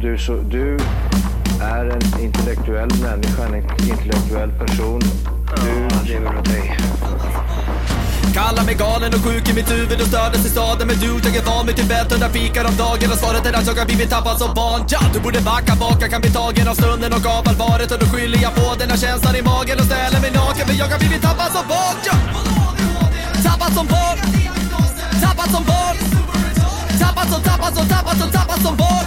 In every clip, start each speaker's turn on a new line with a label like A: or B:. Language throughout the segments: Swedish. A: du, så, du är en intellektuell människa, en intellektuell person. Du lever av dig.
B: Kallar mig galen och sjuk i mitt huvud och stördes i staden Men du, jag är van vid Tibet och där fikar om dagen Och svaret är att jag har blivit tappad som barn ja, Du borde backa bak, jag kan bli tagen av stunden och av allvaret Och då skyller jag på den här känslan i magen och ställer mig naken För jag har blivit tappad som barn ja. Tappad som barn Tappad som barn Tappad som, tappad som, tappad som, tappad som barn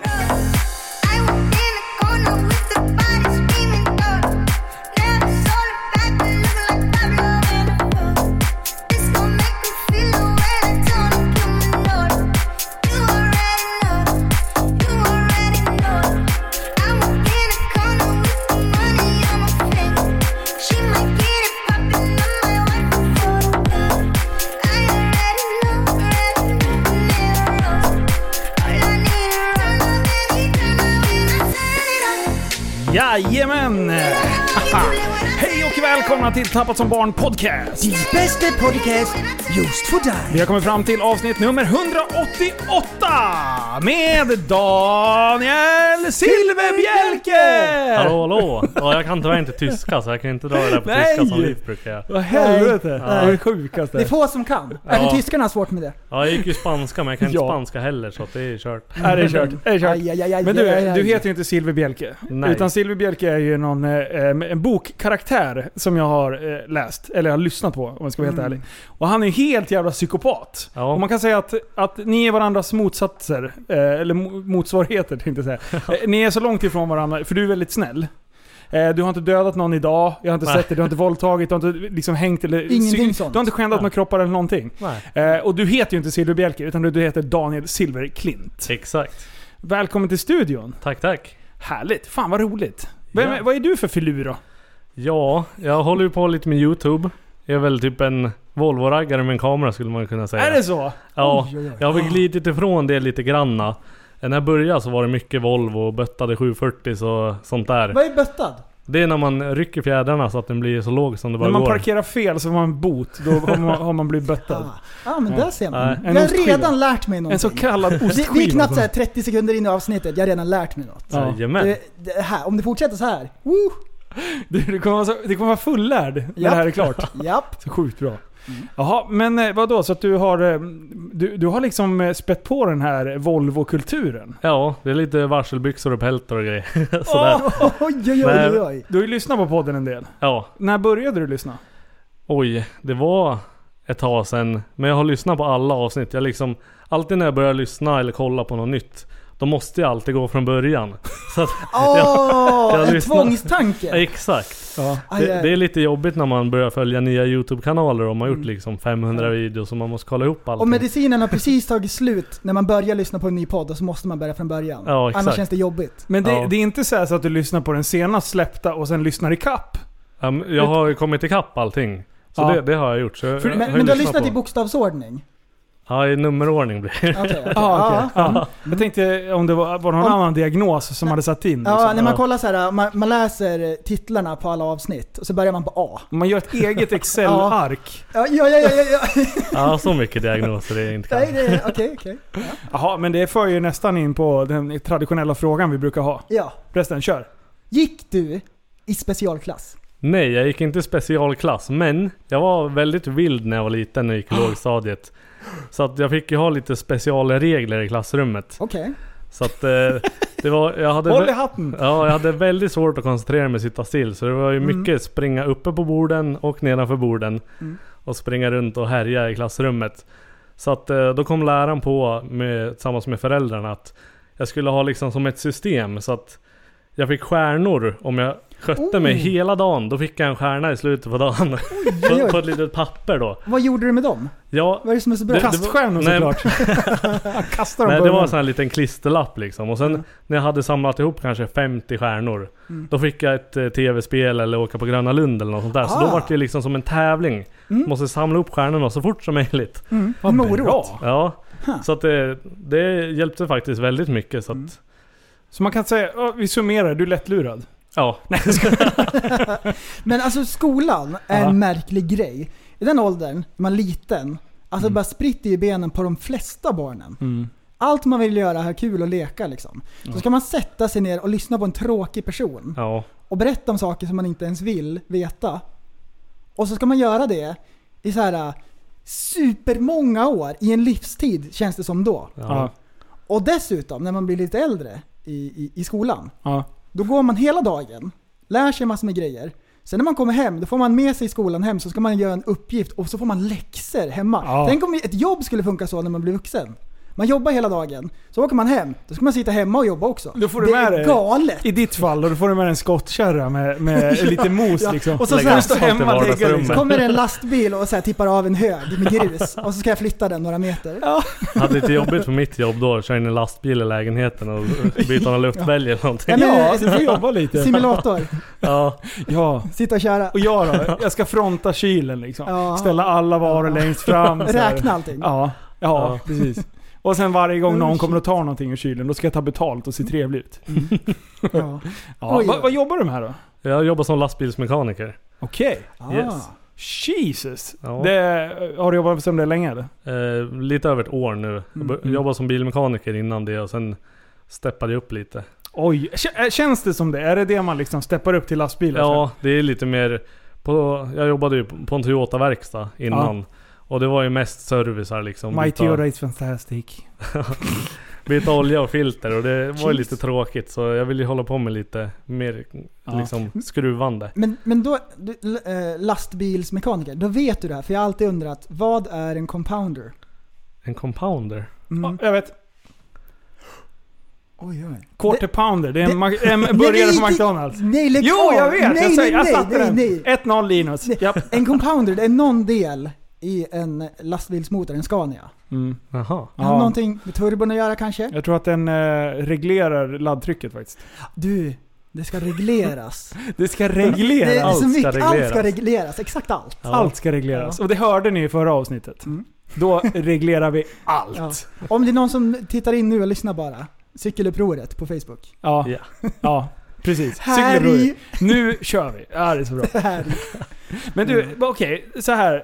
C: Jajamän! Haha. Hej och välkomna till Tappat som barn podcast!
D: Din bästa podcast just för dig.
C: Vi har kommit fram till avsnitt nummer 188 med Daniel Silverbjälke!
E: Hallå hallå! Ja, jag kan tyvärr inte tyska så jag kan inte dra det där på
C: Nej!
E: tyska som Liv brukar göra.
C: Vad helvete! Det
E: Nej.
C: är det sjukaste.
D: Det är få som kan. Även tyskarna har svårt med det.
E: Ja, jag gick ju spanska men jag kan inte
C: Ja.
E: spanska heller så att det är kört.
C: Nej, det är kört. Det är kört.
D: Aj, aj, aj, aj,
C: Men du,
D: aj, aj.
C: du heter ju inte Silver Bjelke.
E: Nej.
C: Utan Silver Bjelke är ju någon, eh, em, en bokkaraktär som jag har eh, läst, eller jag har lyssnat på om jag ska vara
D: Mm.
C: helt ärlig. Och han är ju helt jävla psykopat.
E: Ja.
C: Och man kan säga att, att ni är varandras motsatser, eh, eller mo- motsvarigheter tänkte jag säga. Eh, Ni är så långt ifrån varandra, för du är väldigt snäll. Eh, Du har inte dödat någon idag, jag har inte
E: Nej.
C: sett dig, du har inte våldtagit, du har inte liksom hängt eller...
D: Ingenting
C: sy-
D: sånt.
C: Du har inte skändat
E: Nej.
C: några kroppar eller någonting.
E: Nej.
C: Eh, Och du heter ju inte Silver Bjelke, utan du- du heter Daniel Silverklint.
E: Exakt.
C: Välkommen till studion.
E: Tack tack.
C: Härligt. Fan vad roligt. Vem,
E: Ja.
C: Vad är du för filur då?
E: Ja, jag håller ju på lite med YouTube. Jag är väl typ en Volvo-raggare med en kamera skulle man kunna säga.
C: Är det så?
E: Ja,
D: Oj, oj, oj.
E: jag har väl glidit ifrån det lite granna. När jag började så var det mycket Volvo och böttade 740 så sånt där.
D: Vad är böttad?
E: Det är när man rycker fjädrarna så att den blir så låg som det bara
C: När man
E: går.
C: parkerar fel så får man bot. Då har man, har man blivit böttad.
D: Ja, ah, men där ser man.
C: Nej, en
D: jag har
C: ostskiva.
D: redan lärt mig
C: En så
D: någonting.
C: kallad
D: Vi,
C: ostskiva.
D: vi är knappt så här 30 sekunder in i avsnittet, jag har redan lärt mig något.
C: Ja.
E: Jajamän.
D: Det, det här, om det fortsätter så här. Woo,
C: Du, du, kommer vara så, du kommer vara fullärd när
D: Japp.
C: det här är klart.
D: japp.
C: Så sjukt bra. Jaha, men eh, vadå? Så att du har, eh, du, du har liksom eh, spett på den här Volvo-kulturen?
E: Ja, det är lite varselbyxor och pältor och grejer. Sådär.
D: Oj, oj, oj,
E: Men-
D: oj.
C: Du har ju lyssnat på podden en del.
E: Ja.
C: När började du lyssna?
E: Oj, det var ett tag sedan. Men jag har lyssnat på alla avsnitt. Jag liksom, alltid när jag börjar lyssna eller kolla på något nytt. Då måste jag alltid gå från början. Så att,
D: Åh,
E: jag
D: en
E: lyssnar.
D: tvångstanke.
E: exakt.
C: Ja.
D: Aj,
E: Det,
D: aj.
E: det är lite jobbigt när man börjar följa nya YouTube-kanaler och man har gjort liksom 500 videos och man måste kolla ihop
D: Mm. Och
E: allting.
D: medicinen har precis tagit slut när man börjar lyssna på en ny podd och så måste man börja från början.
E: Ja, exakt.
D: Annars känns det jobbigt.
C: Men det,
E: Ja.
C: det är inte så, här så att du lyssnar på den senast släppta och sen lyssnar i kapp?
E: Ehm, Jag har ju kommit ikapp allting. Så
C: Ja.
E: det, det har jag gjort. Så jag, jag
D: Men,
E: ju
D: men du har lyssnat
E: på-
D: i bokstavsordning?
E: Ja, i nummerordning blir det.
D: Okej, okej. Mm,
C: Ah, okej.
D: Ja.
C: Ja. Jag tänkte om det var, var någon
D: Om-
C: annan diagnos som hade satt in.
D: Ja,
C: liksom.
D: när man
E: Ja.
D: kollar så här, man, man läser titlarna på alla avsnitt och så börjar man på A.
C: Man gör ett eget Excel-ark.
D: Ja, ja, ja, ja, ja. ja.
E: Ja, så mycket diagnoser det är inte
D: Nej,
E: kan.
D: det är- Okej, okej.
C: Jaha, men det för ju nästan in på den traditionella frågan vi brukar ha.
D: Ja.
C: Resten, kör.
D: Gick du i specialklass?
E: Nej, jag gick inte specialklass, men jag var väldigt vild när jag var liten och gick i lågstadiet. Så att jag fick ju ha lite specialregler i klassrummet.
D: Okej.
E: Så att eh, det var... Jag hade,
C: Håll i hatten!
E: ja, jag hade väldigt svårt att koncentrera mig och sitta still. Så det var ju
D: Mm.
E: mycket springa uppe på borden och nedanför borden. Och springa runt och härja i klassrummet. Så att eh, då kom läraren på med, tillsammans med föräldrarna att jag skulle ha liksom som ett system så att jag fick stjärnor om jag skötte mig
D: Oh.
E: hela dagen. Då fick jag en stjärna i slutet på dagen.
D: oj,
E: på,
D: oj.
E: på ett litet papper då.
D: Vad gjorde du med dem?
E: Ja,
D: Vad är det som är så bra?
E: Det- det-
C: Kaststjärnor
E: nej.
C: såklart. Han kastar dem
E: nej,
C: på
E: det var
C: ögonen.
E: en sån här liten klisterlapp liksom. Och sen när jag hade samlat ihop kanske 50 stjärnor.
D: Mm.
E: Då fick jag ett eh, tv-spel eller åka på Gröna Lund eller något sånt där. Så då
D: Ah.
E: var det liksom som en tävling.
D: Mm.
E: Måste samla upp stjärnorna så fort som möjligt.
D: Mm.
C: Vad
D: En morot.
C: bra.
E: Ja, eh,
D: Huh. Mm.
E: så att det, det hjälpte faktiskt väldigt mycket. Så att,
C: Så man kan säga, "Ja, vi summerar, du är lättlurad.
E: Ja.
C: Nej, jag skojar.
D: Men alltså skolan är
C: Ja.
D: en märklig grej. I den åldern, när man är liten, alltså det bara spritter ju benen på de flesta barnen.
C: Mm.
D: Allt man vill göra är kul och leka liksom. Så ska man sätta sig ner och lyssna på en tråkig person
E: ja.
D: och berätta om saker som man inte ens vill veta. Och så ska man göra det i så här äh, supermånga år, i en livstid känns det som då.
C: Ja.
E: ja.
D: Och dessutom, när man blir lite äldre i, i, i skolan,
C: Ja.
D: då går man hela dagen, lär sig massor med grejer. Sen när man kommer hem, då får man med sig skolan hem så ska man göra en uppgift och så får man läxor hemma.
C: Ja.
D: Tänk om ett jobb skulle funka så när man blir vuxen. Man jobbar hela dagen, så åker man hem. Då ska man sitta hemma och jobba också.
C: Då får du
D: det
C: med
D: är
C: dig-
D: galet!
C: I ditt fall, och då får du med en skottkärra med, med lite mos
D: Ja,
C: liksom.
D: och så
C: Lägga
D: ska du
E: stå
C: asfalt i
E: hemma och lägga
C: vardagsrummet.
D: Så
E: liksom.
D: kommer det en lastbil och så här tippar av en hög med grus och så ska jag flytta den några meter.
E: Hade lite jobbigt på mitt jobb då. Köra in en lastbil i lägenheten och byta några luftbälg eller någonting.
D: Ja, men-
C: Ja, du får jobba lite.
D: Simulator,
E: Ja.
C: Ja.
D: sitta och köra,
C: Och jag då? Jag ska fronta kylen liksom.
D: Ja.
C: Ställa alla varor längst fram. så här.
D: räkna allting.
C: Ja, ja
E: Ja.
C: precis. Och sen varje gång
D: Oh,
C: någon
D: shit.
C: kommer och tar någonting ur kylen, då ska jag ta betalt och se trevlig ut.
D: Ja.
C: Ja.
D: Oj.
C: Va, vad jobbar du med då?
E: Jag jobbar som lastbilsmekaniker.
C: Okej.
D: Ah.
E: Yes.
C: Jesus!
E: Ja.
C: Det, har du jobbat som det länge eller?
E: Eh, lite över ett år nu. Jag bör-
C: Mm.
E: jobbade som bilmekaniker innan det och sen steppade jag upp lite.
C: Oj, Kä- eh, känns det som det? Är det det man liksom steppar upp till lastbilen?
E: Ja, det är lite mer... På, jag jobbade ju på en Toyota-verkstad innan. Och det var ju mest service här liksom.
C: My Toyota
E: byta,
C: is fantastic.
E: byta olja och filter och det var ju lite
C: Jeez.
E: tråkigt. Så jag ville ju hålla på med lite mer
C: Ja.
E: liksom, skruvande.
D: Men, men då, du, l- eh, lastbilsmekaniker, då vet du det här. För jag har alltid undrat, vad är en compounder?
E: En compounder.
D: Mm.
C: Ja, jag vet.
D: Oj, oj.
C: Quarter pounder, det är en,
D: det-
C: ma- en burgare
D: Nej,
C: på
D: det-
C: McDonalds.
D: Nej, lägg
C: Jo,
D: av!
C: jag vet!
D: Nej,
C: jag säger, jag
D: nej,
C: satte
D: nej,
C: den.
D: nej, nej.
C: 1-0 Linus.
D: Nej.
C: Japp.
D: En compounder, det är någon del i en lastbilsmotor, en Scania.
C: Mm.
E: Jaha.
D: Det har Någonting med turbon att göra kanske?
C: Jag tror att den eh, reglerar laddtrycket faktiskt.
D: Du, det ska regleras.
C: Det ska
D: det, det är
C: regleras.
D: så
E: allt ska
D: mycket, allt ska
E: regleras.
D: regleras. Exakt allt.
E: Ja.
C: Allt ska regleras. Och det hörde ni i förra avsnittet.
D: Mm.
C: Då reglerar vi allt.
D: Ja.
C: Ja.
D: Om det är någon som tittar in nu och lyssnar bara. Cykelupproret på Facebook.
C: Ja.
E: Ja.
C: Precis.
D: Här
C: Cykelbror.
D: i,
C: Nu kör vi. Ja, det är så bra.
D: här i.
C: Men du,
E: Mm.
C: okej. så här.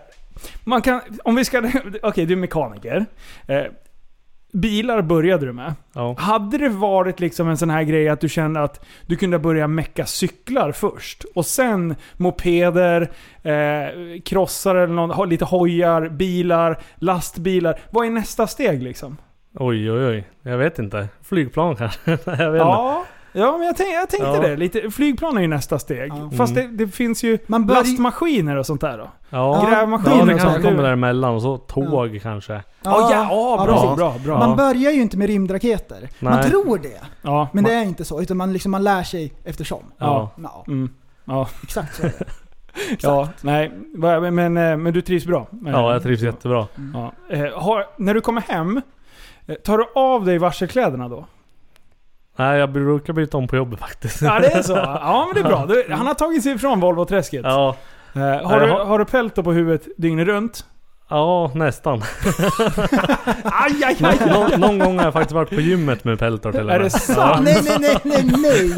C: Man kan, om vi ska... Okej, du är mekaniker. Eh, bilar började du med.
E: Ja.
C: Hade det varit liksom en sån här grej att du kände att du kunde börja mecka cyklar först och sen mopeder, eh, krossar eller någon, ha- lite hojar, bilar, lastbilar. Vad är nästa steg liksom?
E: Oj oj oj. Jag vet inte. Flygplan kanske? jag vet inte.
C: Ja, ja men jag, tänk, jag tänkte
E: Ja. Mm.
C: det. Lite, flygplan är ju nästa steg.
D: Ja.
C: Fast det, det finns ju
D: Man börjar-
C: lastmaskiner och sånt där då.
E: Ja.
D: Ja,
C: Grävmaskiner
E: Ja,
C: och
E: det
C: sånt.
E: kanske kommer
C: Du-
E: däremellan. Och så tåg kanske.
C: Ja, ja, ja, bra,
D: precis.
C: bra, bra.
D: Man börjar ju inte med rymdraketer. Man
E: Nej.
D: tror det,
C: Ja,
D: men det är inte så. Utan man, liksom, man lär sig eftersom.
E: Ja.
D: Ja,
C: Mm.
D: exakt så är det.
C: Ja, nej. Va- Men, men, eh, men du trivs bra?
E: Ja, jag trivs jättebra.
C: Ja. Eh, har, när du kommer hem, eh, tar du av dig varselkläderna då?
E: Nej, jag brukar byta om på jobbet faktiskt.
C: Ja, det är så? Ja, men det är bra. Du, han har tagit sig ifrån Volvo-träsket.
E: Ja,
C: Eh, har, du,
E: Jag har-
C: har du pelto på huvudet dygnet runt?
E: ja nästan.
C: Aj, aj,
E: Nå,
C: aj.
E: nå, någon gång har jag faktiskt varit på gymmet med peltor till och med.
C: Är det sant?
D: Nej, nej, nej, nej, nej!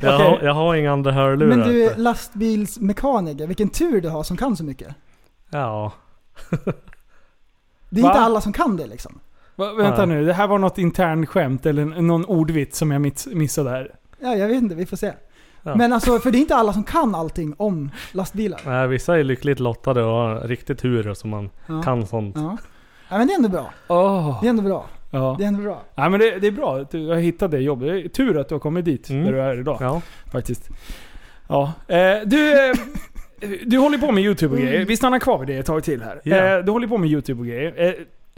E: jag,
C: Okej.
E: har, jag har inga andra hörlurar.
D: Men du är lastbilsmekaniker, vilken tur du har som kan så mycket.
E: Ja.
D: Det är
C: Va?
D: inte alla som kan det liksom.
C: Va, vänta
E: Ja.
C: nu, det här var något internt skämt eller n- någon ordvits som jag miss, missade här.
D: Ja, jag vet inte, vi får se.
E: Ja.
D: Men alltså, för det är inte alla som kan allting om lastbilar.
E: Nej, vissa är lyckligt lottade och har riktigt tur och så man
D: Ja.
E: kan sånt.
D: Ja. ja, men det är ändå bra.
C: Oh.
D: Det är ändå bra.
C: Ja.
D: Det är ändå bra.
C: Nej, men det, det är bra att du har hittat det jobbet. Det är tur att du har kommit dit
E: Mm.
C: där du är idag.
E: Ja.
C: Faktiskt. Ja. Eh, du, eh, du håller på med YouTube och grejer. Vi stannar kvar vid det ett tag till här.
E: Ja.
C: Eh, du håller på med YouTube och grejer. Eh,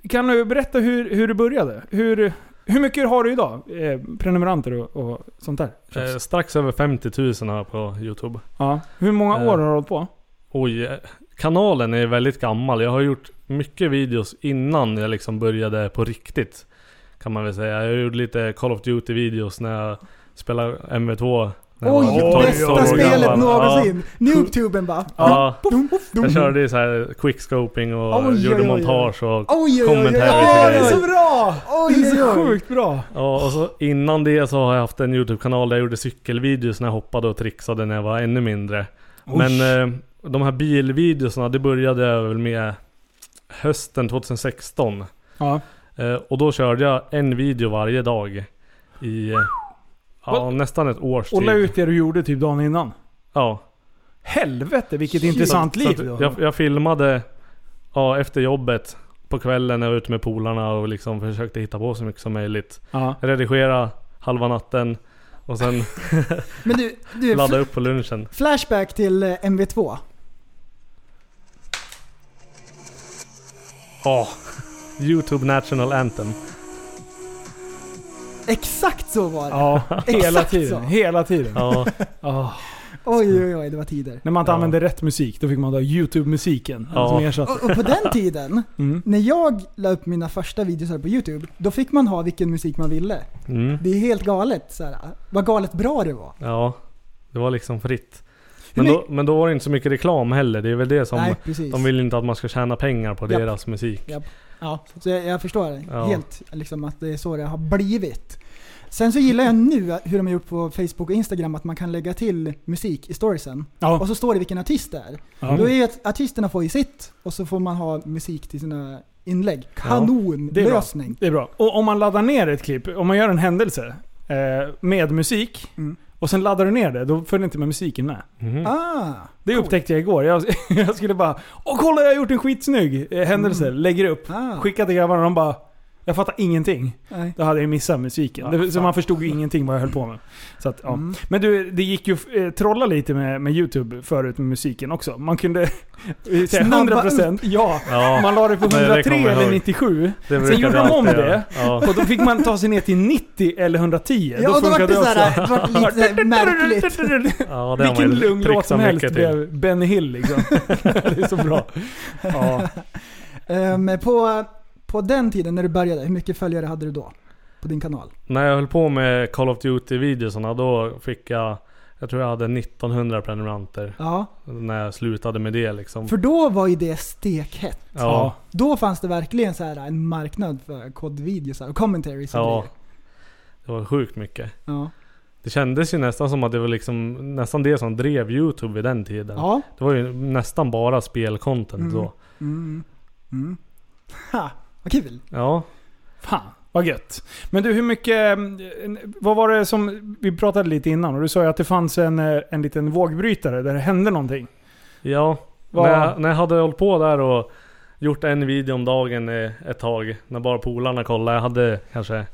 C: kan du berätta hur, hur du började? Hur, hur mycket har du idag? Eh, prenumeranter och, och sånt där?
E: Eh, strax över 50 000 har jag på Youtube.
C: Ja. Hur många
E: eh.
C: år har du hållit på?
E: Oj, eh, kanalen är väldigt gammal. Jag har gjort mycket videos innan jag liksom började på riktigt. Kan man väl säga. Jag gjorde lite Call of Duty videos när jag spelade MV2 Det var
D: Oj,
E: typ tolv-
D: bästa
E: tolv år
D: spelet
E: gammal.
D: någonsin! Noobtuben bara...
E: Ja.
D: Dum, dum, dum.
E: Jag körde ju så här quickscoping och
C: Oj, oj,
E: gjorde
C: oj.
E: montage och,
D: Oj, oj, oj, oj, oj,
E: Commentary
C: Åh,
E: till
C: det är
E: grejer.
C: så bra!
D: oj,
C: Det är
D: oj,
C: så
D: oj.
C: sjukt bra.
E: ja, och så innan det så har jag haft en YouTube-kanal där jag gjorde cykelvideos när jag hoppade och trixade när jag var ännu mindre. Men eh, de här bilvideorna, det började jag väl med hösten 2016.
C: Ja.
E: Eh, och då körde jag en video varje dag i eh, ja,
C: What?
E: nästan ett års
C: Och la
E: tid.
C: ut det du gjorde typ dagen innan.
E: Ja.
C: Helvete vilket
E: Så-
C: intressant
E: så
C: liv
E: att
C: du har.
E: Jag, jag filmade ja, efter jobbet på kvällen när jag var ute med polarna och liksom försökte hitta på så mycket som möjligt.
C: Ja.
E: Redigera halva natten och sen
D: Men du, du
E: ladda
D: fl-
E: upp på lunchen.
D: flashback till eh, MV2.
E: Ja. Youtube National Anthem.
D: Exakt så var det.
C: Ja, hela
D: Exakt
C: tiden.
D: så.
C: Hela tiden.
E: Ja,
C: Ah,
D: Oj, oj, oj, det var tider.
C: När man inte
E: Ja.
C: använde rätt musik, då fick man då YouTube-musiken
E: Ja.
C: som ersatte.
D: Och, och på den tiden,
C: Mm.
D: när jag la upp mina första videos här på YouTube, då fick man ha vilken musik man ville.
E: mm,
D: Det är helt galet. Så här, vad galet bra det var.
E: ja. det var liksom fritt.
D: Hur
E: Men då, men då var det inte så mycket reklam heller. Det är väl det som...
D: Nej, precis.
E: De vill ju inte att man ska tjäna pengar på
D: Japp.
E: deras musik.
D: Ja, så jag, jag förstår det.
E: Ja.
D: Helt liksom att det är så det har blivit. Sen så gillar jag nu hur de har gjort på Facebook och Instagram att man kan lägga till musik i storiesen.
C: Ja.
D: Och så står det vilken artist det är.
C: Ja.
D: Då är ju att artisterna får ju sitt och så får man ha musik till sina inlägg. Kanon!
C: det är bra.
D: lösning.
C: Det är bra. Och om man laddar ner ett klipp, om man gör en händelse eh, med musik
D: Mm.
C: och sen laddar du ner det, då följer inte med musiken med.
E: Mhm.
D: Ah!
C: Det upptäckte jag igår. Jag, jag skulle bara Åh kolla jag har gjort en skitsnygg eh, händelse. Lägger upp.
D: ah
C: Skickar till grabbarna och de bara Jag fattar ingenting.
D: nej.
C: Då hade jag missat musiken.
E: Ja,
C: det, så
E: fan.
C: man förstod ju ingenting vad jag höll på med. Så att, ja.
D: Mm.
C: Men du, det gick ju att eh, trolla lite med, med YouTube förut med musiken också. Man kunde... eh, säga
D: Snabba
C: 100%. Ja.
E: Ja,
C: Man la det på
E: det kommer jag
C: 103 eller
E: ihåg.
C: 97.
E: det brukar
C: Sen gjorde
E: vi
C: de om
E: alltid göra.
C: det.
E: Ja.
C: Och då fick man ta sig ner till 90 eller 110.
D: Ja, och då vart det såhär, det vart lite märkligt.
E: Ja, det har man
C: Vilken
E: ju
C: lugn låt
E: trixat
C: som helst
E: mycket till.
C: blev Benny Hill liksom. det är så bra. Ja.
D: Ehm, på, på den tiden när du började, hur mycket följare hade du då? På din kanal?
E: När jag höll på med Call of Duty-videosarna då fick jag jag tror jag hade 1900 prenumeranter
D: Ja,
E: när jag slutade med det liksom.
D: för då var ju det stekhett.
E: Ja,
D: Då fanns det verkligen så här en marknad för kodvideos och commentaries och
E: ja.
D: grejer.
E: Det var sjukt mycket.
D: ja.
E: Det kändes ju nästan som att det var liksom nästan det som drev Youtube vid den tiden.
D: ja.
E: Det var ju nästan bara spelcontent
D: Mm.
E: då.
D: Mm. Mm. Ha, vad kul.
E: Ja,
C: Fan, vad gött. Men du, hur mycket... eh, Vad var det som... Vi pratade lite innan och du sa ju att det fanns en, eh, en liten vågbrytare där det hände någonting.
E: ja.
C: Vad-
E: När, jag, när jag hade hållit på där och gjort en video om dagen eh, ett tag. När bara polarna kollade. Jag hade kanske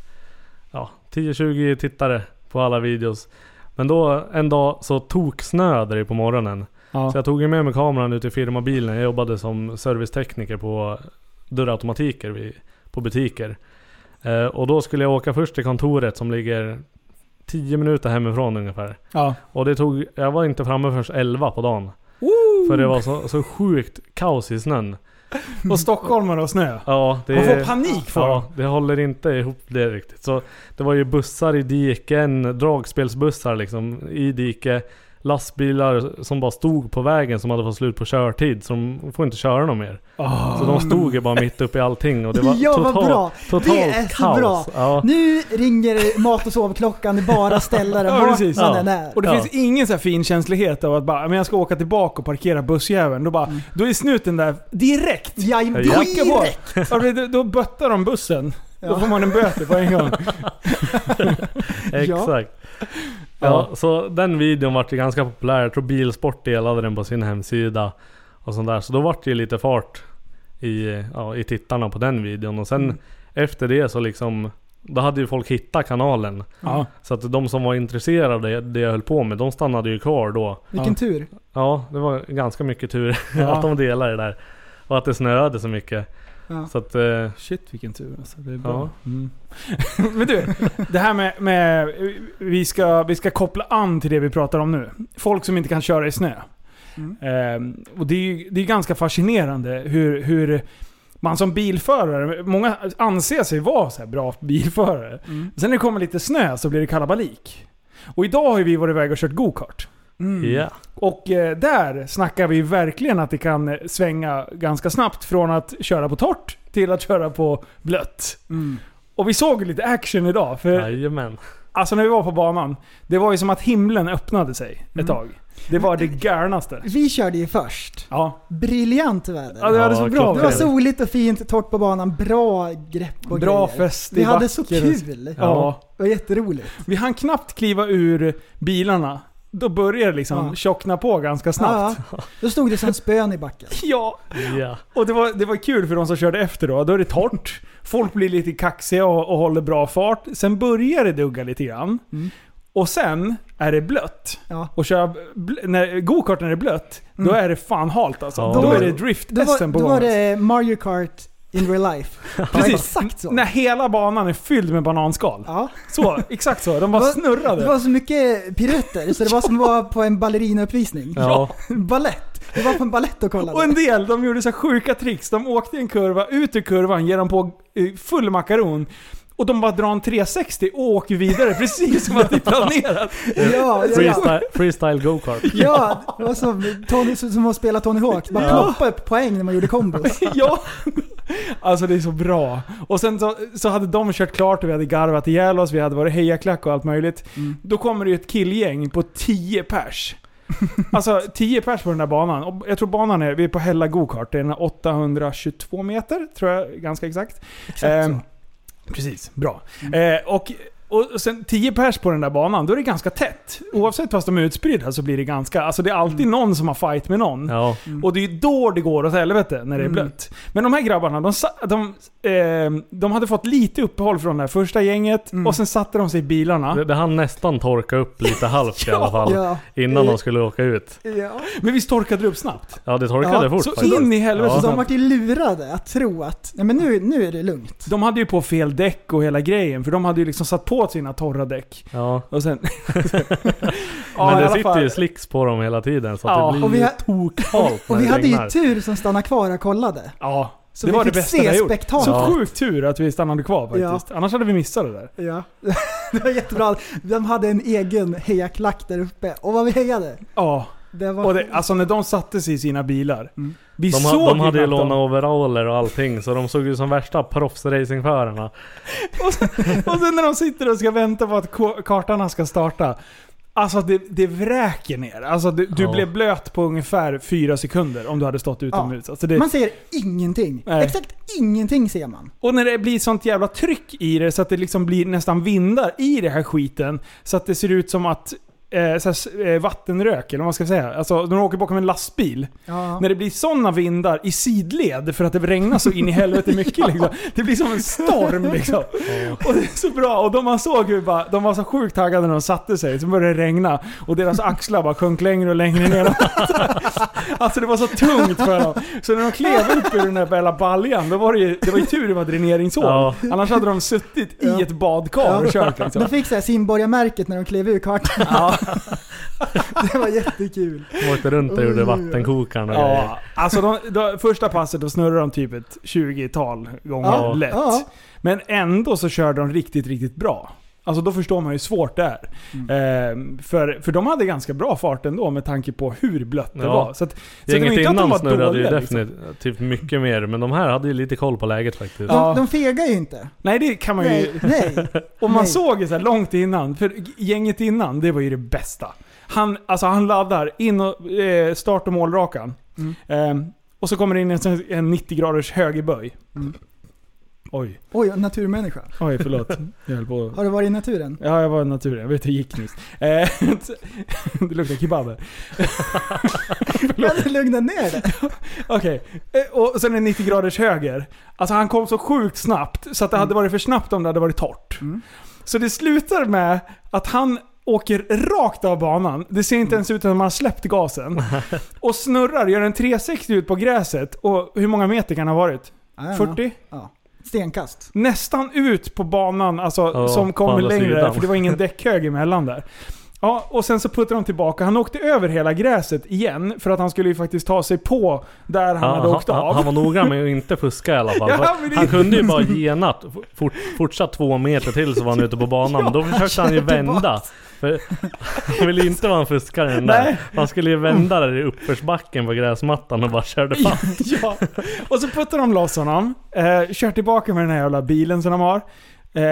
E: ja, 10-20 tittare på alla videos. Men då en dag så tog snöade det på morgonen.
C: Ja.
E: Så jag tog ju med mig kameran ut i firmabilen. Jag jobbade som servicetekniker på dörrautomatiker vid, på butiker. Eh, och då skulle jag åka först till kontoret som ligger 10 minuter hemifrån ungefär.
C: ja.
E: Och det tog, jag var inte framme förrän 11 på dagen. För det var så, så sjukt kaos i snön.
C: Och stockholmare och snö.
E: Ja, det,
C: Man får panik för
E: ja, det håller inte ihop det riktigt. Så det var ju bussar i diken, dragspelsbussar liksom i dike. Lastbilar som bara stod på vägen som hade fått slut på körtid. Så de får inte köra någon mer. Så de stod ju bara mitt uppe i allting och det var
D: Oh. Ja, vad
E: totalt,
D: bra.
E: totalt
D: Det är så
E: kaos.
D: bra.
E: Ja.
D: Nu ringer mat och sovklockan, det är bara att ställa den
C: Ja,
D: vart man
C: precis.
E: Ja.
D: än är.
C: Och det
E: Ja.
C: finns ingen så här finkänslighet av att bara, men jag ska åka tillbaka och parkera bussjäveln. Då,
E: Mm.
C: bara, då är snuten där direkt.
D: Ja,
E: Ja.
C: Skicka på.
D: direkt!
C: Ja, men Då, då böttar de bussen. Då
D: Ja.
C: får man en böter på en gång.
E: Exakt. Ja, så den videon vart ju ganska populär. Jag tror Bilsport delade den på sin hemsida. Och sånt där. Så då vart det ju lite fart i, ja, i tittarna på den videon. Och sen efter det så liksom... Då hade ju folk hittat kanalen.
C: Ja.
E: Så att de som var intresserade det jag höll på med, de stannade ju kvar då.
D: Vilken tur.
E: Ja, det var ganska mycket tur
C: Ja.
E: att de delade det där. Och att det snöade så mycket.
D: Ja.
E: Så att... eh,
C: Shit vilken tur alltså. Det är
E: bra.
C: Mm. Men du, det här med... med vi, ska, vi ska koppla an till det vi pratar om nu. Folk som inte kan köra i snö.
D: Mm.
C: Ehm, och det är ju det är ganska fascinerande hur, hur man som bilförare, många anser sig vara så här bra bilförare.
D: Mm.
C: Sen när det kommer lite snö så blir det kalabalik. Och idag har ju vi varit iväg och kört go-kart.
D: Mm.
E: Ja.
C: Och eh, där snackar vi verkligen att det kan eh, svänga ganska snabbt från att köra på torrt till att köra på blött.
D: Mm.
C: Och vi såg lite action idag. För
E: Jajamän.
C: alltså när vi var på banan, det var ju som att himlen öppnade sig ett tag. Det var det galnaste.
D: Vi körde ju först.
C: Ja.
D: Briljant väder.
C: Ja, det hade så bra
E: klockrent.
D: Det var soligt och fint, torrt på banan, bra grepp och
C: Bra
D: grejer.
C: fest.
D: Vi
C: det är
D: hade så
C: vacker-
D: kul.
C: Ja.
D: Det var jätteroligt.
C: Vi hann knappt kliva ur bilarna. Då började det liksom
D: Ja.
C: tjockna på ganska snabbt.
D: Ja, då stod det som spön i backen.
C: Ja,
E: Ja.
C: och det var, det var kul för de som körde efter då. Då är det torrt. Folk blir lite kaxiga och, och håller bra fart. Sen börjar det dugga lite grann.
D: Mm.
C: Och sen är det blött.
D: Ja.
C: Och köra bl- när gokart när det är blött, då
D: Mm.
C: är det fan halt alltså.
E: Ja.
C: Då,
D: Då-
C: är det
D: Då var,
C: drift-SM på
D: då
C: gång.
D: var
C: alltså.
D: det Mario Kart in real life. Det var
C: Precis.
D: Exakt så.
C: När hela banan är fylld med bananskal.
D: Ja.
C: Så, exakt så. De bara
D: Det var-
C: snurrade.
D: Det var så mycket piruetter så det var som att vara på en ballerinauppvisning.
E: Ja.
D: Ballett. Vi var på en ballett och kollade.
C: Och en del, de gjorde så här sjuka tricks. De åkte i en kurva, ut ur kurvan, ger dem på eh, full makaron. Och de bara drar en 360 och åker vidare precis som att det är planerat.
D: ja, ja, ja.
E: Freestyle, freestyle go-kart.
D: ja, det var som, Tony, som att spela Tony Hawk. Bara
E: Ja.
D: ploppa upp poäng när man gjorde kombos.
C: Ja! Alltså det är så bra. Och sen så, så hade de kört klart och vi hade garvat ihjäl oss, vi hade varit hejaklack och allt möjligt. Då kommer det ju ett killgäng på 10 pers. Alltså 10 pers på den där banan. Och jag tror banan är, vi är på Hälla Gokart, det är den här 822 meter tror jag ganska exakt.
D: Exakt så.
C: Ehm, Precis, bra. Eh, och, och sen 10 pers på den där banan, då är det ganska tätt. Oavsett fast de är utspridda så blir det ganska... Alltså det är alltid någon som har fight med någon.
E: Mm. Ja.
C: Och det är ju då det går åt helvete, när det är
D: Mm.
C: blött. Men de här grabbarna, de, sa- de, eh, de hade fått lite uppehåll från det här första gänget
D: Mm.
C: och sen satte de sig i bilarna.
E: Det, det hann nästan torka upp lite halvt i alla fall.
D: Ja.
E: Innan de skulle åka ut.
D: ja.
C: Men visst torkade det upp snabbt?
E: Ja, det torkade
D: Ja,
E: fort
C: så
E: faktiskt.
C: in i helvete
E: Ja.
C: så
D: De vart ju lurade att tro att nej men nu, nu är det lugnt.
C: De hade ju på fel däck och hela grejen, för de hade ju liksom satt på sina torra däck.
E: Ja.
C: Och sen... Ja,
E: Men
C: i
E: det
C: alla
E: sitter
C: fall.
E: ju slicks på dem hela tiden så att
C: Ja,
E: det blir
D: och vi
E: ju
D: ha-
E: tokhalt när
D: Och vi
E: det
D: hade
E: regnar.
D: ju tur som stannade kvar och kollade.
C: Ja,
D: Så
C: det
D: vi
C: var det
D: fick
C: bästa
D: se
C: vi har gjort.
D: spektaklet.
C: Så
E: Ja.
C: sjukt tur att vi stannade kvar faktiskt. Annars hade vi missat det där.
D: Ja. det var jättebra. De hade en egen hejaklack där uppe. Och vad vi hejade.
C: Ja.
D: Det var...
C: Och det, alltså när de satte sig i sina bilar. Vi
E: De,
C: såg
E: ha, de
C: ju
E: hade ju
C: knappt dem.
E: lånat overaller och allting så de såg ju som värsta proffsracingförarna.
C: Och sen, och sen när de sitter och ska vänta på att ko- kartarna ska starta. Alltså det, det vräker ner. Alltså du, du
E: Ja.
C: blev blöt på ungefär fyra sekunder om du hade stått utomhus. Alltså det,
D: Man ser ingenting.
C: Nej.
D: Exakt ingenting ser man.
C: och när det blir sånt jävla tryck i det så att det liksom blir nästan vindar i det här skiten. Så att det ser ut som att eh, så här, s- eh, vattenrök, eller vad man ska säga. Alltså när de åker bakom en lastbil.
D: Ja.
C: När det blir sådana vindar i sidled för att det regnar så in i helvete mycket. liksom. Det blir som en storm liksom. Och det är så bra. Och de man såg hur bara, de var så sjukt taggade när de satte sig. Så började det regna och deras axlar bara sjönk längre och längre ner. Alltså det var så tungt för dem. Så när de klev upp ur den där jävla baljan, då var det ju, det var ju tur det var dräneringshål.
E: Ja.
C: Annars hade de suttit i ett badkar och kört liksom.
D: De fick så här simborgarmärket när de klev ur kartan. det var jättekul.
E: De åkte runt och gjorde vattenkokaren och grejer.
C: Ja, alltså de, de, första passet då snurrade de typ ett 20-tal gånger
D: Ja,
C: lätt.
D: ja.
C: Men ändå så körde de riktigt, riktigt bra. Alltså då förstår man hur svårt det är.
D: Mm.
C: Ehm, för, för de hade ganska bra fart ändå med tanke på hur blött det
E: Ja.
C: var. Så, att, så det var
E: Gänget
C: inte att de
E: innan
C: var
E: snurrade ju
C: dåliga, liksom.
E: definitivt typ mycket mer men de här hade ju lite koll på läget faktiskt.
D: De,
C: Ja.
D: de fegar ju inte.
C: Nej det kan man ju...
D: Nej, nej.
C: Och man
D: Nej.
C: såg ju så här långt innan, för gänget innan, det var ju det bästa. Han, alltså han laddar in och, eh, start och målrakan. Ehm, och så kommer det in en, sån- en 90 graders högerböj. Oj,
D: Oj, en naturmänniska.
C: oj förlåt. Jag höll på
D: Har du varit i naturen?
C: Ja, jag var i naturen. Jag vet hur det gick nyss. Eh, det luktar kebab här.
D: Kan du lugna ner dig?
C: Okej. Eh, Och sen en 90 graders höger. Alltså han kom så sjukt snabbt så att det hade
E: Mm.
C: varit för snabbt om det hade varit torrt. Så det slutar med att han åker rakt av banan. Det ser
E: Mm.
C: inte ens ut som att man har släppt gasen. Och snurrar, gör en 360 ut på gräset. Och hur många meter kan det ha varit?
D: Ja, ja.
C: 40?
D: Ja. Stenkast.
C: nästan ut på banan alltså,
E: Ja,
C: som
E: på
C: kommer
E: andra
C: längre.
E: sidan.
C: För det var ingen däckhög emellan där. Ja, och sen så puttade de tillbaka. Han åkte över hela gräset igen för att han skulle ju faktiskt ta sig på där han hade åkt
E: han,
C: av.
E: han var noga med att inte fuska i alla fall.
C: Ja,
E: För
C: men det-
E: han kunde ju bara genat. Fort, fortsatt två meter till så var han ute på banan. Men då försökte han ju
D: körde
E: vända. För han ville inte vara en fuskare den
C: Nej.
E: där. Han skulle ju vända där i uppförsbacken på gräsmattan och bara körde fast.
C: ja. Och så puttar de loss honom, eh, kör tillbaka med den här jävla bilen som de har. Eh,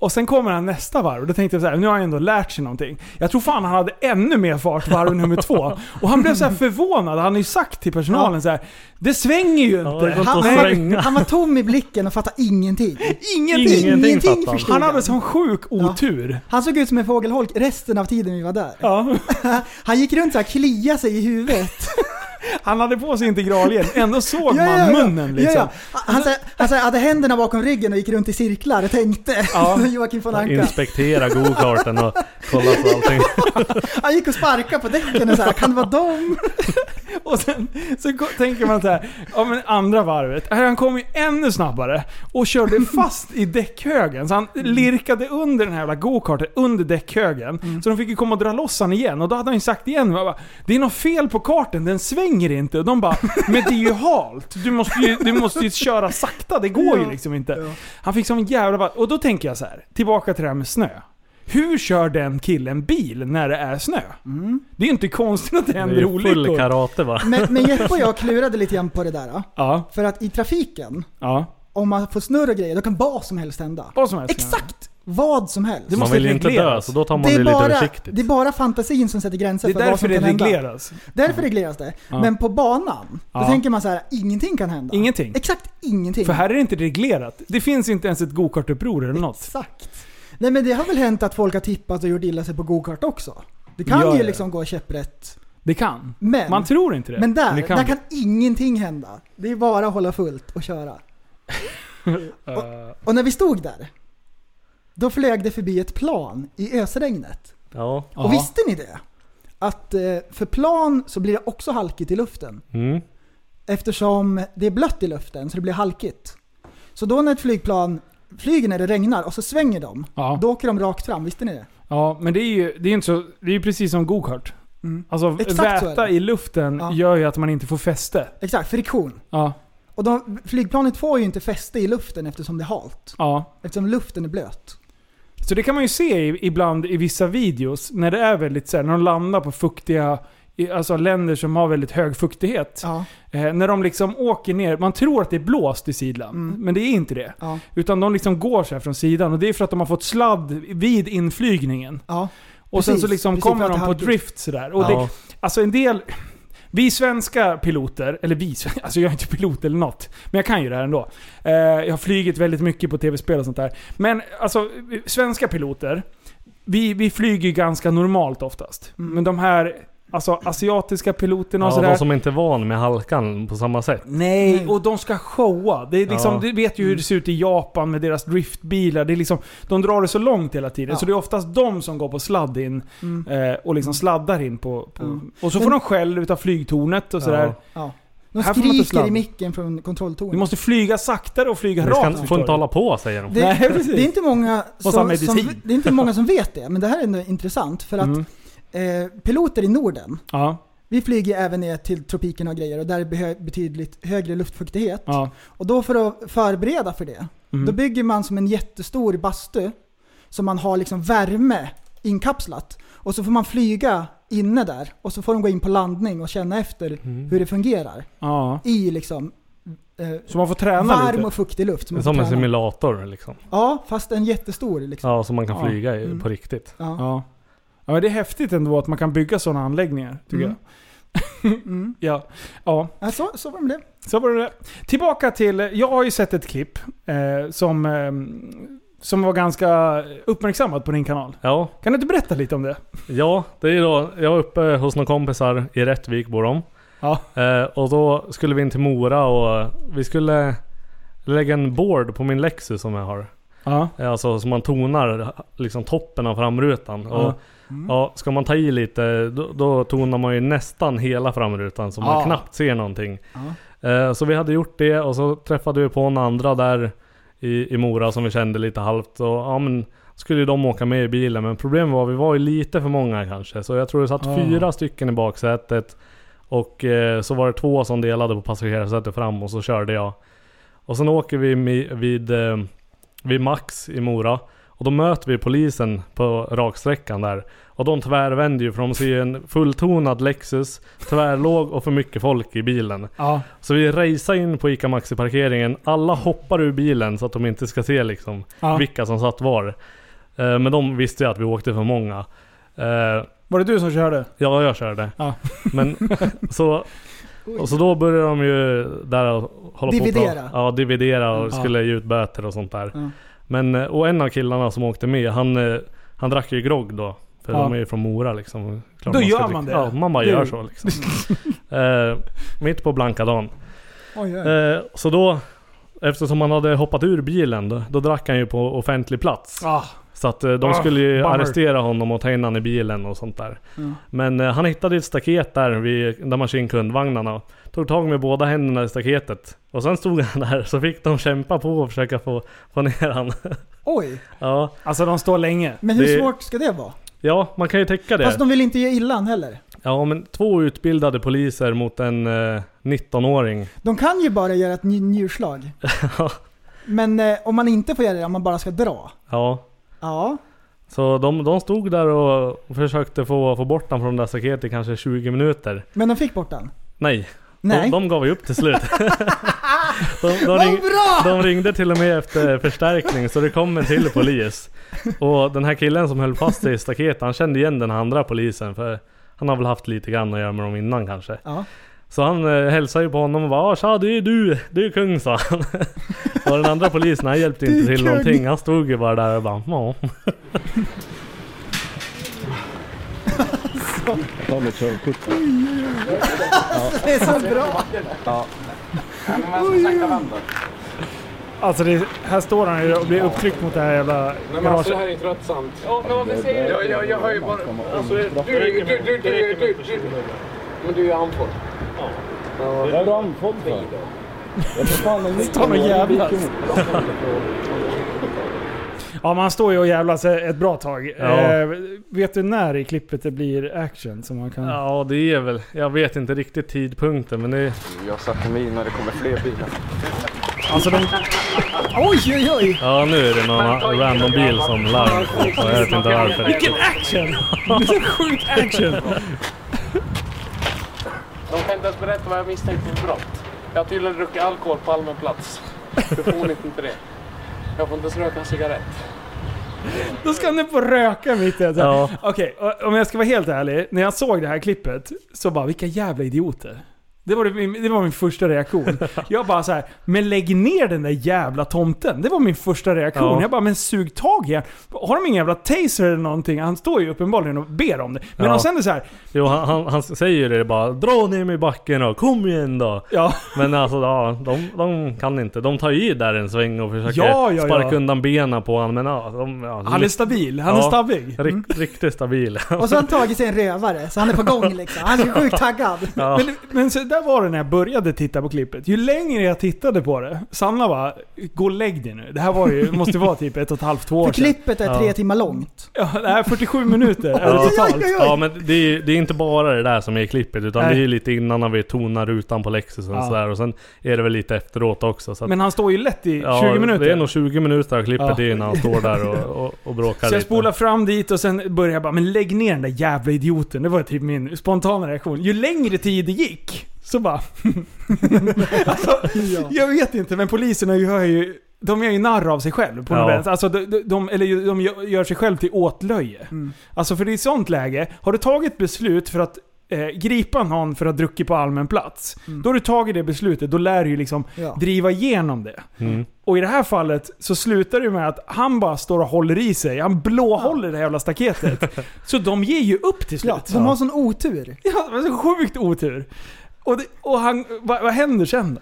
C: och sen kommer han nästa varv. Då tänkte jag så här, nu har han ändå lärt sig någonting. Jag tror fan han hade ännu mer fart varv nummer två. Och han blev så här förvånad. Han har ju sagt till personalen så här, det svänger ju
E: Ja, det
C: inte.
E: går inte
C: Han,
E: att
C: nej,
E: svänga.
D: Han var tom i blicken och fattade ingenting.
C: ingenting.
E: Ingenting fattar han.
D: förstod
C: Han hade sån sjuk otur.
D: Han såg ut som en fågelholk resten av tiden vi var där.
C: Ja.
D: Han gick runt så här kliade sig i huvudet.
C: Han hade på sig integralhjälm, ändå såg man munnen liksom.
D: Ja, ja. Han, så här, han så här, hade händerna bakom ryggen och gick runt i cirklar och tänkte.
C: Ja.
D: Joakim von
E: Han
D: Anka.
E: inspekterade go-karten och kollade på allting.
D: Han gick och sparkade på däcken och så här, kan det vara dem?
C: Och sen så ko- tänker man så här, ja men andra varvet, här, han kom ju ännu snabbare och körde fast i däckhögen. Så han lirkade under den här jävla go-karten, under däckhögen. Så de fick ju komma och dra loss han igen och då hade han ju sagt igen, jag bara, det är något fel på karten, den svänger inte. Och de bara, men det är ju halt, du måste ju, du måste ju köra sakta, det går ju liksom inte. Han fick sån jävla... ba- Och då tänker jag så här, tillbaka till det här med snö. Hur kör den killen bil när det är snö? Det är ju inte konstigt att det
E: Det är
C: händer
E: ju full
C: olyckor.
E: karate va?
D: Men, men Jeppe och jag klurade lite grann på det där.
C: Ja,
D: För att i trafiken,
C: ja.
D: om man får snurr och grejer, då kan vad som helst hända.
C: Vad som helst.
D: Exakt vad som helst.
C: Det
E: Man
C: måste
E: vill ju inte dö
C: regleras.
E: så då tar man det,
D: Det är,
E: lite
D: bara,
E: försiktigt.
D: det är bara fantasin som sätter gränser
C: Det är
D: för vad
C: därför
D: som
C: det
D: kan hända.
C: regleras.
D: Därför regleras det. Men på banan, då
C: Ja.
D: tänker man så här: ingenting kan hända.
C: Ingenting.
D: Exakt ingenting.
C: För här är det inte reglerat. Det finns inte ens ett gokartuppror eller något.
D: Exakt. Nej men det har väl hänt att folk har tippat och gjort illa sig på gokart också. Det kan
C: Ja,
D: ju
C: ja.
D: liksom gå käpprätt.
C: Det kan.
D: Men,
C: Man tror inte det.
D: men där,
C: det
D: kan. där kan ingenting hända. Det är bara att hålla fullt och köra. Och när vi stod där, då flög det förbi ett plan i ösregnet.
E: Ja.
C: Ja.
D: Och visste ni det? Att eh, för plan så blir det också halkigt i luften.
E: Mm.
D: Eftersom det är blött i luften så det blir halkigt. Så då när ett flygplan flyger när det regnar och så svänger de,
C: Ja.
D: då åker de rakt fram. Visste ni det?
C: Ja, men det är ju det är inte så, det är ju precis som gokart.
D: Mm.
C: Alltså
D: Exakt så är
C: väta
D: det.
C: i luften
D: Ja.
C: gör ju att man inte får fäste.
D: Exakt, friktion.
C: Ja,
D: Och de, flygplanet får ju inte fäste i luften eftersom det är halt.
C: ja.
D: Eftersom luften är blöt.
C: Så det kan man ju se i, ibland i vissa videos när det är väldigt så här, när de landar på fuktiga, i- alltså länder som har väldigt hög fuktighet.
D: Ja.
C: Eh, när de liksom åker ner, man tror att det är blåst i sidan,
D: Mm.
C: men det är inte det.
D: Ja.
C: Utan de liksom går så här från sidan och det är för att de har fått sladd vid inflygningen.
D: ja.
C: Och sen så
D: Precis,
C: liksom
D: precis, för
C: kommer
D: att
C: de
D: det
C: på
D: halkigt.
C: drift sådär. Och
E: Ja.
C: det, alltså en del... Vi svenska piloter, eller vi, sven- alltså jag är inte pilot eller något, men jag kan ju det här ändå. Eh, jag har flugit väldigt mycket på tv-spel och sånt där. Men alltså, vi- svenska piloter, vi, vi flyger ju ganska normalt oftast.
D: Mm.
C: Men de här alltså, asiatiska piloterna och
E: Ja,
C: sådär.
E: de som inte är van med halkan på samma sätt.
C: Nej, och de ska showa. Det är liksom,
E: Ja.
C: Du vet ju hur det ser ut i Japan med deras driftbilar. Det är liksom, de drar det så långt hela tiden,
D: Ja.
C: så det är oftast de som går på sladd in
D: Mm.
C: eh, och liksom sladdar in på... på
D: Mm.
C: Och så får
D: Men-
C: de skäll utav flygtornet och sådär.
E: Ja.
D: ja. De
C: Här får man inte
D: skriker i
C: sladda.
D: micken från kontrolltornet.
C: Du måste flyga saktare och flyga
E: Vi
C: rakt.
E: ska,
C: förstår
E: får inte
C: du.
E: hålla på säger de.
D: Det,
C: Nej, precis.
D: det, är inte många
C: samma
D: som, som,
C: medicin.
D: det är inte många som vet det, men det här är ändå intressant. För att
C: Mm.
D: eh, piloter i Norden,
C: Ja,
D: vi flyger även ner till tropikerna och grejer och där är behö- betydligt högre luftfuktighet.
C: ja.
D: Och då för att förbereda för det,
C: Mm.
D: då bygger man som en jättestor bastu som man har liksom värme inkapslat. Och så får man flyga inne där och så får de gå in på landning och känna efter hur det fungerar
C: ja.
D: i liksom eh,
C: Så man får träna
D: varm
C: lite.
D: och fuktig luft. som
E: Det
D: man
E: är som
D: får
E: en
D: träna.
E: simulator liksom.
D: Ja, fast en jättestor liksom.
E: Ja, som man kan
C: Ja.
E: flyga i,
D: Mm.
E: på riktigt.
D: Ja.
C: Ja. ja, men det är häftigt ändå att man kan bygga sådana anläggningar, tycker
D: Mm. Mm.
C: jag. Ja. ja.
D: Ja, så, så var det med det.
C: Så var det det. Tillbaka till, jag har ju sett ett klipp eh, som, eh, som var ganska uppmärksammat på din kanal.
E: Ja,
C: Kan du inte berätta lite om det?
E: ja det är ju då, jag var uppe hos några kompisar i Rättvik bor de.
C: Ja.
E: Eh, och då skulle vi in till Mora och eh, vi skulle lägga en board på min Lexus som jag har.
C: Ja.
E: Eh, Alltså så man tonar liksom toppen av framrutan. Och,
C: Ja.
E: ja, ska man ta i lite då, då tonar man ju nästan hela framrutan så man
C: Ja.
E: knappt ser någonting. Eh, Så vi hade gjort det och så träffade vi på en andra där i, i Mora som vi kände lite halvt. Och, ja, men, skulle ju de åka med i bilen men problemet var att vi var ju lite för många kanske. Så jag tror det satt
C: Ah.
E: fyra stycken i baksätet. Och eh, så var det två som delade på passagerarsätet fram och så körde jag. Och sen åker vi mi- vid, eh, vid Max i Mora. Och då möter vi polisen på raksträckan där. Och de tvärvänder ju för de ser ju en fulltonad Lexus, tvärlåg och för mycket folk i bilen.
C: Ja.
E: Så vi racear in på ICA Maxi-parkeringen. Alla hoppar ur bilen så att de inte ska se liksom
C: ja.
E: vilka som satt var. Eh, Men de visste ju att vi åkte för många. Eh,
C: Var det du som körde?
E: Ja, jag körde.
C: Ja.
E: Men, så, och så då började de ju där och hålla på och
D: Dividera.
E: prata- Ja, dividera och
C: Ja.
E: skulle ge ut böter och sånt där.
D: Ja.
E: Men, eh, och en av killarna som åkte med, han, eh, han drack ju grogg då. För
C: Ja.
E: de är ju från Mora liksom. Klart
C: Då
E: ska
C: gör
E: dricka-
C: man det.
E: Ja, man bara
C: Det-
E: gör så liksom. Eh, mitt på blanka dagen.
D: Oj, oj.
E: Eh, så då, eftersom han hade hoppat ur bilen, då, då drack han ju på offentlig plats.
C: Ah,
E: Så att eh, de
C: Ah,
E: skulle ju
C: bummer.
E: arrestera honom och ta in honom i bilen och sånt där.
D: Ja.
E: Men eh, han hittade ett staket där, vid, där man kör in kundvagnarna. Tog tag med båda händerna i staketet. Och sen stod han där, så fick de kämpa på och försöka få, få ner han.
D: oj.
E: ja.
C: alltså de står länge.
D: Men hur
E: Det-
D: svårt ska det vara?
E: ja, man kan ju täcka det.
D: Fast de vill inte ge illan heller.
E: Ja, men två utbildade poliser mot en eh, 19-åring.
D: De kan ju bara göra ett nj- njurslag.
E: Ja.
D: Men eh, om man inte får göra det, om man bara ska dra.
E: Ja.
D: Ja,
E: Så de, de stod där och försökte få, få bort han från det där staketet i kanske 20 minuter.
D: men de fick bort den.
E: Nej,
D: Nej.
E: De, de gav ju upp till slut. de, de,
D: Vad
E: ring,
D: bra!
E: de ringde till och med efter förstärkning så det kom en till polis. Och den här killen som höll fast sig i staketet han kände igen den andra polisen för han har väl haft lite grann att göra med dem innan kanske.
D: Ja.
E: Så han eh, hälsade ju på honom och bara "Ah, “Tja, det är du, du är kung” sa han. och den andra polisen han hjälpte
D: Du är
E: inte till
D: kung.
E: någonting. Han stod ju bara där och bara “Ja,
A: Ta mitt körkort.
D: Det är så bra.
C: Alltså det, här står han ju och blir upptryckt mot det här jävla garaget.
F: alltså, här är tröttsamt. Ja, men varför säger du? Jag, jag, jag har ju bara... Alltså, du, du, du, du, du, du, du. Men du är andfådd.
A: Vad är du andfådd för? Jag får fan en
C: Står och jävlas. Ja, man står ju och jävlas ett bra tag.
E: Ja.
C: Eh, vet du när i klippet det blir action som man kan...
E: ja det är väl, jag vet inte riktigt tidpunkten men det,
F: Jag satte mig in när det kommer fler bilar.
C: Alltså de...
D: Oj, oj, oj.
E: Ja nu är det någon random bil som larm. Jag vet inte varför.
C: Vilken action! Vilken sjuk action!
F: De kan inte ens berätta vad jag misstänkte för brott. Jag har tydligen druckit alkohol på allmän plats. Befonigt inte det. Jag får inte ens röka en cigarett.
C: Då ska ni få röka mitt i allt.
E: Ja.
C: Okej, och- om jag ska vara helt ärlig. När jag såg det här klippet så bara, vilka jävla idioter. Det var, det, min- det var min första reaktion. Jag bara så här, men lägg ner den där jävla tomten. Det var min första reaktion.
E: Ja.
C: Jag bara, men sug tag i han. Har de ingen jävla taser eller någonting? Han står ju uppenbarligen och ber om det. Men
E: Ja.
C: och sen är det så här,
E: Jo, han, han, han säger ju det bara. Dra ner mig i backen då, kom igen då.
C: ja,
E: Men alltså ja, de, de kan inte. De tar i där en sväng och försöker
C: Ja, ja,
E: sparka
C: ja.
E: undan benen på honom. Men ja, de, ja,
C: han är stabil. Han är
E: Ja.
C: stabbig.
E: ri- riktigt stabil.
D: Och så har han tagit sig en rövare, så han är på gång liksom. Han är sjukt taggad.
E: Ja.
C: Men, men så där var det när jag började titta på klippet. Ju längre jag tittade på det, Sanna bara “Gå och lägg dig nu”. Det här var ju, måste vara typ ett och ett halvt, två år
D: För
C: sedan.
D: klippet är tre
E: Ja.
D: timmar långt.
C: Ja, det här är 47 minuter är det
E: Ja.
C: totalt.
D: Oj, oj, oj.
E: Ja men det är, ju- det är inte bara det där som är i klippet utan
C: Nej.
E: det är ju lite innan när vi tonar rutan på Lexusen
C: Ja.
E: och sådär. Och sen är det väl lite efteråt också. Så att,
C: Men han står ju lätt i
E: ja,
C: 20 minuter.
E: Det är nog 20 minuter av
C: Ja.
E: klippet ja. innan han står där och, och, och bråkar
C: så jag
E: lite.
C: spolar fram dit och sen börjar jag bara “Men lägg ner den där jävla idioten”. Det var typ min spontana reaktion. Ju längre tid det gick, så bara... alltså,
D: Ja.
C: Jag vet inte, men poliserna gör ju... De gör ju narr av sig själv på
E: Ja.
C: något vänster. Alltså, de, de- de, eller ju- de gör- gör sig själv till åtlöje.
D: Mm.
C: Alltså för det är ett sånt läge, har du tagit beslut för att eh, gripa någon för att ha druckit på allmän plats.
D: Mm.
C: Då har du tagit det beslutet, då lär du ju liksom
D: Ja.
C: driva igenom det.
E: Mm.
C: Och i det här fallet så slutar det ju med att han bara står och håller i sig. Han blåhåller det här jävla staketet. så de ger ju upp till
D: Ja,
C: slut.
D: de har sån otur.
C: Ja, det var så sjukt otur. Och, det, och han, vad, vad händer sen då?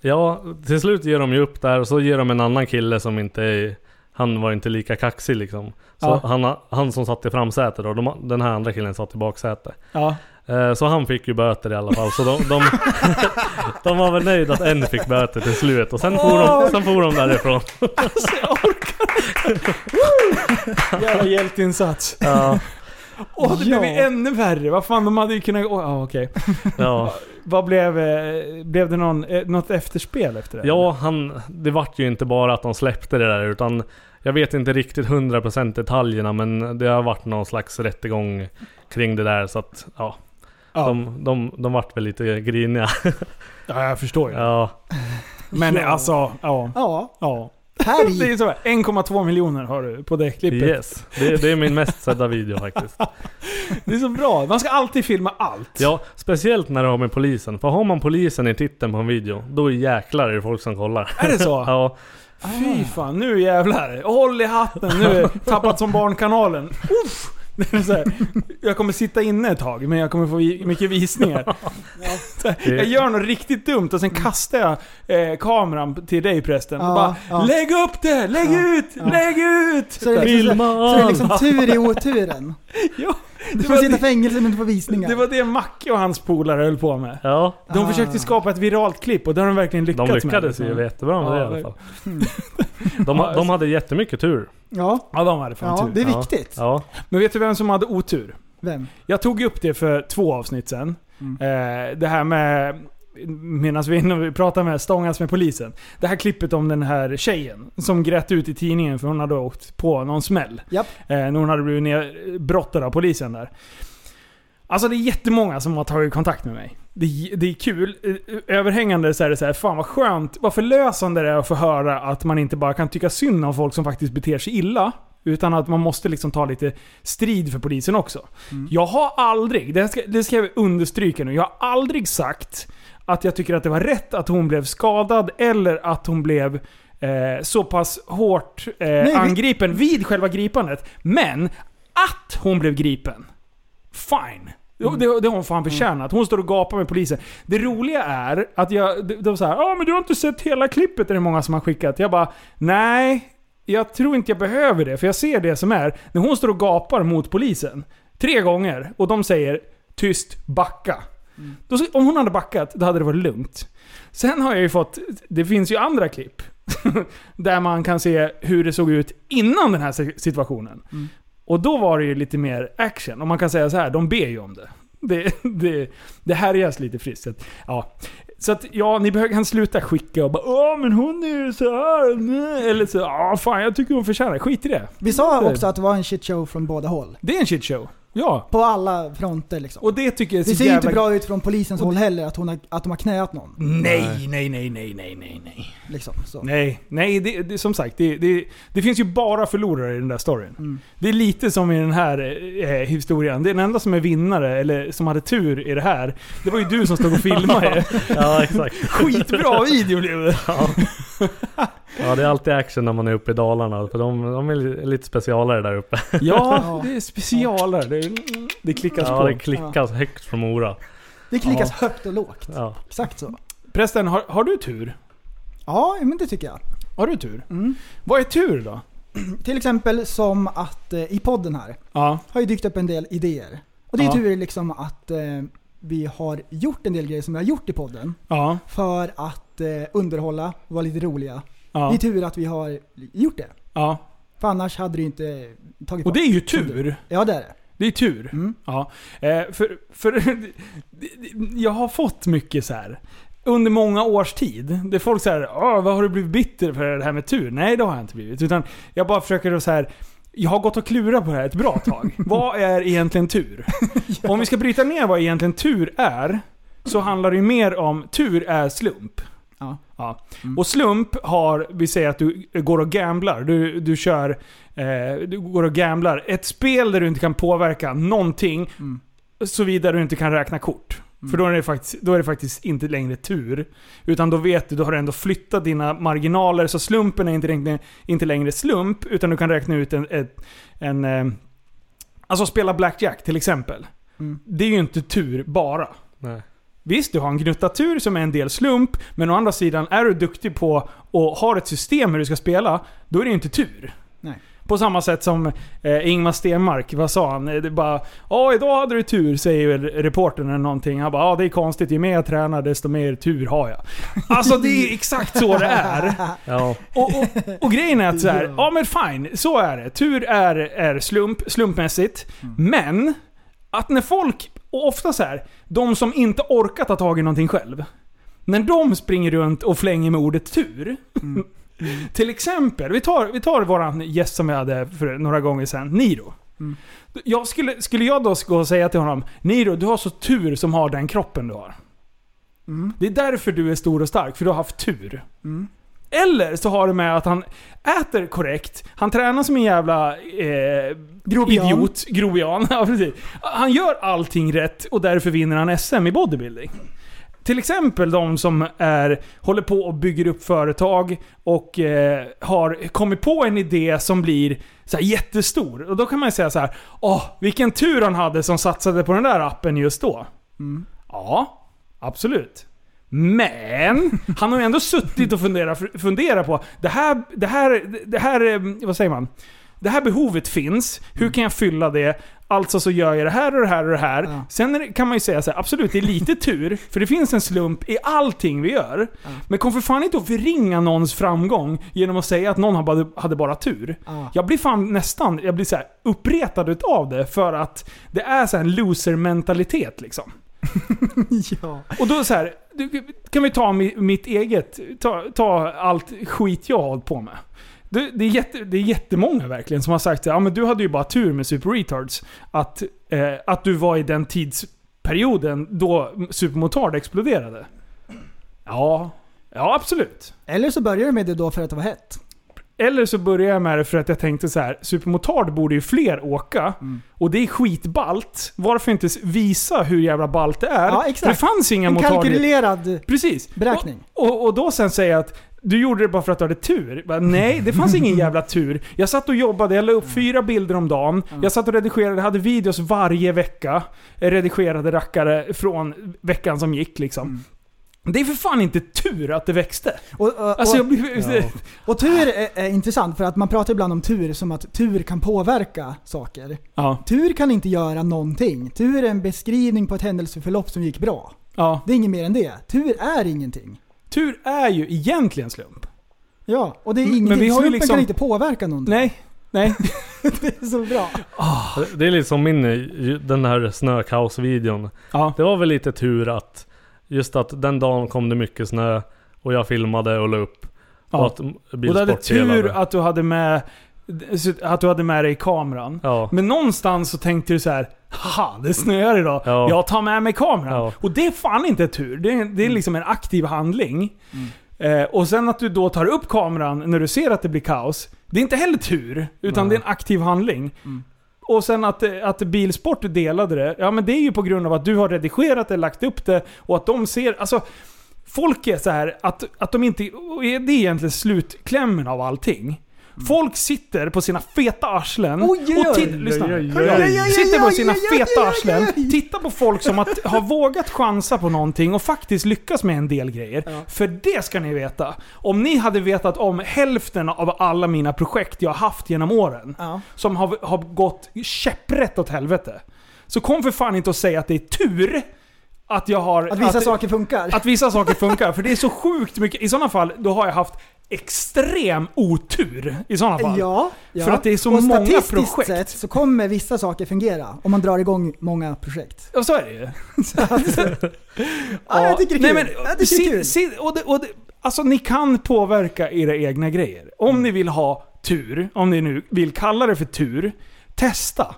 E: Ja, till slut ger de ju upp där och så ger de en annan kille som inte är... han var inte lika kaxig liksom. Så
C: Ja.
E: han, han som satt i framsätet då, de, den här andra killen satt i baksätet.
C: Ja.
E: Eh, Så han fick ju böter i alla fall, så de, de, de var väl nöjda att en fick böter till slut och sen for de, sen for de därifrån.
C: Jävla hjälteinsats.
E: Ja,
C: Åh, det blev ju
D: Ja.
C: ännu värre. Vad fan, de hade ju kunnat... Åh, ja, okej.
E: ja.
C: Vad blev... eh, Blev det någon, eh, något efterspel efter det?
E: Ja, han, det vart ju inte bara att de släppte det där utan jag vet inte riktigt 100% detaljerna men det har varit någon slags rättegång kring det där så att ja.
C: Ja.
E: De, de, de vart väl lite griniga.
C: ja jag förstår ju.
E: Ja,
C: Men
D: Ja.
C: alltså, ja.
D: Ja,
C: ja.
D: här
C: Det
D: i.
C: är så här, 1,2 miljoner har du på det klippet.
E: yes. Det, det är min mest sedda video faktiskt.
C: Det är så bra. Man ska alltid filma allt.
E: Ja, speciellt när du har med polisen. För har man polisen i titeln på en video, då jäklar är det folk som kollar.
C: Är det så?
E: Ja,
C: Fy fan, nu jävlar. Håll i hatten nu. Tappat som barnkanalen. Uff. Det är så här, jag kommer sitta inne ett tag, men jag kommer få vi- mycket visningar. Så här, Jag gör något riktigt dumt och sen kastar jag eh, kameran till dig prästen. Och
D: Mm. Ja,
C: bara,
D: ja.
C: Lägg upp det! Lägg ut! Lägg ut!
D: Så är det liksom,
E: Filma
D: så, så är det liksom
E: alla.
D: tur i oturen.
C: Ja,
D: Du
C: var
D: får sitta
C: det-
D: i fängelse men du får visningar.
C: Det var det Macke och hans polare höll på med.
E: ja.
C: De
D: Ah.
C: försökte skapa ett viralt klipp och det har de verkligen lyckats
E: De
C: med.
E: lyckades ju jättebra med det i
C: Ja,
E: alla fall. De,
C: Ja,
E: de hade jättemycket tur.
D: Ja,
C: Ja, de hade fan
D: ja,
C: tur.
D: det är
E: Ja.
D: viktigt.
E: Ja.
C: Men vet du vem som hade otur?
D: Vem?
C: Jag tog upp det för två avsnitt sedan. Eh, det här med, medan vi är inne och vi pratar med Stångas med polisen. Det här klippet om den här tjejen som grät ut i tidningen för hon hade åkt på någon smäll.
D: Japp.
C: Eh, när hon hade blivit nerbrottad av polisen där. Alltså det är jättemånga som har tagit kontakt med mig. Det, är- det är kul. Eh, Överhängande så är det så här, fan vad skönt, vad förlösande det är att få höra att man inte bara kan tycka synd om folk som faktiskt beter sig illa. Utan att man måste liksom ta lite strid för polisen också. Jag har aldrig, det här ska, det ska jag understryka nu, jag har aldrig sagt att jag tycker att det var rätt att hon blev skadad eller att hon blev eh, så pass hårt eh,
D: vi-
C: angripen vid själva gripandet. Men att hon blev gripen, fine. Jo, Det, det har hon fan förtjänat. Hon står och gapar med polisen. Det roliga är att jag... De, de säger ah, men du har inte sett hela klippet” är det många som har skickat. Jag bara “Nej, jag tror inte jag behöver det, för jag ser det som är. När hon står och gapar mot polisen, tre gånger, och de säger “Tyst, backa”. Då, om hon hade backat, då hade det varit lugnt. Sen har jag ju fått... Det finns ju andra klipp. där man kan se hur det såg ut innan den här si- situationen. Och då var det ju lite mer action. Och man kan säga så här, de ber ju om det. Det, det, det härjas lite friskt. Så att, Ja. Så att ja, ni behöver, kan sluta skicka och bara Åh men hon är ju så här. nej." Eller så ja fan jag tycker hon förtjänar det." Skit i det.
D: Vi sa också att det var en shitshow från båda håll.
C: Det är en shitshow. Ja.
D: På alla fronter liksom.
C: Och det tycker jag är så
D: Det ser ju
C: jävla...
D: inte bra ut från polisens håll heller att, hon har, att de har knäat någon.
C: Nej, nej, nej, nej, nej, nej, nej.
D: Liksom, så.
C: Nej, nej det, det, som sagt. Det, det, det finns ju bara förlorare i den där storyn.
D: Mm.
C: Det är lite som i den här eh, historien. Den enda som är vinnare, eller som hade tur i det här, det var ju du som stod och filmade.
E: ja, exakt.
C: Skitbra video blev det.
E: Ja. ja, det är alltid action när man är uppe i Dalarna. För de, de är li- lite specialare där uppe.
C: Ja, det är specialare. Det, det klickas
E: Ja,
C: på.
E: det klickas högt från Mora.
D: Det klickas högt och lågt.
E: Ja.
D: Exakt så.
C: Prästen, har, har du tur?
D: Ja, men det tycker jag.
C: Har du tur?
D: Mm.
C: Vad är tur då?
D: Till exempel som att eh, i podden här
C: Ja.
D: har ju dykt upp en del idéer. Och det är
C: Ja.
D: tur liksom att eh, vi har gjort en del grejer som vi har gjort i podden
C: Ja.
D: för att eh, underhålla och vara lite roliga. Det
C: Ja.
D: är tur att vi har gjort det.
C: ja.
D: För annars hade det ju inte tagit
C: Och
D: fart.
C: det är ju tur.
D: Ja, det är det.
C: Det är tur.
D: Mm.
C: Ja. Eh, för, för det- det- jag har fått mycket så här. Under många års tid. Det är folk säger "Ah, vad har du blivit bitter för det här med tur? Nej, det har jag inte blivit. Utan jag bara försöker att så här. Jag har gått och klurat på det här ett bra tag. vad är egentligen tur? Om vi ska bryta ner vad egentligen tur är. Så handlar det ju mer om, tur är slump.
D: Ja.
C: Ja.
D: Mm.
C: Och slump har, vi säger att du går och gamblar. Du, du kör Eh, du går och gamblar. Ett spel där du inte kan påverka någonting,
D: Mm.
C: såvida du inte kan räkna kort. För då är, det faktiskt, då är det faktiskt inte längre tur. Utan då vet du, då har du ändå flyttat dina marginaler. Så slumpen är inte längre, inte längre slump, utan du kan räkna ut en... ett- en, eh, alltså spela blackjack till exempel.
D: Mm.
C: Det är ju inte tur bara.
E: Nej.
C: Visst, du har en gnutta tur som är en del slump, men å andra sidan, är du duktig på och har ett system hur du ska spela, då är det ju inte tur.
D: Nej.
C: På samma sätt som eh, Ingmar Stenmark, vad sa han? Eh, Det är bara ja idag hade du tur, säger ju reportern eller någonting. Han bara ja det är konstigt, ju mer jag tränar desto mer tur har jag. Alltså det är exakt så det är.
E: Ja.
C: Och, och, och grejen är att så här, ja men fine, så är det. Tur är, är slump, slumpmässigt. Men, att när folk, och ofta så här, de som inte orkar ta tag i någonting själv. När de springer runt och flänger med ordet tur. Till exempel, vi tar, vi tar våran gäst som vi hade för några gånger sedan, Niro.
D: Mm.
C: Jag skulle, skulle jag då gå och säga till honom, Niro du har så tur som har den kroppen du har.
D: Mm.
C: Det är därför du är stor och stark, för du har haft tur.
D: Mm.
C: Eller så har det med att han äter korrekt, han tränar som en jävla eh,
D: Grobian.
C: idiot, grobian. Ja, precis. Han gör allting rätt och därför vinner han SM i bodybuilding. Till exempel de som är, håller på och bygger upp företag och eh, har kommit på en idé som blir så här jättestor. Och då kan man ju säga så här: Åh, vilken tur han hade som satsade på den där appen just då. Ja, absolut. Men han har ju ändå suttit och funderat fundera på det här, det, här, det här, eh, vad säger man? Det här behovet finns, hur kan jag fylla det? Alltså så gör jag det här och det här och det här.
D: Ja.
C: Sen är det- kan man ju säga så här, absolut det är lite tur, för det finns en slump i allting vi gör. Men kom för fan inte att förringa någons framgång genom att säga att någon har bara- hade bara tur.
D: Ja.
C: Jag blir fan nästan jag blir så här uppretad utav det för att det är så här en loser-mentalitet liksom.
D: ja.
C: Och då så här, du, kan vi ta mi- mitt eget, ta, ta allt skit jag har hållit på med. Det, det, är jätte, det är jättemånga verkligen som har sagt att ja, men du hade ju bara tur med Super Retards. Att, eh, att du var i den tidsperioden då Supermotard exploderade. Ja, ja absolut.
D: Eller så började det med det då för att det var hett.
C: Eller så började jag med det för att jag tänkte så här, Supermotard borde ju fler åka.
D: Mm.
C: Och det är skitballt. Varför inte s- visa hur jävla ballt det är?
D: Ja,
C: För det
D: exakt.
C: fanns inga
D: En
C: motarder.
D: kalkylerad...
C: Precis.
D: Beräkning.
C: Och, och, och då sen säga att du gjorde det bara för att du hade tur. Bara, Nej, det fanns ingen jävla tur. Jag satt och jobbade, jag la upp fyra bilder om dagen. Jag satt och redigerade, hade videos varje vecka. Eh, Redigerade rackare från veckan som gick liksom. Det är för fan inte tur att det växte.
D: Och, och,
C: Alltså
D: och,
C: jag blir...
E: Ja.
D: och tur är, är intressant för att man pratar ibland om tur som att tur kan påverka saker.
C: Ja.
D: Tur kan inte göra någonting. Tur är en beskrivning på ett händelseförlopp som gick bra.
C: ja.
D: Det är inget mer än det. Tur är ingenting.
C: Tur är ju egentligen slump.
D: Ja, och det är
C: Men- men
D: ingenting.
C: vi har ju
D: Slumpen
C: liksom-
D: kan inte påverka någonting.
C: Nej. Nej.
D: Det är så bra.
E: Det är lite som min, den här snökaosvideon.
C: Ja.
E: Det var väl lite tur att just att den dagen kom det mycket snö och jag filmade och la upp.
C: Ja.
E: Och att
C: Och du hade tur
E: bilsportdelade.
C: att du hade med, att du hade med dig kameran.
E: Ja.
C: Men någonstans så tänkte du så här. Haha, det snöar idag.
E: Ja.
C: Jag tar med mig kameran.
E: Ja. Mm.
C: Och det är fan inte tur. Det är, det är liksom en aktiv handling. Eh, och sen att du då tar upp kameran när du ser att det blir kaos. Det är inte heller tur, utan
E: Nej.
C: det är en aktiv handling. Och sen att, eh, att Bilsport delade det. Ja men det är ju på grund av att du har redigerat det, lagt upp det och att de ser... Alltså, folk är så här att, att de inte... och Det är egentligen slutklämmen av allting. Folk sitter på sina feta arslen
D: Mm. Oj, oj, oj.
C: och titt, lyssna.
E: Oj, oj, oj.
C: Hör jag?
E: Oj, oj,
D: oj,
C: Sitter på
D: oj,
C: sina
D: oj, oj,
C: feta
D: oj,
C: arslen,
D: oj.
C: tittar på folk som att, har vågat chansa på någonting och faktiskt lyckas med en del grejer. För det ska ni veta. Om ni hade vetat om hälften av alla mina projekt jag har haft genom åren,
D: Ja.
C: som har, har gått käpprätt åt helvete. Så kom för fan inte och säg att det är tur att jag har...
D: Att vissa saker funkar.
C: Att vissa saker funkar. För det är så sjukt mycket. I sådana fall, då har jag haft extrem otur. I sådana fall.
D: Ja, ja.
C: För att det är så
D: och
C: många
D: statistiskt
C: projekt.
D: sett så kommer vissa saker fungera om man drar igång många projekt.
C: Ja, så är det ju.
D: Ja, jag tycker det är kul. jag tycker det är
C: si-
D: kul.
C: si- och det, och det, alltså ni kan påverka era egna grejer. Om
D: Mm.
C: ni vill ha tur, om ni nu vill kalla det för tur, testa.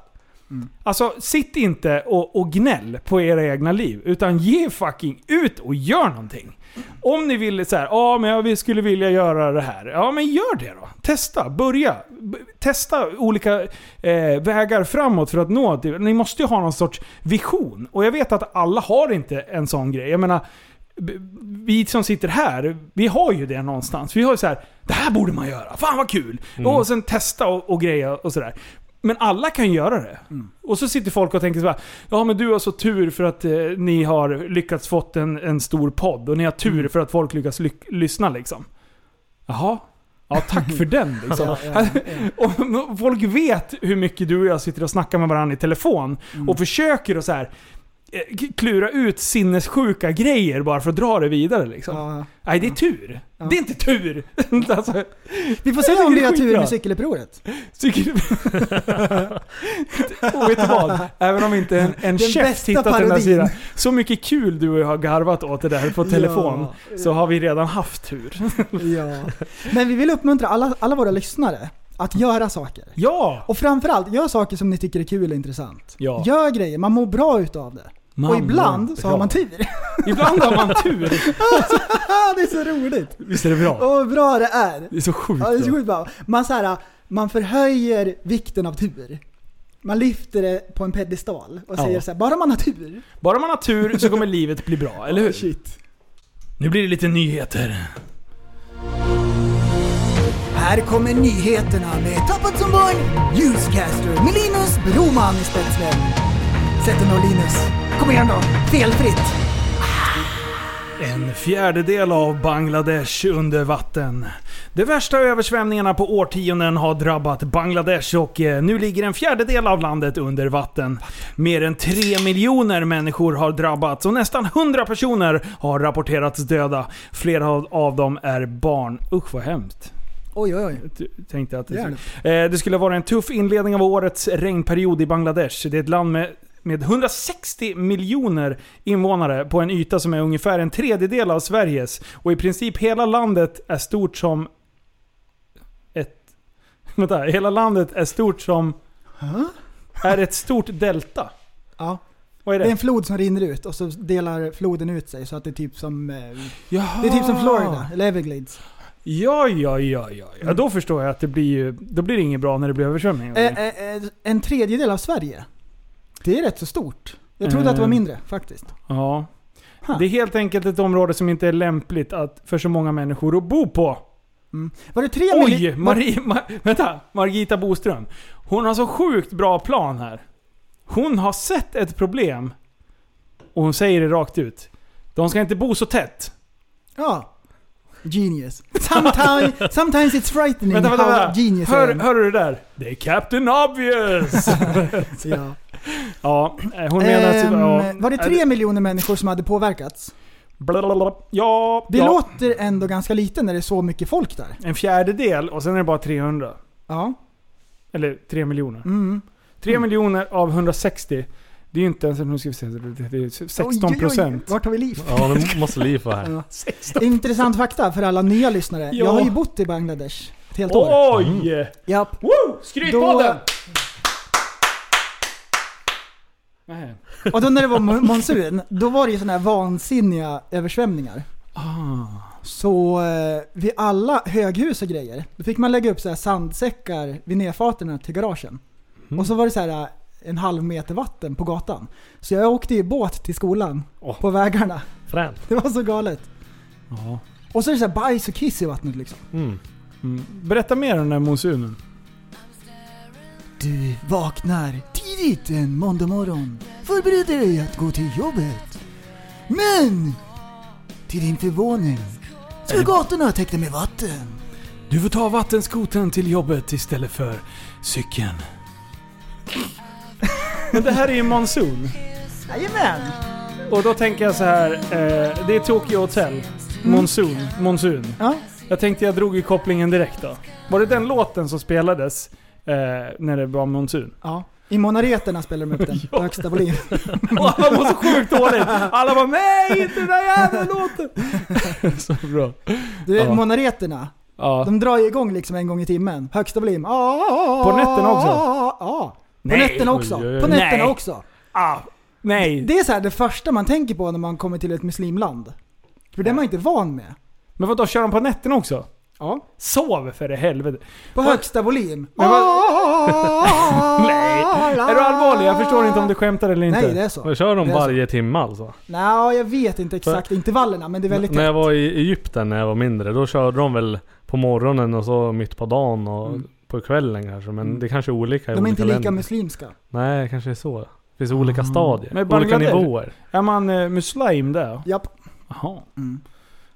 C: Alltså sitt inte och, och gnäll på era egna liv, utan ge fucking ut och gör någonting. Om ni vill så här, ja men jag vill- skulle vilja göra det här. Ja men gör det då. Testa, börja. B- Testa olika eh, vägar framåt för att nå det. Ni måste ju ha någon sorts vision. Och jag vet att alla har inte en sån grej. Jag menar, b- vi som sitter här, vi har ju det någonstans. Vi har ju så här, det här borde man göra, fan vad kul! Och sen testa och, och greja och sådär. Men alla kan göra det. Och så sitter folk och tänker så här, ja men du har så tur för att eh, ni har lyckats fått en, en stor podd och ni har tur för att folk lyckas lyck- lyssna liksom. Jaha? Ja, tack för den liksom.
D: Ja, ja,
C: Och folk vet hur mycket du och jag sitter och snackar med varandra i telefon
D: Mm.
C: och försöker att så här eh, k- klura ut sinnessjuka grejer bara för att dra det vidare liksom.
D: ja.
C: Nej, det är tur.
D: Ja.
C: Det är inte tur! alltså,
D: Vi får se
C: Jag
D: om vi
C: tycker det är
D: har tur
C: skitbra.
D: med cykelupproret.
C: Tycker du... och vet du vad? Även om inte en, en chef
D: bästa
C: tittat den här
D: parodin.
C: sidan. Så mycket kul du och jag har garvat åt det där på telefon. Så har vi redan haft tur.
D: Ja. Men vi vill uppmuntra alla, alla våra lyssnare att göra saker.
C: Ja!
D: Och framförallt, gör saker som ni tycker är kul och intressant.
C: Ja.
D: Gör grejer, man mår bra utav det.
C: Man
D: och
C: mår
D: ibland så
C: bra.
D: har man tur.
C: Ibland har man tur.
D: Ah, det är så roligt!
C: Visst är det bra?
D: Åh, vad bra det är!
C: Det är så sjukt
D: Ja, det är så
C: bra.
D: sjukt bra. Man, så här, man förhöjer vikten av tur. Man lyfter det på en pedestal och
C: Ja.
D: säger så här, bara man har tur.
C: Bara man har tur så kommer livet bli bra, eller hur?
D: Shit.
C: Nu blir det lite nyheter.
D: Här kommer nyheterna med Tappat som barn, Newscaster med Linus Broman i spetsen. Sätt dig nu Linus. Kom igen då, felfritt.
C: En fjärdedel av Bangladesh under vatten. De värsta översvämningarna på årtionden har drabbat Bangladesh och eh, nu ligger en fjärdedel av landet under vatten. Mer än tre miljoner människor har drabbats och nästan 100 personer har rapporterats döda. Flera av- av dem är barn. Usch vad hemskt.
D: Oj, oj, oj.
C: T- Tänkte att det
D: Hjälp.
C: Eh, Det skulle vara en tuff inledning av årets regnperiod i Bangladesh. Det är ett land med med 160 miljoner invånare på en yta som är ungefär en tredjedel av Sveriges. Och i princip hela landet är stort som... Ett... Vänta, hela landet är stort som... Är ett stort delta.
D: Ja.
C: Vad är
D: Det är en
C: det?
D: flod som rinner ut och så delar floden ut sig så att det är typ som, eh,
C: Jaha.
D: det är typ
C: Ah.
D: som Florida, eller Everglades.
C: Ja, ja, ja, ja. ja. Då förstår jag att det blir ju... Då blir det inget bra när det blir översvämning.
D: Eh, eh, eh, en tredjedel av Sverige. Det är rätt så stort. Jag trodde att det var
C: Eh.
D: mindre faktiskt.
C: Ja.
D: Huh.
C: Det är helt enkelt ett område som inte är lämpligt att, för så många människor att bo på.
D: Var det tre
C: Oj!
D: milli-
C: Marie, Ma, vänta! Margita Boström. Hon har så sjukt bra plan här. Hon har sett ett problem. Och hon säger det rakt ut. De ska inte bo så tätt.
D: Ja. Genius. Sometimes, sometimes it's frightening
C: Vänta, vänta,
D: how
C: vänta.
D: genius I
C: Hör,
D: am.
C: hör du det där? Det är Captain Obvious!
D: Ja.
C: ja, eh, hon menar att...
D: Ehm,
C: Ja,
D: var det
C: Eh,
D: tre miljoner människor som hade påverkats?
C: blablabla. Ja,
D: Det
C: ja.
D: låter ändå ganska lite när det är så mycket folk där.
C: En fjärdedel och sen är det bara 300.
D: Ja.
C: Eller 3 miljoner.
D: Mm.
C: 3 miljoner av 160. Det är ju inte ens... Nu ska vi se. Det är 16
D: Oj, oj,
C: procent.
D: oj. Vart har vi liv?
E: Ja, nu måste Liv vara här.
D: Ja. Intressant fakta för alla nya lyssnare.
C: Ja.
D: Jag har ju bott i Bangladesh ett helt år.
C: Oj!
D: Japp.
C: Woo! Skrytpodden! Nej.
D: Och då när det var mon- monsun, då var det ju sådana här vansinniga översvämningar. Så eh, vid alla höghus och grejer, då fick man lägga upp så här sandsäckar vid nedfarterna till garagen. Och så var det så här eh, en halv meter vatten på gatan. Så jag åkte i båt till skolan
E: Åh.
D: på vägarna.
E: Fränt.
D: Det var så galet. Och så är det så här bajs och kiss i vattnet liksom.
E: Mm.
C: Mm. Berätta mer om den här monsunen.
D: Du vaknar tidigt en måndag morgon. Förbereder dig att gå till jobbet. Men! Till din förvåning så är gatorna täckta med vatten.
C: Du får ta vattenskoten till jobbet istället för cykeln. Men det här är ju monsun.
D: Jajamän!
C: Och då tänker jag så här. Eh, det är Tokyo
D: Mm.
C: Hotel. Monsun. Monsun.
D: Ja.
C: Jag tänkte jag drog i kopplingen direkt då. Var det den låten som spelades eh, när det var monsun?
D: ja. I monareterna spelar de upp den på högsta volym.
C: Och alla var så sjukt dåligt. Alla var nej inte den där jävla låten. så bra.
D: Du,
C: Ja.
D: monareterna,
C: Ja.
D: de drar ju igång liksom en gång i timmen. Högsta volym.
C: På nätterna också?
D: Ja. På
C: Nej.
D: nätterna också.
E: Oj, oj, oj.
D: På nätterna
C: Nej.
D: också.
C: Ah, nej.
D: Det är så här det första man tänker på när man kommer till ett muslimland. För det är man inte van med.
C: Men vadå, kör de på nätterna också?
D: Ja.
C: Sov för i helvete.
D: På högsta volym.
C: Men vad- Nej.
D: Nej.
C: Är du allvarlig? Jag förstår inte om du skämtar eller inte.
D: Nej, det är så.
E: Men kör de
D: Alltså, Det är så.
E: varje timme alltså?
D: Nej, jag vet inte exakt intervallerna, men det är väldigt
E: När jag
D: tätt.
E: var i Egypten när jag var mindre, då körde de väl på morgonen och så mitt på dagen och på kvällen kanske. Men det kanske är olika i
D: Mm. De är
E: olika
D: inte lika Ah.
E: länder.
D: muslimska.
E: Nej, det kanske är så. Det finns olika stadier,
C: Men
E: olika
C: Bangladesh-
E: nivåer.
C: Är man eh, muslim där?
D: Japp.
C: Jaha.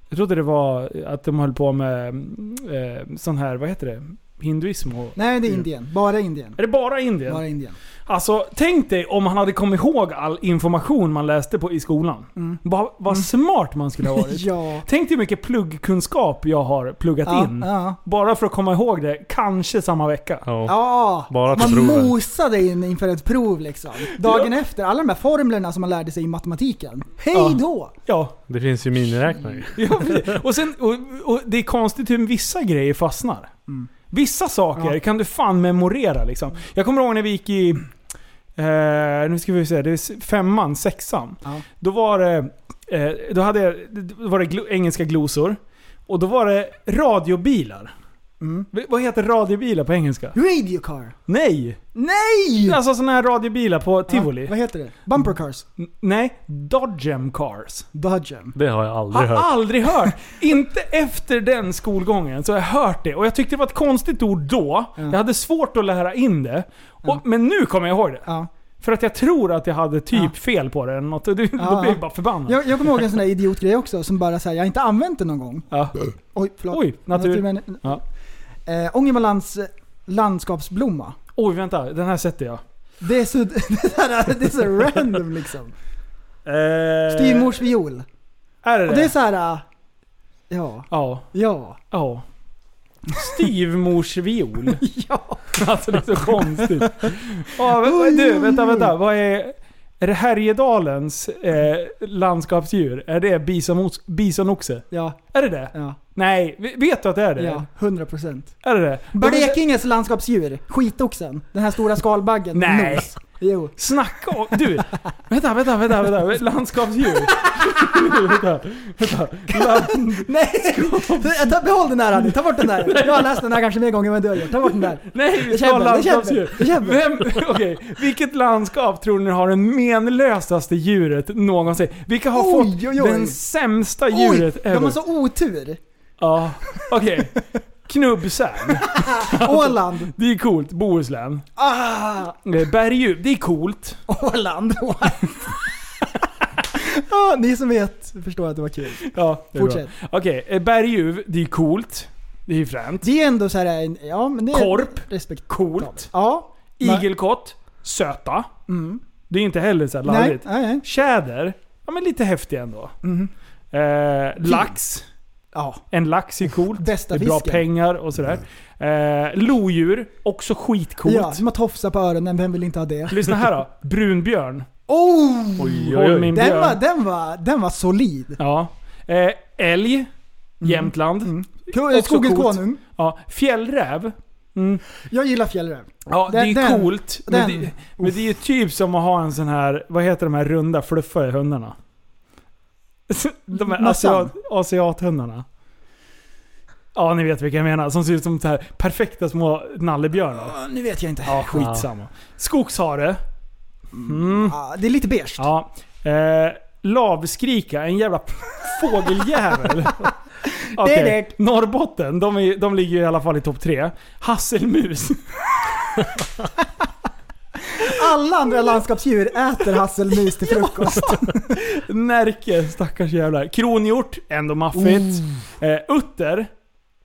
C: Jag trodde det var att de höll på med eh, sån här, vad heter det? Hinduism och...
D: Nej, det är Indien. Bara Indien.
C: Är det bara Indien?
D: Bara Indien.
C: Alltså, tänk dig om han hade kommit ihåg all information man läste på i skolan.
D: Mm.
C: Vad vad smart man skulle ha varit.
D: Ja.
C: Tänk dig hur mycket pluggkunskap jag har pluggat
D: Ja,
C: in.
D: ja.
C: Bara för att komma ihåg det, kanske samma vecka.
E: Ja.
D: Ja,
E: Bara till
D: man
E: proven.
D: mosade in inför ett prov liksom. Dagen efter, alla de här formlerna som man lärde sig i matematiken. Hej
C: Ja.
D: då!
C: Ja.
E: Det finns ju miniräknare.
C: Ja, precis. och, sen, och, och det är konstigt hur vissa grejer fastnar. Vissa saker
D: Mm. Ja.
C: kan du fan memorera liksom. Jag kommer ihåg när vi gick i... Eh, nu ska vi se, det är s- femman, sexan.
D: Ja.
C: Då var det... Eh, då, hade jag, då var det glo, engelska glosor. Och då var det radiobilar.
D: Mm.
C: V- Vad heter radiobilar på engelska?
D: Radio car.
C: Nej!
D: Nej!
C: Alltså sådana här radiobilar på
D: Ja,
C: Tivoli.
D: vad heter det? Bumper cars.
C: N- Nej, Dodgem Cars.
D: Dodgen.
E: Det har jag
D: Ah,
E: aldrig
C: har
E: hört.
C: aldrig hört. Inte efter den skolgången så har jag hört det. Och jag tyckte det var ett konstigt ord då.
D: Ja.
C: Jag hade svårt att lära in det. Och,
D: Ja.
C: Men nu kommer jag ihåg det.
D: Ja.
C: För att jag tror att jag hade typ
D: Ja.
C: fel på det eller något. Och det,
D: Ja.
C: Då blev jag bara förbannad.
D: Jag, jag kommer ihåg en sån där idiotgrej också som bara säger jag har inte använt den någon gång.
C: Ja.
D: Oj, förlåt.
C: Oj, natur.
D: Naturmen-
C: Ja.
D: Eh, Ångermanlands landskapsblomma.
C: Oj, vänta. Den här sätter jag.
D: Det är så, det där, det är så random liksom.
C: Eh,
D: Styvmors viol.
C: Är det
D: Och det är så här. eh, Ja,
C: Ja.
D: ja.
C: Ja. Styvmorsviol. ja. Alltså det är så konstigt. Ja, vad- vad- du, vänta, vänta. Vad är... Är det Härjedalens eh, landskapsdjur? Är det bisonox- bisonoxe?
D: Ja,
C: Är det det?
D: ja,
C: Nej, v- vet du att det är det?
D: ja. 100 procent.
C: Är det det?
D: Blekinges landskapsdjur, skitoxen. Den här stora skalbaggen. med
C: Nej.
D: Nos. Jo.
C: Snacka om... Du! Vänta, vänta, vänta, vänta. Landskapsdjur. vänta, vänta. Land,
D: Nej! Ta, behåll den där Annie, ta bort den där. Jag har läst den här kanske mer gånger än vad du har gjort. Ta bort den där.
C: nej, vi
D: Det
C: ska ha
D: kämpar, det
C: landskapsdjur.
D: kämpar, det kämpar.
C: Vem, okej, vilket landskap tror ni har det menlösaste djuret någonsin? Vilka har
D: Oj,
C: fått
D: oj, oj.
C: den sämsta djuret
D: Oj, de
C: ever?
D: har så otur.
C: Ja, okej. Knubbsärn.
D: Åland.
C: Det är coolt. Bohuslän.
D: Ah,
C: Eh, Berguv. Det är coolt.
D: Åland. ah, ni som vet förstår att det var kul.
C: Ja, det är bra.
D: Fortsätt.
C: Okej, eh, Berguv. Det är coolt. Det är ju fränt.
D: Det är ändå så här, en- ja men det är
C: Korp.
D: respekt.
C: Coolt.
D: Ja.
C: Igelkott. Söta.
D: Mm.
C: Det är inte heller så här
D: Nej,
C: larvigt.
D: nej, nej.
C: Tjäder. Ja, men lite häftig ändå.
D: Mm.
C: Eh, lax.
D: Ja.
C: En lax är coolt.
D: Bästa
C: det är bra
D: fisken.
C: pengar och sådär. Eh, lodjur, också skitcoolt.
D: Ja, som att tofsa på öronen, vem vill inte ha det?
C: Lyssna här då. Brunbjörn.
D: Oh!
E: Oj, oj,
C: Håll
E: oj.
C: min
D: Den
C: björn.
D: var, den, var, den var solid.
C: Ja. Eh, älg.
D: Mm.
C: Jämtland.
D: Ko- Skogens
C: coolt.
D: konung.
C: Ja. Fjällräv.
D: Jag gillar fjällräv.
C: Ja, det är ju
D: Den- den-
C: coolt. Men,
D: den.
C: det, men det är ju typ som att ha en sån här, vad heter de här runda fluffiga hundarna? De här
D: Massan.
C: asiat, asiathundarna. Ja, ni vet vilka jag menar. Som ser ut som så här perfekta små nallebjörnar.
D: Ah, Nu vet jag inte.
C: Ja, skitsamma. Skogshare. Mm.
D: Ah, det är lite beige.
C: Ja. Eh, lavskrika, en jävla fågeljävel. Okej.
D: det.
C: Norrbotten, de, är, de ligger ju i alla fall i topp tre. Hasselmus.
D: Alla andra landskapsdjur äter hasselmus till frukost.
C: Närke, stackars jävlar. Kronhjort, ändå maffigt. Eh, utter,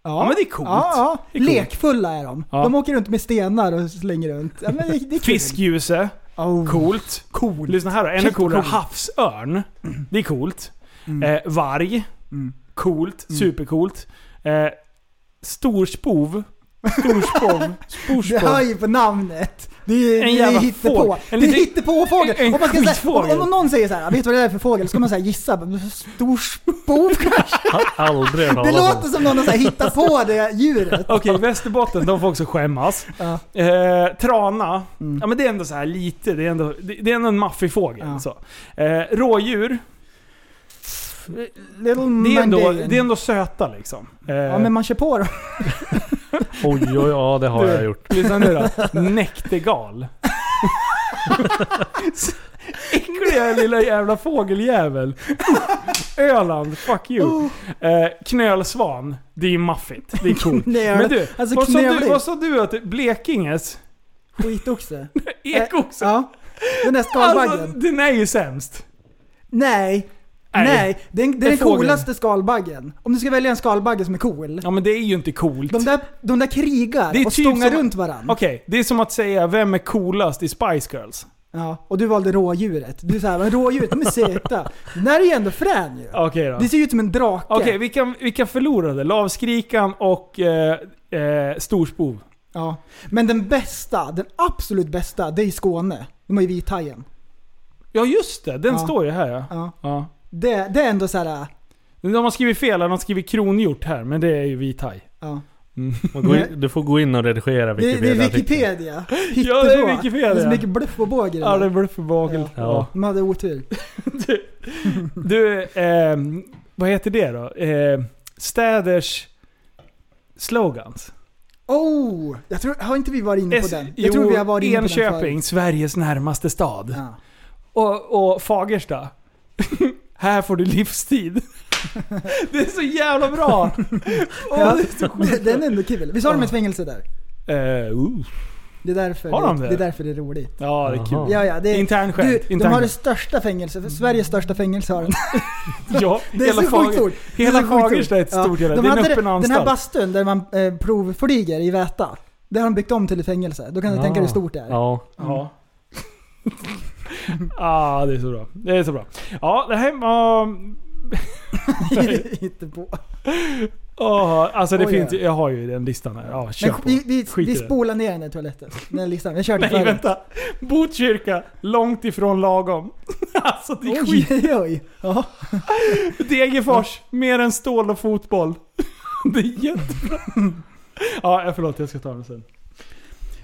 C: ja men det är coolt.
D: Mm. Ja, ja.
C: Det är coolt.
D: Lekfulla är de.
C: Ja.
D: De åker runt med stenar och slänger runt. Ja, men det, det är kul.
C: Fiskljuse,
D: Oh.
C: coolt.
D: Cool.
C: Lyssna här då, ännu
D: Shit,
C: coolare.
D: coolt.
C: Havsörn, det är coolt. Eh, varg,
D: Mm.
C: coolt. Supercoolt. Eh, storspov, storspov,
D: Du hör
C: storspov.
D: ju på namnet. Det är,
C: En
D: det
C: jävla
D: är hittepå.
C: fågel.
D: Det
C: En
D: är
C: liten-
D: hittepåfågel.
C: en- en
D: Om, man ska säga-
C: skitfågel.
D: om, om någon säger så här, vet du vad det är för fågel? Ska man så här gissa? Storspov kanske?
E: Aldrig hört
D: Det
E: talas
D: låter
E: om.
D: som någon har så här hittat på det djuret.
C: Okej, Västerbotten, de får också skämmas.
D: Ja.
C: Eh, trana,
D: Mm.
C: ja men det är ändå så här lite, det är ändå, det, det är ändå en maffig fågel.
D: Ja.
C: Så. Eh, rådjur,
D: Little
C: Det är, ändå,
D: Mandarin.
C: det är ändå söta liksom. Eh,
D: Ja men man kör på dem.
E: Oj, oj, ja det har jag gjort.
C: Lyssna nu då. Näktergal. Äckliga lilla jävla fågeljävel. Öland, fuck you. Eh, knölsvan. Det är maffigt. Det är coolt.
D: Nej,
C: Men du,
D: alltså
C: vad, sa du
D: knöligt.
C: vad sa du att Blekinges
D: Skitoxe.
C: ekoxe?
D: Ja. Den där
C: Alltså,
D: skalbaggen.
C: den är ju sämst.
D: Nej.
C: Nej.
D: Nej, det är, det är
C: är
D: den
C: fågeln.
D: coolaste skalbaggen. Om du ska välja en skalbagge som är cool.
C: Ja men det är ju inte coolt.
D: De där, de där krigar
C: Det är
D: och
C: typ
D: stångar
C: som-
D: runt varandra.
C: Okej, det är som att säga vem är coolast i Spice Girls?
D: Ja, och du valde rådjuret. Du är såhär, men rådjuret, de är söta. Den här är ju ändå frän ju.
C: Okej då.
D: Det ser ju ut som en drake.
C: Okej, vi, kan, vi kan förlora det. Lavskrikan och eh, eh, storspov.
D: Ja. Men den bästa, den absolut bästa, det är i Skåne. De har ju vithajen.
C: Ja just det, den
D: Ja.
C: står ju här ja.
D: Ja.
C: ja.
D: Det, det är ändå såhär,
C: De har skrivit fel, de har skrivit kronhjort här, men det är ju vit haj.
D: ja.
E: Och gå in, du får gå in och
D: Det,
E: redigera Wikipedia.
D: det är
E: artikeln.
D: Wikipedia.
C: Ja, det är
D: Hittepå.
C: Wikipedia.
D: Det är så mycket bluff och båg i den
C: Ja,
D: där.
C: det blir för bakelt.
E: Ja.
C: Ja.
D: De hade otur.
C: Du, ehm, vad heter det då? Eh, städers slogans.
D: Oh! Jag tror, har inte vi varit inne på
C: S-
D: den? Jag
C: jo,
D: tror vi har varit inne på
C: Enköping,
D: den
C: Sveriges närmaste stad.
D: förut. Ja.
C: Och, och Fagersta. Här får du livstid. det är så jävla bra! Åh,
D: Ja,
C: det är så sjukt.
D: den är ändå kul. Visst har de ett fängelse där?
C: Eh, uh.
D: Det är därför,
C: Har de
D: det,
C: det?
D: det, är, därför det är roligt.
C: Ja, det är
E: Jaha.
C: kul.
D: Ja, ja, det är,
C: Internskämt,
D: du, De har
C: internskämt.
D: det största fängelset, Sveriges största fängelse har den.
C: Ja,
D: Det är
C: Mm. hela
D: så
C: Fager,
D: sjukt stort. Det är
C: hela
D: så sjukt
C: Fagersta är ett
D: stort.
C: stort jävla...
D: De
C: Det är en
D: hade
C: öppen
D: det- Den här
C: anstalt.
D: bastun där man eh, provflyger i Väta, det har de byggt om till ett fängelse. Då kan du
E: Ah.
D: tänka dig hur stort det är.
E: Ja.
C: Ja. ah, det är så bra. Det är så bra. Ja, det här var...
D: Inte på.
C: åh, alltså det
D: Oj,
C: finns
D: ja.
C: Jag har ju den listan här. Ja, kör
D: Men
C: på.
D: vi, vi,
C: Skit i
D: vi
C: det.
D: spolar ner den där toaletten. Den här listan. Vi har kört
C: Nej
D: förut.
C: vänta. Botkyrka, långt ifrån lagom. alltså det är
D: Oj,
C: skit.
D: oj, oj. Ja.
C: Degerfors, mer än stål och fotboll. det är jättebra. ja, jag- förlåt. Jag ska ta den sen.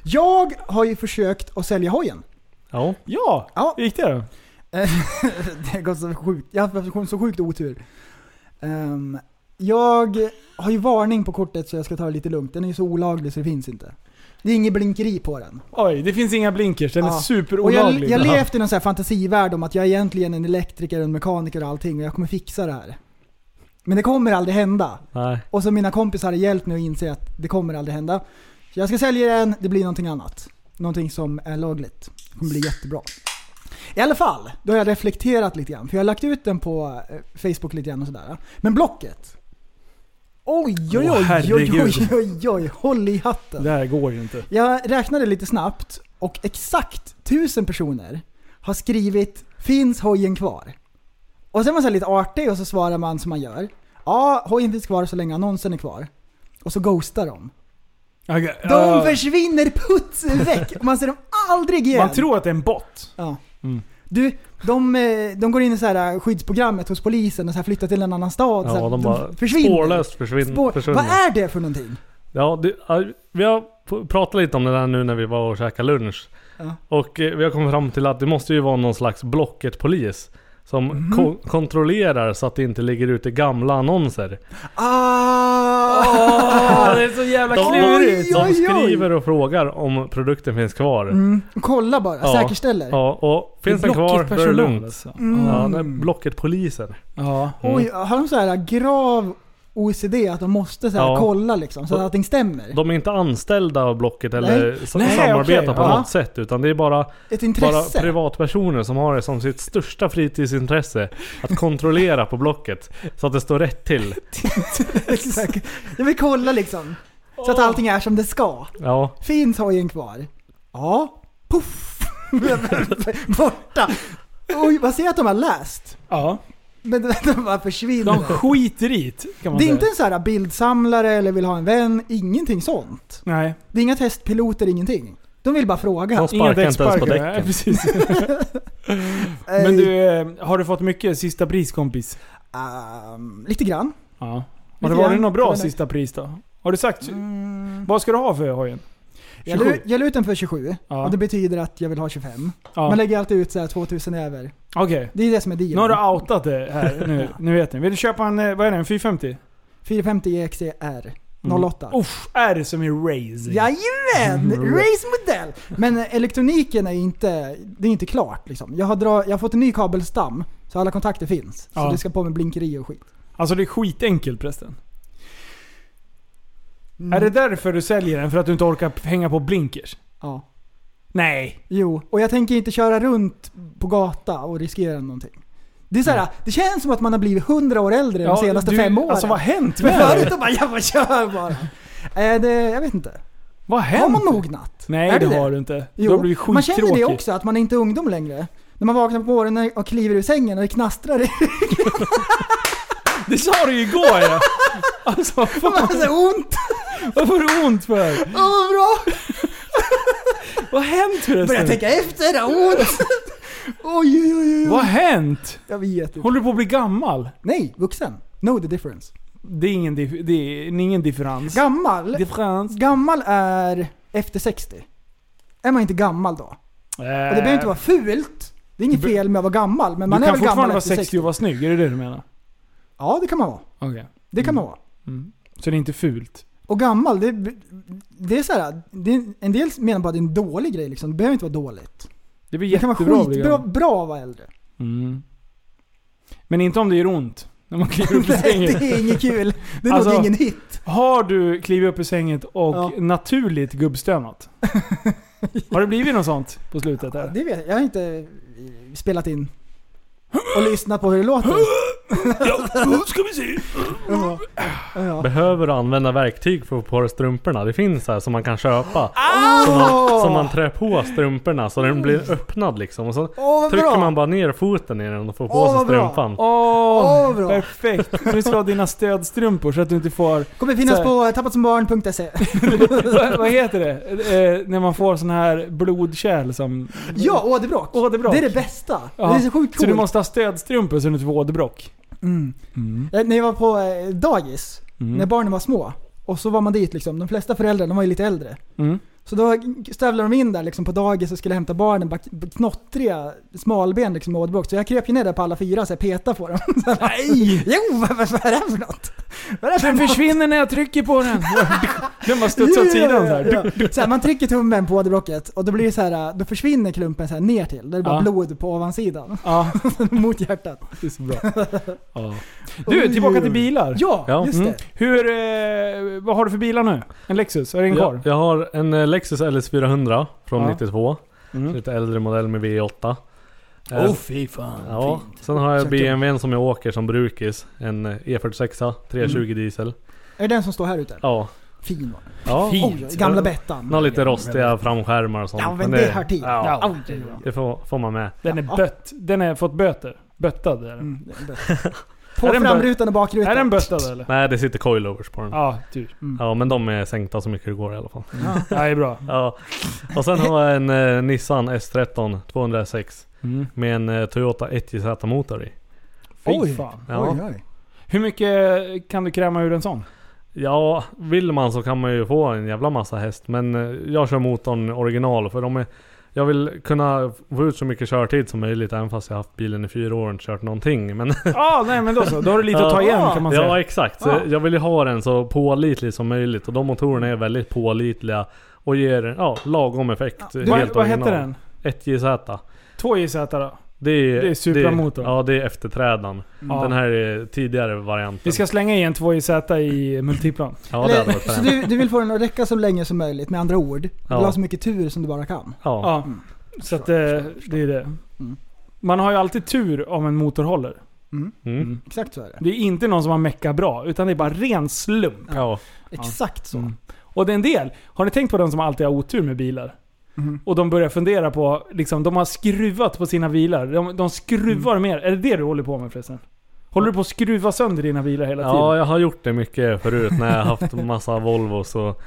D: Jag har ju försökt att sälja hojen.
E: Ja.
C: Ja,
D: Ja.
C: gick det då?
D: Det går så sjukt. Jag har haft så sjukt otur. Ehm, jag har ju varning på kortet så jag ska ta det lite lugnt. Den är ju så olaglig så det finns inte. Det är inget blinkeri på den.
C: Oj, det finns inga blinkers. Den är
D: Ja. Och jag,
C: superolaglig.
D: jag har levt i någon sån här fantasivärld om att jag är egentligen en elektriker och en mekaniker och allting och jag kommer fixa det här. Men det kommer aldrig hända.
E: Nej.
D: Och så mina kompisar har hjälpt mig att inse att det kommer aldrig hända. Så jag ska sälja den, det blir någonting annat. Någonting som är lagligt. Det kommer bli jättebra. I alla fall, då har jag reflekterat lite grann. För jag har lagt ut den på eh, Facebook lite grann och sådär. Men Blocket. Oj, oj,
C: Åh,
D: oj, oj, oj,
C: herregud.
D: oj, oj, oj, håll i hatten.
C: Det här går ju inte.
D: Jag räknade lite snabbt och exakt tusen personer har skrivit “Finns hojen kvar?” Och sen är man så här lite artig och så svarar man som man gör. Ja, hojen finns kvar så länge annonsen är kvar. Och så ghostar de.
C: Okej, eh,
D: De
C: ja.
D: försvinner puts väck! Man ser dem aldrig igen!
C: Man tror att det är en bot.
D: Ja.
C: Mm.
D: Du, de, eh, de går in i så här skyddsprogrammet hos polisen och så här flyttar till en annan stad. så
E: Ja,
D: här,
E: de bara
D: Alltså, försvinner.
E: spårlöst försvinner.
D: Spår.
E: försvinner.
D: Vad är det för någonting?
E: Ja, det, ja, vi har p- pratat lite om det där nu när vi var och käkade lunch.
D: Ja.
E: Och eh, vi har kommit fram till att det måste ju vara någon slags Blocket-polis. Som
D: Mhm.
E: ko- kontrollerar så att det inte ligger ute gamla annonser.
D: Ah!
C: det är så jävla
E: De, de,
D: Oj,
E: de
D: oj, oj.
E: skriver och frågar om produkten finns kvar.
D: Mm. Kolla bara,
E: Ja.
D: säkerställer.
E: Ja, och finns den kvar då är det lugnt. Ja, det är
D: Mm.
E: Blocket-polisen.
C: alltså. Ja.
E: Mm.
D: Oj, har de så här grav OCD att de måste så här
E: Ja.
D: kolla liksom så att allting stämmer?
E: De är inte anställda av Blocket eller sa-
C: Nej,
E: samarbetar
C: okej,
E: på
C: ja.
E: något sätt. Utan det är bara,
D: Ett
E: bara
D: intresse?
E: privatpersoner som har det som sitt största fritidsintresse. Att kontrollera på Blocket. Så att det står rätt till.
D: Exakt. Jag vill kolla liksom. Så att allting är som det ska.
E: Ja.
D: Finns hojen kvar? Ja. Puff! Borta! Oj, vad ser jag att de har läst?
C: ja.
D: Men de bara försvinner.
C: De skiter i det, kan man
D: det är
C: säga.
D: inte en så här bildsamlare eller vill ha en vän, ingenting sånt.
C: Nej.
D: Det är inga testpiloter, ingenting. De vill bara fråga.
E: De
C: Inga
E: sparkar inte ens på
C: däcksparkar.
E: däcken.
C: Nej, precis. Men
D: Eh,
C: du, eh, har du fått mycket sista pris kompis?
D: ehm, lite grann.
C: Ja. Har det
D: Lite
C: varit
D: grann. Mm.
C: något
D: Det
C: bra
D: var det.
C: sista pris då? Har du sagt? Vad ska du ha för hojen?
D: Jag la-
C: 27?
D: jag la ut den för 27
C: Ja.
D: och det betyder att jag vill ha 25.
C: Ja.
D: Man lägger alltid ut så här 2000 över.
C: Okej.
D: Det är det som är
C: Nu har du
D: dealen.
C: outat det här. Nu, nu vet ni. Vill du köpa en, eh, vad är det, en 450?
D: 450 EXCR
C: Mm.
D: 08.
C: Uff, R som är raising.
D: Jajamän! Race-modell! Men eh, elektroniken är ju inte, det är inte klart liksom. Jag har, dra, jag har fått en ny kabelstam, så alla kontakter finns.
C: Ja.
D: Så det ska på med blinkeri och skit.
C: Alltså det är skitenkelt prästen. Är
D: Mm.
C: det därför du säljer den? För att du inte orkar hänga på blinkers?
D: Ja.
C: Nej.
D: Jo, och jag tänker inte köra runt på gata och riskera någonting. Det, är så här, det känns som att man har blivit 100 år äldre de senaste
C: du-
D: fem åren.
C: Alltså vad har hänt
D: Men
C: med
D: förut
C: dig?
D: då bara, jag bara kör bara. Eh, det, jag vet inte.
C: Vad har hänt?
D: Har man mognat?
C: Nej
D: Är
C: det
D: det?
C: har du inte. Du har
D: Jo,
C: blivit
D: man känner det
C: skittråkig.
D: också, att man är inte är ungdom längre. När man vaknar på morgonen och kliver ur sängen och det knastrar i
C: Det sa du ju igår ja. Alltså
D: Man har
C: fan,
D: så här ont.
C: vad får du ont för?
D: Åh vad bra!
C: Vad har hänt
D: Börjar
C: förresten?
D: tänka efter, det har ont. Oj, oj, oj, oj.
C: Vad har hänt?
D: Jag vet inte.
C: Håller du på att bli gammal?
D: Nej, vuxen. Know the difference.
C: Det är ingen, dif- det är ingen differens.
D: Gammal.
C: Differens.
D: Gammal är efter 60. Är man inte gammal då?
C: Eh,
D: Och det behöver inte vara fult. Det är inget
C: Du-
D: fel med att vara gammal, men man
C: Eh, du
D: är
C: kan
D: väl gammal
C: fortfarande vara
D: efter 60.
C: 60 och vara snygg, är det det du menar?
D: Ja, det kan man vara.
C: Okej.
D: Det kan
C: Mm.
D: man vara.
C: Mm. Så det är inte fult?
D: Och gammal, det, det är så här, det är, en del menar bara att det är en dålig grej liksom. Det behöver inte vara dåligt.
C: Det blir
D: Det kan
C: jättebra
D: vara
C: att bli
D: skitbra
C: gammal.
D: bra att vara äldre.
C: Mm. Men inte om det gör ont. När man kliver upp i
D: Nej,
C: sängen.
D: det är inget kul. Det är
C: Alltså-
D: nog ingen hit.
C: Har du klivit upp i sängen och
D: Ja.
C: naturligt gubbstönat? Har det blivit något sånt på slutet
D: Ja,
C: där?
D: Det vet jag. Jag har inte eh, spelat in och lyssnat på hur det låter. Ja, ska vi se.
E: Behöver du använda verktyg för att få på dig strumporna? Det finns så här som man kan köpa. Som man,
D: Åh,
E: som man trär på strumporna så den blir öppnad liksom. Och så
D: Åh, vad
E: trycker
D: bra.
E: man bara ner foten i den och får på
D: Åh,
E: sig
D: vad bra.
E: strumpan.
C: Åh,
D: Åh, vad bra.
C: perfekt! Nu ska du ha dina stödstrumpor så att du inte får...
D: Kommer finnas
C: Så-
D: på tappatsombarn.se.
C: Vad- Vad heter det? Eh, när man får sån här blodkärl som...
D: Ja, åderbråck.
C: Åderbråck.
D: Det är det bästa.
C: Mm. Ja.
D: Det är så sjukt
C: Så
D: coolt.
C: du måste ha stödstrumpor så du inte får åderbråck?
D: mm. Eh, När jag var på eh, dagis,
C: Mm.
D: när barnen var små. Och så var man dit liksom. De flesta föräldrar, de var ju lite äldre.
C: Mm.
D: Så då stövlade de in där liksom på dagis och skulle hämta barnen, bara knottriga smalben liksom med åderbråck. Så jag kröp ju ner där på alla fyra och petade på dem. Nej! jo, vad, vad är det här för något? Vad är det för
C: Den
D: något?
C: försvinner när jag trycker på den! Den bara studsar åt
D: Ja,
C: sidan
D: ja,
C: där.
D: ja. Så här, man trycker tummen på åderbråcket och då blir det så här, då försvinner klumpen så här ner till. Då är det bara
C: Ja.
D: blod på ovansidan.
C: Ja,
D: Mot hjärtat.
C: det är så bra. Ja. Du, tillbaka till bilar.
D: Ja,
E: Ja.
D: just
C: Mm.
D: det.
C: Hur, eh, vad har du för bilar nu? En Lexus? Är det en kvar?
E: Jag, jag har en eh, Lexus LS 400 från
C: Ja.
E: 92.
C: Mm.
E: Lite äldre modell med V8. Eh,
C: Åh fy fan.
E: ja. Sen har jag BMWn som jag åker som brukis. En eh, E46 320
C: Mm.
E: diesel.
D: Är det den som står här ute?
E: Ja.
D: Fin var den.
E: ja.
D: Oj, oj, gamla Bettan.
E: Den har lite rostiga framskärmar och sånt.
D: Ja men det hör till.
E: Ja,
D: Ja. Oj, oj, oj.
E: det får, får man med.
C: Den är
D: Ja.
C: bött. Den har fått böter. Böttad är den.
D: Mm, det är en bötta. På
C: Är det en bö-
D: framrutan och bakrutan.
C: Är den böttad eller?
E: Nej, det sitter coilovers på den. Ja.
C: Ja, Mm. tur.
E: men de är sänkta så mycket det går i alla fall.
C: Ja, det är bra.
E: Ja. Och sen har jag en eh, Nissan S13 206
C: Mm.
E: med en eh, Toyota 1JZ motor i.
C: Fy
D: Oj.
C: fan.
E: Ja.
D: Oj, oj.
C: Hur mycket kan du kräma ur en sån?
E: Ja, vill man så kan man ju få en jävla massa häst. Men eh, jag kör motorn original för de är... Jag vill kunna få ut så mycket körtid som möjligt även fast jag haft bilen i fyra år och inte kört någonting. Men,
C: Ja, Ah, nej men då så. Då har du lite att ta igen kan man säga.
E: ja exakt. Så
C: Ja.
E: Jag vill ju ha den så pålitlig som möjligt och de motorerna är väldigt pålitliga. Och ger ja, lagom effekt. Helt
C: Vad, vad
E: original.
C: hette den?
E: 1JZ.
C: 2JZ då?
E: Det är,
C: Det är supramotorn.
E: Ja, det är efterträdaren.
C: Mm. Ja.
E: Den här är tidigare varianten.
C: Vi ska slänga i en 2JZ i multiplan.
E: Ja, det hade
D: Eller,
E: varit
D: så
E: fränt.
D: du, du vill få den att räcka så länge som möjligt, med andra ord. Du
E: Ja.
D: vill ha så mycket tur som du bara kan.
E: Ja.
C: Ja. Så att eh, det är det. Man har ju alltid tur om en motor håller.
E: Mm.
D: Exakt så är det.
C: Det är inte någon som har meckat bra, utan det är bara ren slump.
E: ja.
D: Exakt så.
C: Mm. Och det är en del. Har ni tänkt på de som alltid har otur med bilar?
E: Mhm.
C: Och de börjar fundera på, liksom, de har skruvat på sina bilar. De, de skruvar
E: Mm.
C: mer. Är det det du håller på med förresten? Håller du på att skruva sönder dina bilar hela tiden?
E: Ja, jag har gjort det mycket förut när jag haft massa Volvos och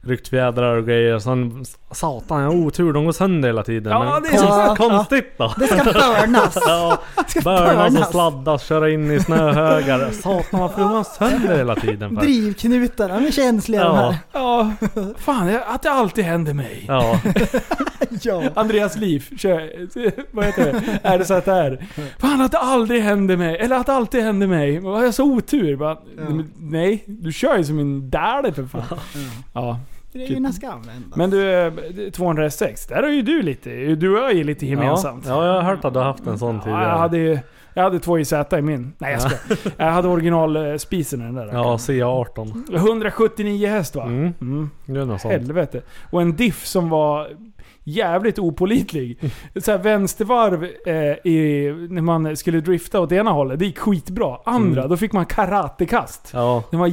E: ryckt fjädrar och grejer. Sen, satan, jag har otur. De går sönder hela tiden.
C: Ja,
E: Men
C: det är så-
E: konst- konstigt då.
D: Det ska börnas.
E: Ja,
D: ska
E: börna som
D: börnas.
E: sladdas, köra in i snöhögar. Satan varför går de sönder hela tiden? För?
D: Drivknutar, de är känsliga de
E: Ja,
D: här.
C: Ja, fan jag- att det alltid händer mig.
E: ja,
D: Ja.
C: Andreas Liv, kör, vad heter det? Är det så att det är? Fan att det aldrig händer mig, eller att det alltid händer mig. Vad har jag så otur? Bara, "Men Nej, du kör ju som en dälle för fan. Ja. Typ.
E: Typ.
D: Grejerna ska användas.
C: Men du, eh, 206, där har ju du lite, du och jag är lite
E: ja,
C: gemensamt.
E: ja, jag har hört att du har haft en sån
C: Ja, jag
E: tidigare.
C: hade ju, jag hade två IZ i min. Nej jag skojar. Jag hade originalspisen i den där.
E: Ja, CA18.
C: 179 häst va?
E: Mm,
C: Mm.
E: det är något sånt.
C: Helvete. Och en diff som var jävligt opolitlig. Så här, vänstervarv eh, i, när man skulle drifta åt ena hållet, det gick skitbra. Andra,
E: Mm.
C: då fick man karatekast.
E: Ja.
C: Den var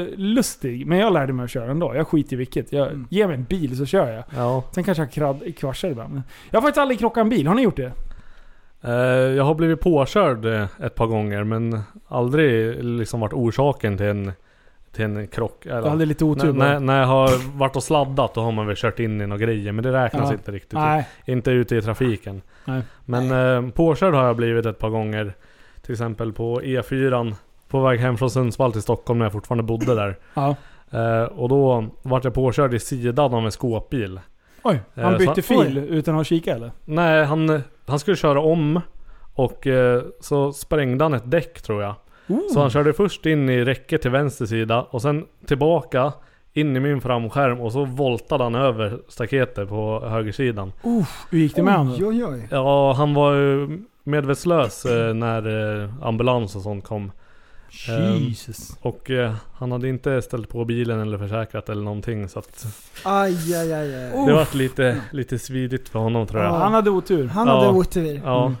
C: jättelustig, men jag lärde mig att köra ändå. Jag skiter i vilket. Jag,
D: Mm.
C: Ge mig en bil så kör jag.
E: ja.
C: Sen kanske jag kradd, kraschar ibland. men- Jag har faktiskt aldrig krockat en bil, har ni gjort det?
E: Eh, Jag har blivit påkörd eh, ett par gånger men aldrig liksom varit orsaken till en, till en krock.
C: Jag hade lite
E: när,
C: otur
E: när,
C: bara.
E: när jag har varit och sladdat då har man väl kört in i några grejer men det räknas
C: Ja.
E: inte riktigt.
C: Nej.
E: Inte ute i trafiken.
C: Nej.
E: Men eh, påkörd har jag blivit ett par gånger. Till exempel på E4 på väg hem från Sundsvall till Stockholm när jag fortfarande bodde där.
C: Ja.
E: Eh, och då vart jag påkörd i sidan av en skåpbil.
C: Oj, han
E: Eh,
C: bytte
E: så-
C: fil utan att kika eller?
E: Nej, han, han skulle köra om och eh, så sprängde han ett däck tror jag. Så han körde först in i räcket till vänster sida och sen tillbaka in i min framskärm och så voltade han över staketet på högersidan.
C: Hur gick det med honom?
D: Oj, oj, oj.
E: Ja, han var ju medvetslös eh, när eh, ambulans och sånt kom.
C: Jesus.
E: Och eh, han hade inte ställt på bilen eller försäkrat eller någonting så att
D: Aj, aj, aj, aj.
E: det var lite, lite svidigt för honom tror jag.
C: Han hade otur.
D: Han
E: Ja.
D: hade otur
E: Ja,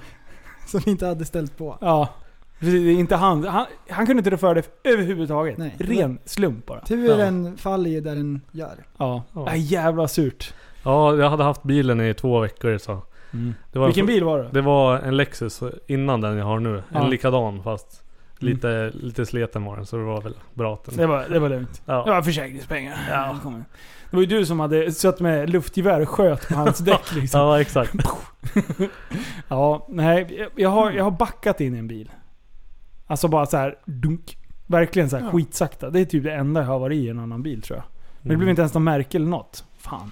D: som vi inte hade ställt på.
C: Ja. Precis, det är inte han. han. Han kunde inte rå för det överhuvudtaget.
D: Nej.
C: Ren slump bara.
D: Turen faller ju där den gör.
C: Ja.
E: Ja.
C: Nej, jävla surt.
E: ja, jag hade haft bilen i två veckor så.
C: Mm.
E: Det var
C: Vilken bil var det?
E: Det var en Lexus innan den jag har nu.
C: Ja. Mm.
E: En likadan fast lite, lite sleten var den så det var väl bra att den...
C: Det var, det var lugnt. Det
E: Ja.
C: var försäkringspengar. Ja. kom igen. Det var ju du som hade satt med luftgevär och sköt på hans däck liksom.
E: ja exakt.
C: Ja, nej. jag- Jag har, jag
D: Mm.
C: har backat in i en bil. Alltså bara så här, dunk. Verkligen så här
D: Ja.
C: skitsakta. Det är typ det enda jag har varit i en annan bil tror jag. Men
D: Mm.
C: det blev inte ens något märke eller något. Fan.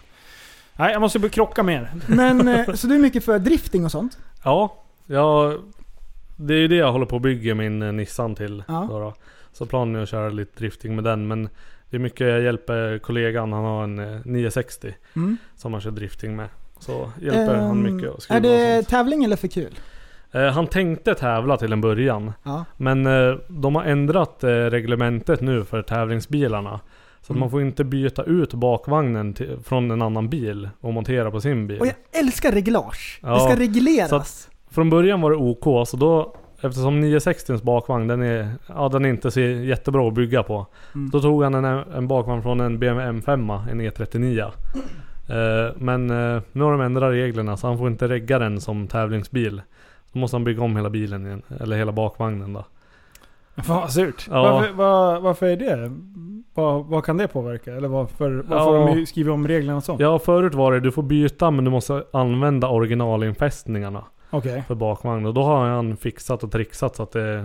C: Nej, jag måste börja krocka mer.
D: Men, eh, så du är mycket för drifting och sånt?
E: Mm. Ja, jag, det är ju det jag håller på att bygga min eh, Nissan till.
D: Ja.
E: Då då. Så planen är att köra lite drifting med den men det är mycket jag hjälper kollegan. Han har en eh, 960
D: Mm.
E: som han kör drifting med. Så hjälper han
D: Ehm,
E: mycket att skruva
D: Är det
E: och sånt.
D: tävling eller för kul?
E: Eh, Han tänkte tävla till en början.
D: Ja.
E: Men eh, de har ändrat eh, reglementet nu för tävlingsbilarna. Så
D: Mm.
E: att man får inte byta ut bakvagnen till, från en annan bil och montera på sin bil.
D: Och jag älskar reglage.
E: Ja,
D: Det ska
E: så
D: regleras.
E: Från början var det OK, så då eftersom 960s bakvagn den är, ja, den är inte så jättebra att bygga på.
D: Mm.
E: Då tog han en, en bakvagn från en BMW M5, en E39. Eh, men eh, nu har de ändrat reglerna så han får inte regga den som tävlingsbil. Då måste han bygga om hela bilen igen, eller hela bakvagnen då.
C: Fan vad surt.
E: Ja.
C: Varför, var, varför är det? Vad, vad kan det påverka? Eller varför, varför
E: Ja.
C: har de ju skrivit om reglerna och sånt?
E: Ja, förut var det du får byta men du måste använda originalinfästningarna
C: Okej.
E: för bakvagn. Och då har han fixat och trixat så att det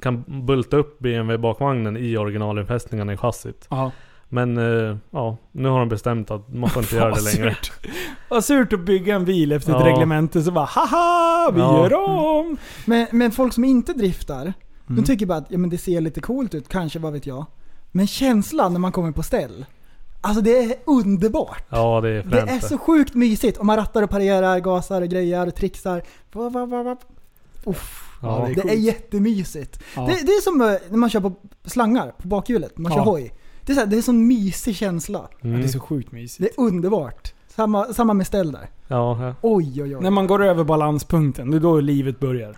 E: kan bulta upp BMW bakvagnen i originalinfästningarna i chassit.
C: Ja.
E: Men eh, ja, nu har de bestämt att man får inte göra
C: vad
E: det längre.
C: Vad surt att bygga en bil efter ett
E: Ja.
C: reglemente så bara haha, vi
E: Ja. Mm.
C: gör om!
D: Men, men folk som inte driftar, de
C: Mm.
D: tycker bara att ja, men det ser lite coolt ut, kanske, vad vet jag. Men känslan när man kommer på ställ, alltså det är underbart.
E: Ja, det är
D: Det
E: fränt.
D: är så sjukt mysigt. Och man rattar och parerar, gasar och grejar, trixar. Va, va, va, va. Uff.
E: Ja,
D: det,
C: det är
D: är
C: coolt.
D: jättemysigt.
C: Ja.
D: Det, det är som eh, när man kör på slangar på bakhjulet, när man kör
C: Ja.
D: hoj. Det är, så här, det är en sån mysig känsla.
C: Ja,
E: Mm.
C: Det är så sjukt mysigt.
D: Det är underbart. Samma, samma med ställ där.
E: Ja, ja.
D: Oj, oj, oj.
C: När man går över balanspunkten, det är då livet börjar.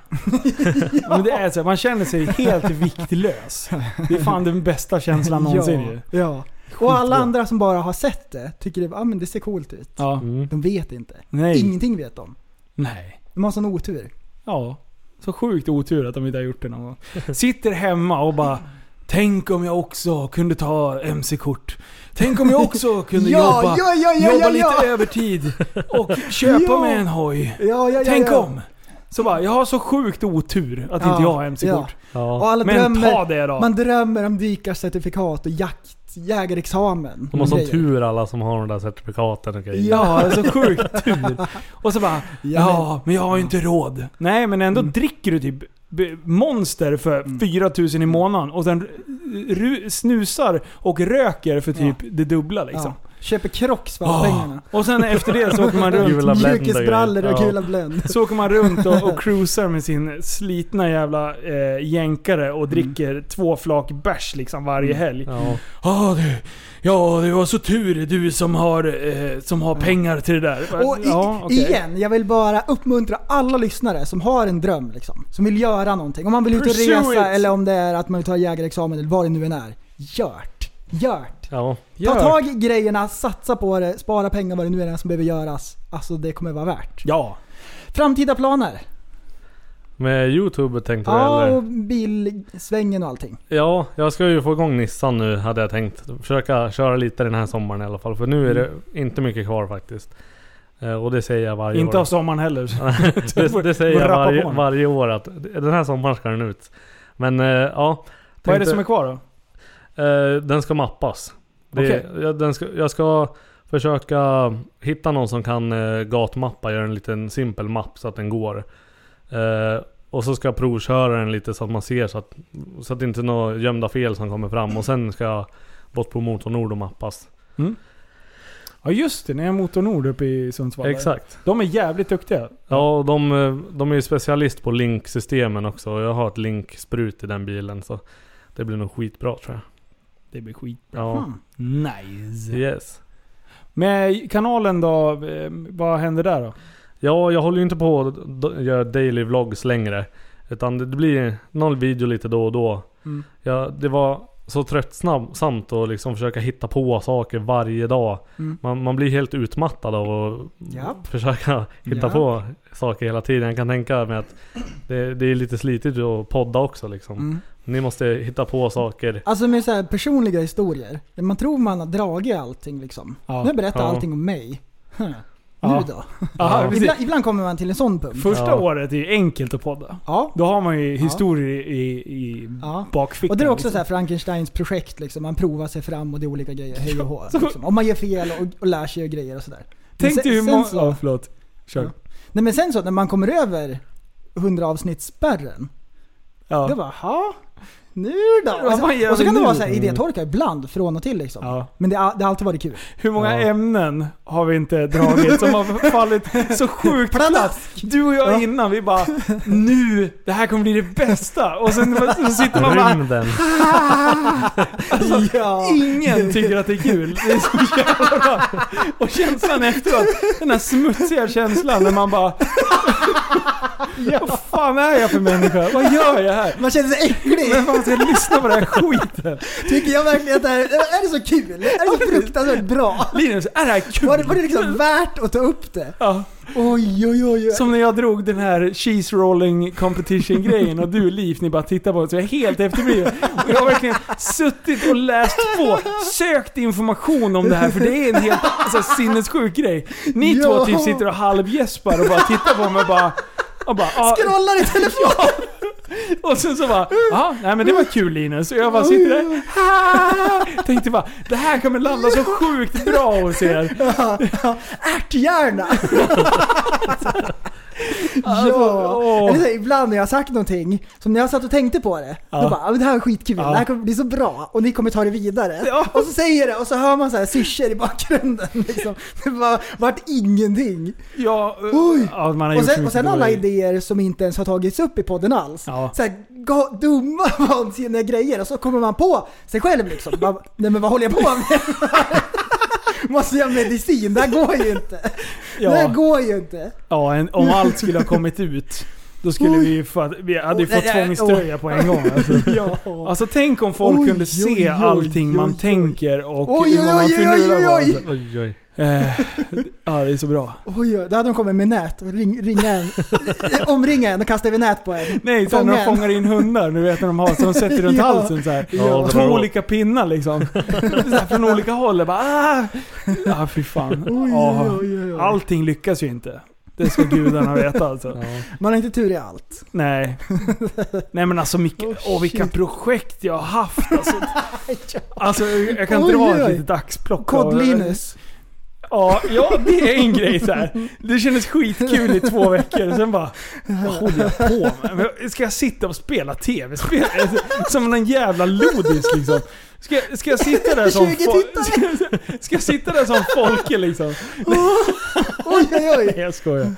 C: Men det är så, här, man känner sig helt viktlös. Det är fan den bästa känslan någonsin ju.
D: ja, ja. Och alla andra som bara har sett det tycker det, ah, men det ser coolt ut.
C: Ja.
E: Mm.
D: De vet inte.
C: Nej.
D: Ingenting vet de.
C: Nej.
D: De har sån otur.
C: Ja. Så sjukt otur att de inte har gjort det någon gång. Sitter hemma och bara Tänk om jag också kunde ta MC-kort. Tänk om jag också kunde jobba,
D: ja, ja,
C: jobba lite övertid och köpa
D: Ja.
C: mig en hoj.
D: ja, ja, ja,
C: Tänk
D: ja.
C: om! Så bara, jag har så sjukt otur att inte
D: Ja,
C: jag har MC-kort.
D: Och
E: ja.
D: alla
C: Men
D: drömmer,
C: ta det då!
D: Man drömmer om dykarcertifikat och jakt, jägarexamen.
E: De har sån
D: Grejer.
E: tur alla som har de där certifikaten och grejer.
C: Ja, det är så sjukt tur. Och så bara, ja men jag har ju inte råd. Nej men ändå
D: Mm.
C: dricker du typ b- monster för 4000 i månaden och sen r- ru- snusar och röker för typ det dubbla liksom.
D: Ja. Köper Crocs för alla
C: Ah.
D: pengarna.
C: Och sen efter det så åker man runt.
E: Gula Blend och
D: Mjukisbrallor och
E: grejer.
D: gula blend.
C: Så åker man runt och, och cruisar med sin slitna jävla eh, jänkare
D: Mm.
C: och dricker två flak bärs liksom varje helg.
E: Ja.
C: Ja du, ja du har så tur du som har, eh, som har pengar till det där.
D: Mm. Och i,
C: ja, okej.
D: igen, jag vill bara uppmuntra alla lyssnare som har en dröm liksom. Som vill göra någonting. Om man vill ut och
C: Pursue
D: resa
C: it.
D: eller om det är att man vill ta jägarexamen eller vad det nu än är. Gjort! Gjort!
E: ja.
D: Ta
C: Gör.
D: tag i grejerna, satsa på det, spara pengar vad det nu än är som behöver göras. Alltså det kommer vara värt.
C: Ja.
D: Framtida planer?
E: Med Youtube tänkte du
D: Ja,
E: eller?
D: och bilsvängen och allting.
E: Ja, jag ska ju få igång Nissan nu hade jag tänkt. Försöka köra lite den här sommaren i alla fall. För nu är det
C: Mm.
E: inte mycket kvar faktiskt. Eh, Och det säger jag varje
C: Inte
E: år.
C: av sommaren heller.
E: det, det säger
C: Får
E: jag
C: rappa
E: varje,
C: på den.
E: varje år att den här sommaren ska den ut. Men eh, ja.
C: Vad är det
E: tänkte-
C: som är kvar då?
E: Eh, den ska mappas. Det,
C: Okej.
E: jag, den ska, jag ska försöka hitta någon som kan eh, gatmappa, göra en liten simpel mapp så att den går. Eh, och så ska jag provköra den lite så att man ser så att, så att det inte är några gömda fel som kommer fram. Och sen ska jag bort på Motornord och mappas.
C: Ja just det, ni har Motor Nord uppe i Sundsvall. där.
E: Exakt.
C: De är jävligt duktiga.
E: Ja, och de, eh, de är ju specialist på linksystemen också. Jag har ett linksprut i den bilen så det blir nog skitbra tror jag.
C: Det blir skit.
E: Ja.
C: Nice.
E: Yes.
C: Men eh, kanalen då, eh, vad händer där då?
E: Ja, jag håller ju inte på och d- gör daily vlogs längre. Utan det blir någon video lite då och då.
C: Mm.
E: Ja, det var så tröttsamt att liksom försöka hitta på saker varje dag.
C: Mm.
E: Man, man blir helt utmattad av att
D: Japp.
E: försöka hitta
D: Japp.
E: på saker hela tiden. Jag kan tänka mig att det, det är lite slitigt att podda också. Liksom.
C: Mm.
E: Ni måste hitta på saker.
D: Alltså med så här personliga historier. Man tror man har dragit allting liksom.
C: Ja.
D: Nu berättar
E: Ja.
D: allting om mig. Huh. Nu
C: Ja.
D: då?
C: Aha, precis.
D: Ibland, ibland kommer man till en sån punkt.
C: Första
E: Ja.
C: året är ju enkelt att podda.
D: Ja.
C: Då har man ju historier i, i
D: ja.
C: bakfickan.
D: Och det är också
C: liksom.
D: så här Frankensteins projekt liksom. Man provar sig fram och det är olika grejer. Hej och hå. Liksom. Om man gör fel och, och lär sig grejer och sådär. Men
C: liksom. Tänk dig hur
D: sen
C: många...
D: så-
C: Ja, förlåt. Kör.
D: Ja. Nej men sen så när man kommer över 100 avsnittspärren.
C: Ja.
D: Då bara, ha? Nu då?
C: Vad
D: Och
C: fan
D: så,
C: gör
D: och så
C: vi
D: kan det
C: nu?
D: vara så här idétorka ibland, från och till liksom.
C: Ja.
D: Men det, har- det har alltid varit kul.
C: Hur många
E: Ja.
C: ämnen har vi inte dragit som har fallit så sjukt platt? Du och jag
D: Ja.
C: innan, vi bara nu, det här kommer bli det bästa. Och sen så sitter man bara
E: Rymden.
D: ja.
C: Alltså, Ingen tycker att det är kul. Det är så jävla bra. Och känslan efteråt, den här smutsiga känslan när man bara... Vad fan är jag för människa? Vad gör jag här?
D: Man känner sig äcklig.
C: Vem fan ska lyssna på den här skiten?
D: Tycker jag verkligen att det här är det så kul? Är det så fruktansvärt bra?
C: Linus, är det här kul?
D: Var det, var det liksom värt att ta upp det?
C: Ja,
D: Oj, oj, oj. oj.
C: som när jag drog den här cheese rolling competition grejen och du Liv, ni bara tittar på det så jag är helt efterbliven. Och jag har verkligen suttit och läst på, sökt information om det här för det är en helt alltså, sinnessjuk grej. Ni
D: Ja.
C: två typ sitter och halvgäspar och bara tittar på mig och bara... Och bara ah,
D: Scrollar i telefonen.
C: och sen så bara, ja, nej men det var kul Linus. Och jag bara sitter där, "Ah." tänkte bara, det här kommer landa så sjukt bra hos er.
D: Ärthjärna. ja.
C: Alltså, åh.
D: Eller så, här, ibland när jag har sagt någonting, som när jag satt och tänkte på det,
C: Ja.
D: då bara "Ah, men det här är skitkul,
C: Ja.
D: det här kommer bli så bra och ni kommer ta det vidare.
C: Ja.
D: Och så säger jag det och så hör man så här syrsor i bakgrunden. Liksom. Det bara, vart ingenting.
C: Ja, eh,
D: Oj.
C: ja, man har
D: Och
C: gjort så
D: sen, och
C: mycket
D: sen alla
C: dåliga-
D: idéer som inte ens har tagits upp i podden alls.
C: Ja.
D: Så här, ga- dumma vansinniga grejer och så kommer man på sig själv liksom. Bara, Nej men vad håller jag på med? Måste jag ha medicin? Det här går ju inte. Det här
C: Ja,
D: går ju inte.
C: ja en, om allt skulle ha kommit ut. Då skulle vi ju få, vi hade ju
D: Oj,
C: fått
D: nej, nej,
C: tvångströja på en gång. Alltså.
D: Ja.
C: alltså tänk om folk
D: Oj,
C: kunde
D: oj,
C: se
D: oj,
C: allting man
D: oj, oj.
C: tänker och
D: Oj,
C: hur
D: oj,
C: man
D: oj,
C: finurlar
D: oj,
C: på
D: oj.
C: allt.
E: Oj, oj.
C: Eh, Ja, det är så bra.
D: Oj, oj, då hade de kommit med nät och ring, ringa en. Omringa en och kasta över nät på en.
C: Nej, sen när de
D: Fånga en.
C: fångar in hundar, nu vet när de har, så de sätter runt
D: Ja.
C: halsen så här.
E: Ja,
C: Två
E: bra.
C: olika pinnar liksom. så här, från olika håll. Jag bara, ah! ah, fy fan.
D: Oj,
C: Ah.
D: oj, oj, oj.
C: Allting lyckas ju inte. Det ska gudarna veta alltså.
E: Ja.
D: Man har inte tur i allt.
C: Nej. Nej men alltså mycket,
D: Oh,
C: åh vilka
D: shit.
C: projekt jag har haft. Alltså, alltså jag kan
D: Oj,
C: dra ett
D: oj.
C: litet axplock. av-
D: Kod-Linus.
C: Ja, ja, det är en grej så här. Det kändes skitkul i två veckor, sen bara... Vad håller jag på med? Men Ska jag sitta och spela tv-spel? Som en jävla lodis liksom. Ska, jag- ska jag sitta där som
D: 20
C: fo- Ska jag sitta där som Folke liksom?
D: Oj, oj, oj.
C: Nej jag skojar.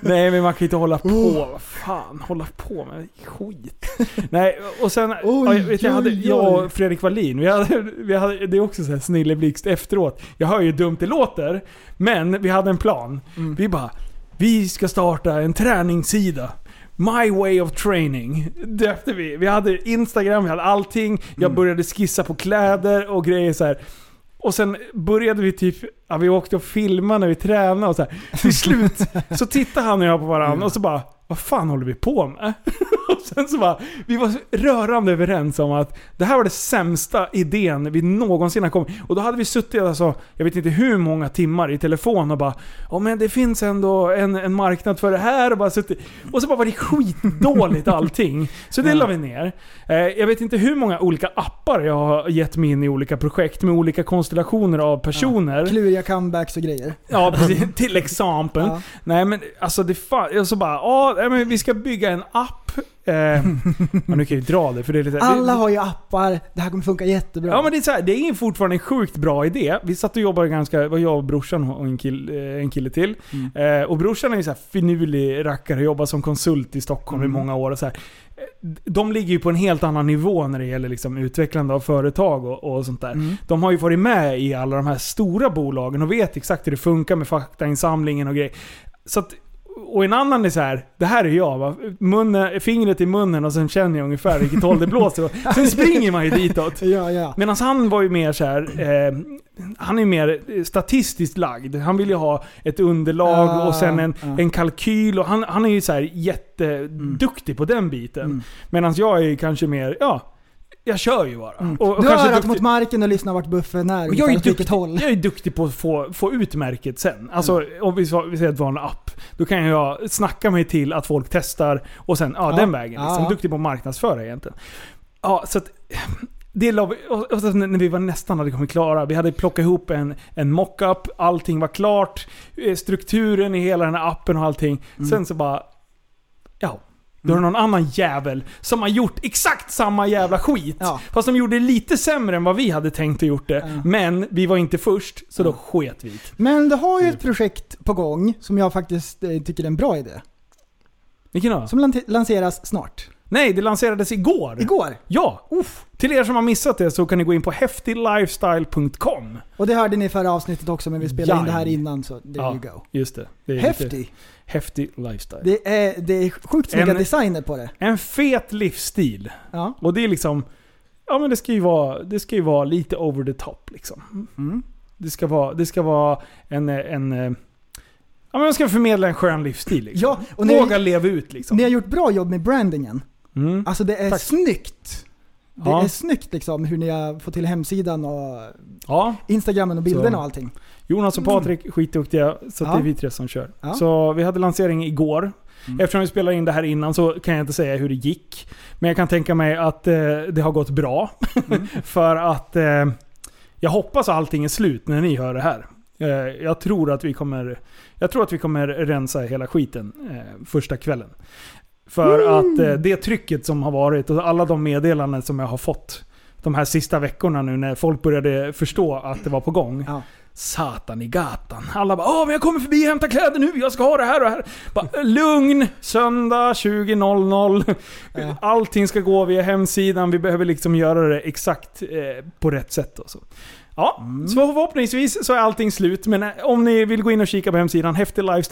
C: Nej men man kan inte hålla
D: Oh.
C: på. Vad fan, hålla på med skit. Nej och sen,
D: Oj,
C: ja, jag, vet, jag, hade,
D: oj, oj.
C: jag och Fredrik Wallin, vi hade, vi hade, det är också så här snilleblixt efteråt. Jag hör ju hur dumt det låter, men vi hade en plan.
D: Mm.
C: Vi bara, vi ska starta en träningssida. My way of training döpte vi. Vi hade Instagram, vi hade allting. Jag
D: Mm.
C: började skissa på kläder och grejer så här. Och sen började vi typ, ja, vi åkte och filmade när vi tränade och så här. Till slut så tittade han och jag på varandra och så bara, vad fan håller vi på med? och sen så bara, vi var så rörande överens om att det här var det sämsta idén vi någonsin har kommit. Och då hade vi suttit alltså, jag vet inte hur många timmar i telefon och bara, ja men det finns ändå en, en marknad för det här och bara suttit. Och så bara var det skitdåligt allting. Så det la vi ner. Eh, jag vet inte hur många olika appar jag har gett mig in i olika projekt med olika konstellationer av personer.
D: Kluriga comebacks och grejer.
C: Ja, precis. Till exempel.
D: Ja.
C: Nej men alltså det fan, och så bara, ja nej, men vi ska bygga en app. Eh, ja, nu kan jag ju dra det för det är lite...
D: Alla har ju appar, det här kommer funka jättebra.
C: Ja men det är, så här, det är fortfarande en sjukt bra idé. Vi satt och jobbade ganska, var jag och brorsan och en kille, en kille till. Eh, och brorsan är ju så här finurlig rackare och jobbar som konsult i Stockholm i många år. Och så här. Eh, De ligger ju på en helt annan nivå när det gäller liksom utvecklande av företag och, och sånt där. De har ju varit med i alla de här stora bolagen och vet exakt hur det funkar med faktainsamlingen och grejer. Så att, och en annan är så här, det här är jag va? Munnen, fingret i munnen och sen känner jag ungefär vilket håll det blåser. Och Sen springer man ju ditåt.
D: Ja, ja.
C: Medan han var ju mer så här, eh, han är mer eh, statistiskt lagd. Han vill ju ha ett underlag
D: Ah,
C: och sen en,
D: ah.
C: en kalkyl. Och han, han är ju så här
D: Mm.
C: jätteduktig på den biten. Medan jag är ju kanske mer, ja, jag kör ju bara. Och, och
D: Mm. Du har
C: kanske
D: örat
C: duktig-
D: mot marken och lyssnar vart buffen är.
C: och jag, är
D: åt vilket
C: duktig,
D: håll. Mm.
C: jag är duktig på att få, få ut märket sen. Alltså om vi, sa- vi säger att det var en app. Då kan jag snacka mig till att folk testar och sen, ja,
D: Ja.
C: den vägen. Liksom.
D: Ja, ja.
C: Duktig på att marknadsföra egentligen. Ja, så att, det la vi, och, och sen när vi var nästan hade kommit klara, vi hade plockat ihop en, en mockup, allting var klart, eh, strukturen i hela den här appen och allting.
D: Mm.
C: Sen så bara, ja. Då är det någon annan jävel som har gjort exakt samma jävla skit.
D: Ja.
C: Fast de gjorde det lite sämre än vad vi hade tänkt och gjort det. Men vi var inte först, så då sket vi i det.
D: Men du har ju ett projekt på gång som jag faktiskt eh, tycker är en bra idé.
C: Vilken då?
D: Som lan- lanseras snart.
C: Nej, det lanserades igår.
D: Igår.
C: Ja! Uff. Till er som har missat det så kan ni gå in på häftiglifestyle.com.
D: Och det hörde ni i förra avsnittet också men vi spelade in det här
C: Jaj.
D: innan så there you go.
C: just det. det är lite
D: Häftig.
C: Häftig lifestyle.
D: Det är, det är sjukt snygga
C: En-
D: designer på det.
C: En fet livsstil.
D: Ja.
C: Och det är liksom... Ja men det ska ju vara, det ska ju vara lite over the top liksom. Det, ska vara, det ska vara en... eh, en eh, ja men man ska förmedla en skön livsstil liksom.
D: Ja, och ni-
C: Våga leva ut liksom.
D: Ni har gjort bra jobb med brandingen.
C: Mm.
D: Alltså det är
C: Tack.
D: snyggt. Det
C: Ja.
D: är snyggt liksom hur ni har fått till hemsidan och
C: Ja,
D: instagramen och bilderna
C: Så.
D: och allting.
C: Jonas och Patrik skitduktiga, så att
D: Mm. Ja.
C: det är vi tre som kör.
D: Ja. Mm.
C: Så vi hade lansering igår. Eftersom vi spelade in det här innan så kan jag inte säga hur det gick. Men jag kan tänka mig att eh, det har gått bra.
D: Mm.
C: För att eh, jag hoppas att allting är slut när ni hör det här. Eh, jag, tror att vi kommer, jag tror att vi kommer rensa hela skiten eh, första kvällen. För att eh, det trycket som har varit och alla de meddelanden som jag har fått de här sista veckorna nu när folk började förstå att det var på gång.
D: Ja.
C: Satan i gatan. Alla bara Åh, men jag kommer förbi och hämtar kläder nu, jag ska ha det här och det här. Bara, Lugn! Söndag 20.00.
D: Ja.
C: Allting ska gå via hemsidan, vi behöver liksom göra det exakt eh, på rätt sätt och så. Ja, så förhoppningsvis så är allting slut. Men eh, om ni vill gå in och kika på hemsidan,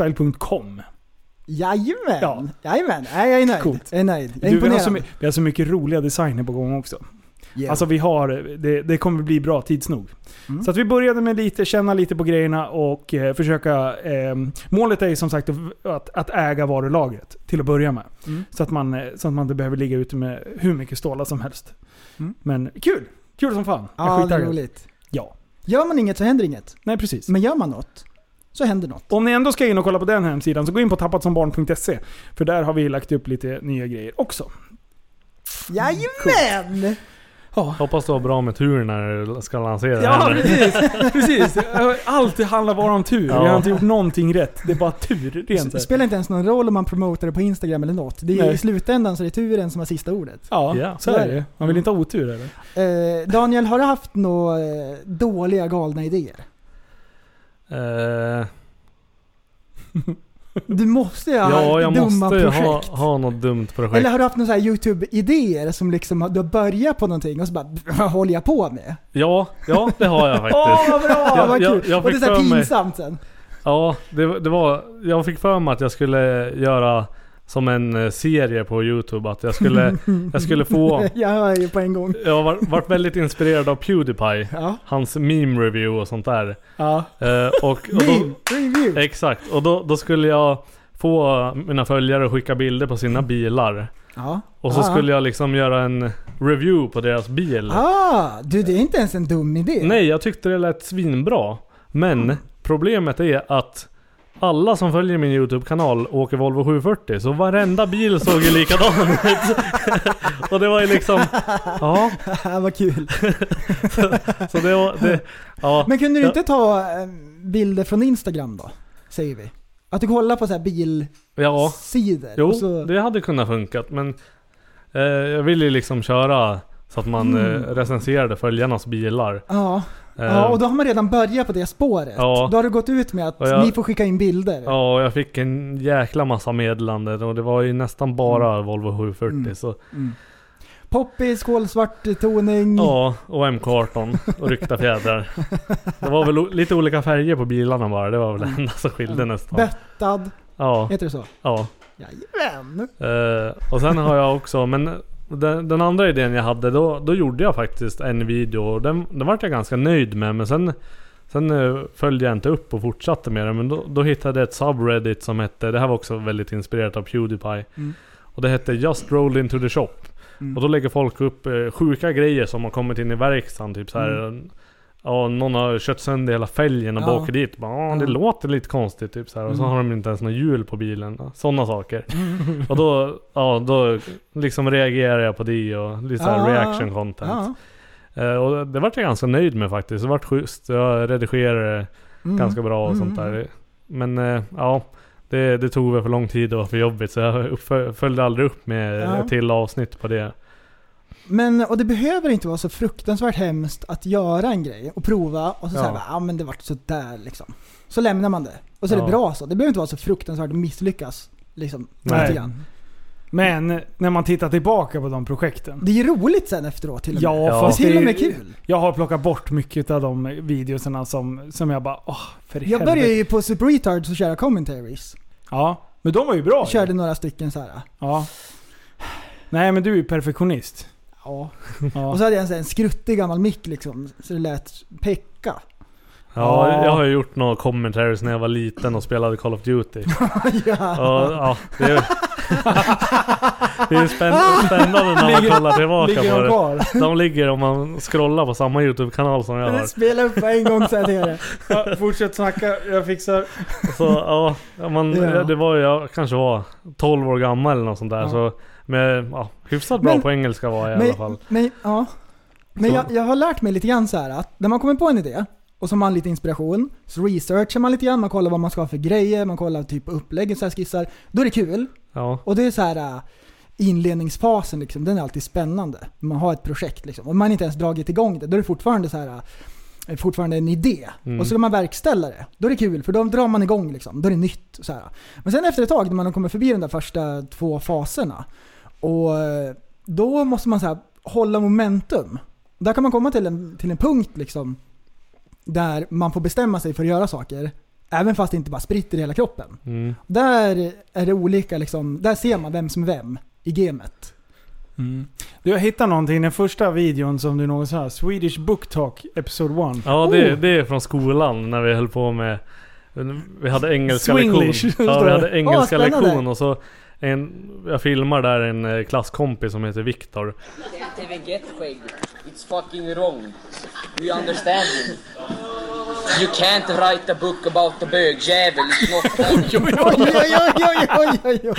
C: häftiglifestyle.com.
D: Jajamän!
C: Ja.
D: Jajamän! Nej, jag är nöjd.
C: Coolt.
D: Jag är nöjd. Jag är
C: Du, vi, har så,
D: imponerad.
C: my- vi har så mycket roliga designer på gång också.
D: Yeah.
C: Alltså vi har, det, det kommer bli bra tids nog.
D: Mm.
C: Så att vi började med lite, känna lite på grejerna och eh, försöka... Eh, målet är ju som sagt att- att, att äga varulagret till att börja med.
D: Mm.
C: Så, att man, eh, så att man inte behöver ligga ute med hur mycket stålar som helst.
D: Mm.
C: Men kul! Kul som fan. Jag är
D: ja, det är
C: skittaggad.
D: roligt.
C: Ja.
D: Gör man inget så händer inget.
C: Nej precis.
D: Men gör man något så händer något.
C: Om ni ändå ska in och kolla på den hemsidan så gå in på tappatsombarn.se. För där har vi lagt upp lite nya grejer också.
D: Jajamän!
C: Ja.
E: Hoppas du har bra med tur när du ska lansera
C: Ja,
E: den.
C: precis. precis. Allt handlar bara om tur.
E: Ja.
C: Jag har inte gjort någonting rätt. Det är bara tur. Rent
D: Det
C: här.
D: spelar inte ens någon roll om man promotar det på Instagram eller något. Det är,
C: Nej.
D: I slutändan så är det turen som har sista ordet.
C: Ja,
E: Ja.
C: så är det Mm. ju. Man vill inte ha otur eller?
D: Eh, Daniel, har du haft några eh, dåliga galna idéer?
E: Eh,
D: Du måste ju ha
E: ja, jag
D: dumma
E: måste ju
D: projekt.
E: ha, ha något dumt projekt.
D: Eller har du haft några så här YouTube-idéer som liksom, har- du har börjat på någonting och så bara, vad håller jag på med?
E: Ja, ja det har jag faktiskt.
D: Åh vad bra,
E: Jag-
D: vad kul!
E: jag-
D: och
E: jag
D: det är
E: fick
D: så här
E: för mig-
D: pinsamt sen.
E: Ja, det, det var... Jag fick för mig att jag skulle göra som en eh, serie på Youtube. Att jag skulle, jag skulle få...
D: Jag hör ju på en gång.
E: Jag har varit väldigt inspirerad av Pewdiepie.
D: Ja.
E: Hans meme review och sånt där.
C: Ja.
E: Eh, och, och
D: Min
E: då,
D: review.
E: exakt. Och då, då skulle jag få eh, mina följare att skicka bilder på sina bilar.
D: Ja.
E: Och så
D: Ah.
E: skulle jag liksom göra en review på deras bil.
D: Ah, du det är inte ens en dum idé.
E: Nej, jag tyckte det lät svinbra.
D: Mm.
E: Men problemet är att alla som följer min YouTube-kanal åker Volvo 740, så varenda bil såg ju likadan ut. och det var ju liksom... Ja,
D: vad kul.
E: så det var... Det, ja,
D: Men kunde du
E: Ja.
D: inte ta eh, bilder från Instagram då? Säger vi. Att du kollar på så här bilsidor.
E: ja, jo,
D: och så,
E: det hade kunnat funkat. Men eh, jag ville ju liksom köra så att man eh, recenserade följarnas bilar.
D: Ja.
E: Eh,
D: Mm. ja, och då har man redan börjat på det spåret.
E: Ja.
D: Då har du gått ut med att
E: Och jag-
D: ni får skicka in bilder.
E: Ja, och jag fick en jäkla massa meddelanden och det var ju nästan bara Volvo 740.
D: Mm.
E: Så,
D: Poppis, kolsvart toning.
E: ja, och MK18 och ryckta fjädrar. Det var väl o- lite olika färger på bilarna bara. Det var väl det enda som skilde nästan.
D: Böttad.
E: Ja,
D: Heter det så?
E: ja.
D: Jajamän.
E: Eh, och sen har jag också, men den, den andra idén jag hade, då, då gjorde jag faktiskt en video och den, den vart jag ganska nöjd med. Men sen, sen eh, följde jag inte upp och fortsatte med den. Men då, då hittade jag ett subreddit som hette, det här var också väldigt inspirerat av Pewdiepie.
D: Mm.
E: Och det hette Just Roll Into The Shop.
D: Mm.
E: Och då lägger folk upp eh, sjuka grejer som har kommit in i verkstaden. Typ så här, ja, någon har kört sönder hela fälgen och
D: Mm. Ja.
E: bara åker dit. Bara, "Ah, det
D: Ja.
E: låter lite konstigt typ så här. Och så
D: Mm.
E: har de inte ens några hjul på bilen. Sådana saker. Och då, ja, då liksom reagerar jag på det och lite såhär
D: Ah.
E: reaction content.
D: Ja.
E: Eh, och det vart jag ganska nöjd med faktiskt. Det vart schysst. Jag redigerade det
D: Mm.
E: ganska bra och
D: Mm.
E: sånt där. Men eh, ja, det, det tog väl för lång tid och var för jobbigt så jag uppfö- följde aldrig upp med
D: Ja.
E: ett till avsnitt på det.
D: Men, och det behöver inte vara så fruktansvärt hemskt att göra en grej och prova och så
E: Ja.
D: säger man ah, men det vart sådär liksom. Så lämnar man det. Och så är det
E: Ja.
D: bra så. Det behöver inte vara så fruktansvärt att misslyckas. Liksom,
E: Nej.
D: lite grann.
C: Men när man tittar tillbaka på de projekten.
D: Det är ju roligt sen efteråt till och med.
C: Ja,
E: Ja.
C: fast
D: det är till och
C: det-
D: med kul.
C: Jag har plockat bort mycket av de videoserna som, som jag bara åh, för
D: Jag
C: helvete."
D: började ju på Super Retard så köra commentaries.
C: Ja, men de var ju bra.
D: Jag
C: ju.
D: körde några stycken så här.
C: Ja. Nej men du är ju perfektionist.
D: Ja.
C: Ja.
D: Och så hade jag en, sån här, en skruttig gammal mick liksom, så det lät pecka.
E: Ja,
C: Ja.
E: jag har ju gjort några commentaries när jag var liten och spelade Call of Duty. Och, ja, det är, det är spän- spännande när man
C: Ligger-
E: kollar tillbaka
C: Ligger
E: på
C: de
E: det.
C: kvar?
E: De ligger om man scrollar på samma YouTube-kanal som jag har.
D: Spela upp en gång så här till det.
C: Ja, fortsätt snacka, jag fixar.
E: Så ja, man,
D: Ja.
E: det var ju, jag kanske var 12 år gammal eller något sånt där.
D: Ja.
E: Så, men ja, hyfsat bra
D: Men-
E: på engelska var jag i alla fall.
D: Men, men, ja. men
E: Så-
D: jag, jag har lärt mig lite grann så här att när man kommer på en idé och så har man lite inspiration, så researchar man lite grann, man kollar vad man ska ha för grejer, man kollar typ upplägget, så här skissar. Då är det kul.
E: Ja,
D: Och det är så här äh, inledningsfasen liksom, den är alltid spännande. Man har ett projekt liksom. Om man inte ens dragit igång det, då är det fortfarande så här äh, fortfarande en idé.
E: Mm.
D: Och så ska man verkställa det. Då är det kul, för då drar man igång liksom. Då är det nytt. Så här. Men sen efter ett tag, när man har kommit förbi de där första två faserna, och eh, då måste man så här, hålla momentum. Där kan man komma till en, till en punkt liksom, där man får bestämma sig för att göra saker, även fast det inte bara spritter i hela kroppen.
E: mm,
D: Där är det olika liksom, där ser man vem som är vem i gamet.
C: Mm. Du, jag hittade någonting i den första videon som du någonsin har. Swedish Book Talk Episode 1.
E: ja det, det är från skolan när vi höll på med vi hade engelska
C: Swinglish,
E: lektion. Ja,
C: står
E: vi
C: det.
E: hade engelska
D: spännande.
E: lektion och så en, jag filmar där en eh, klasskompis som heter Viktor.
G: Inte even get skägg. It's fucking wrong. Do you understand me? You can't write a book about the bögjävel. It's not funny.
D: Oj, oj, oj, oj, oj, oj, oj, oj, oj,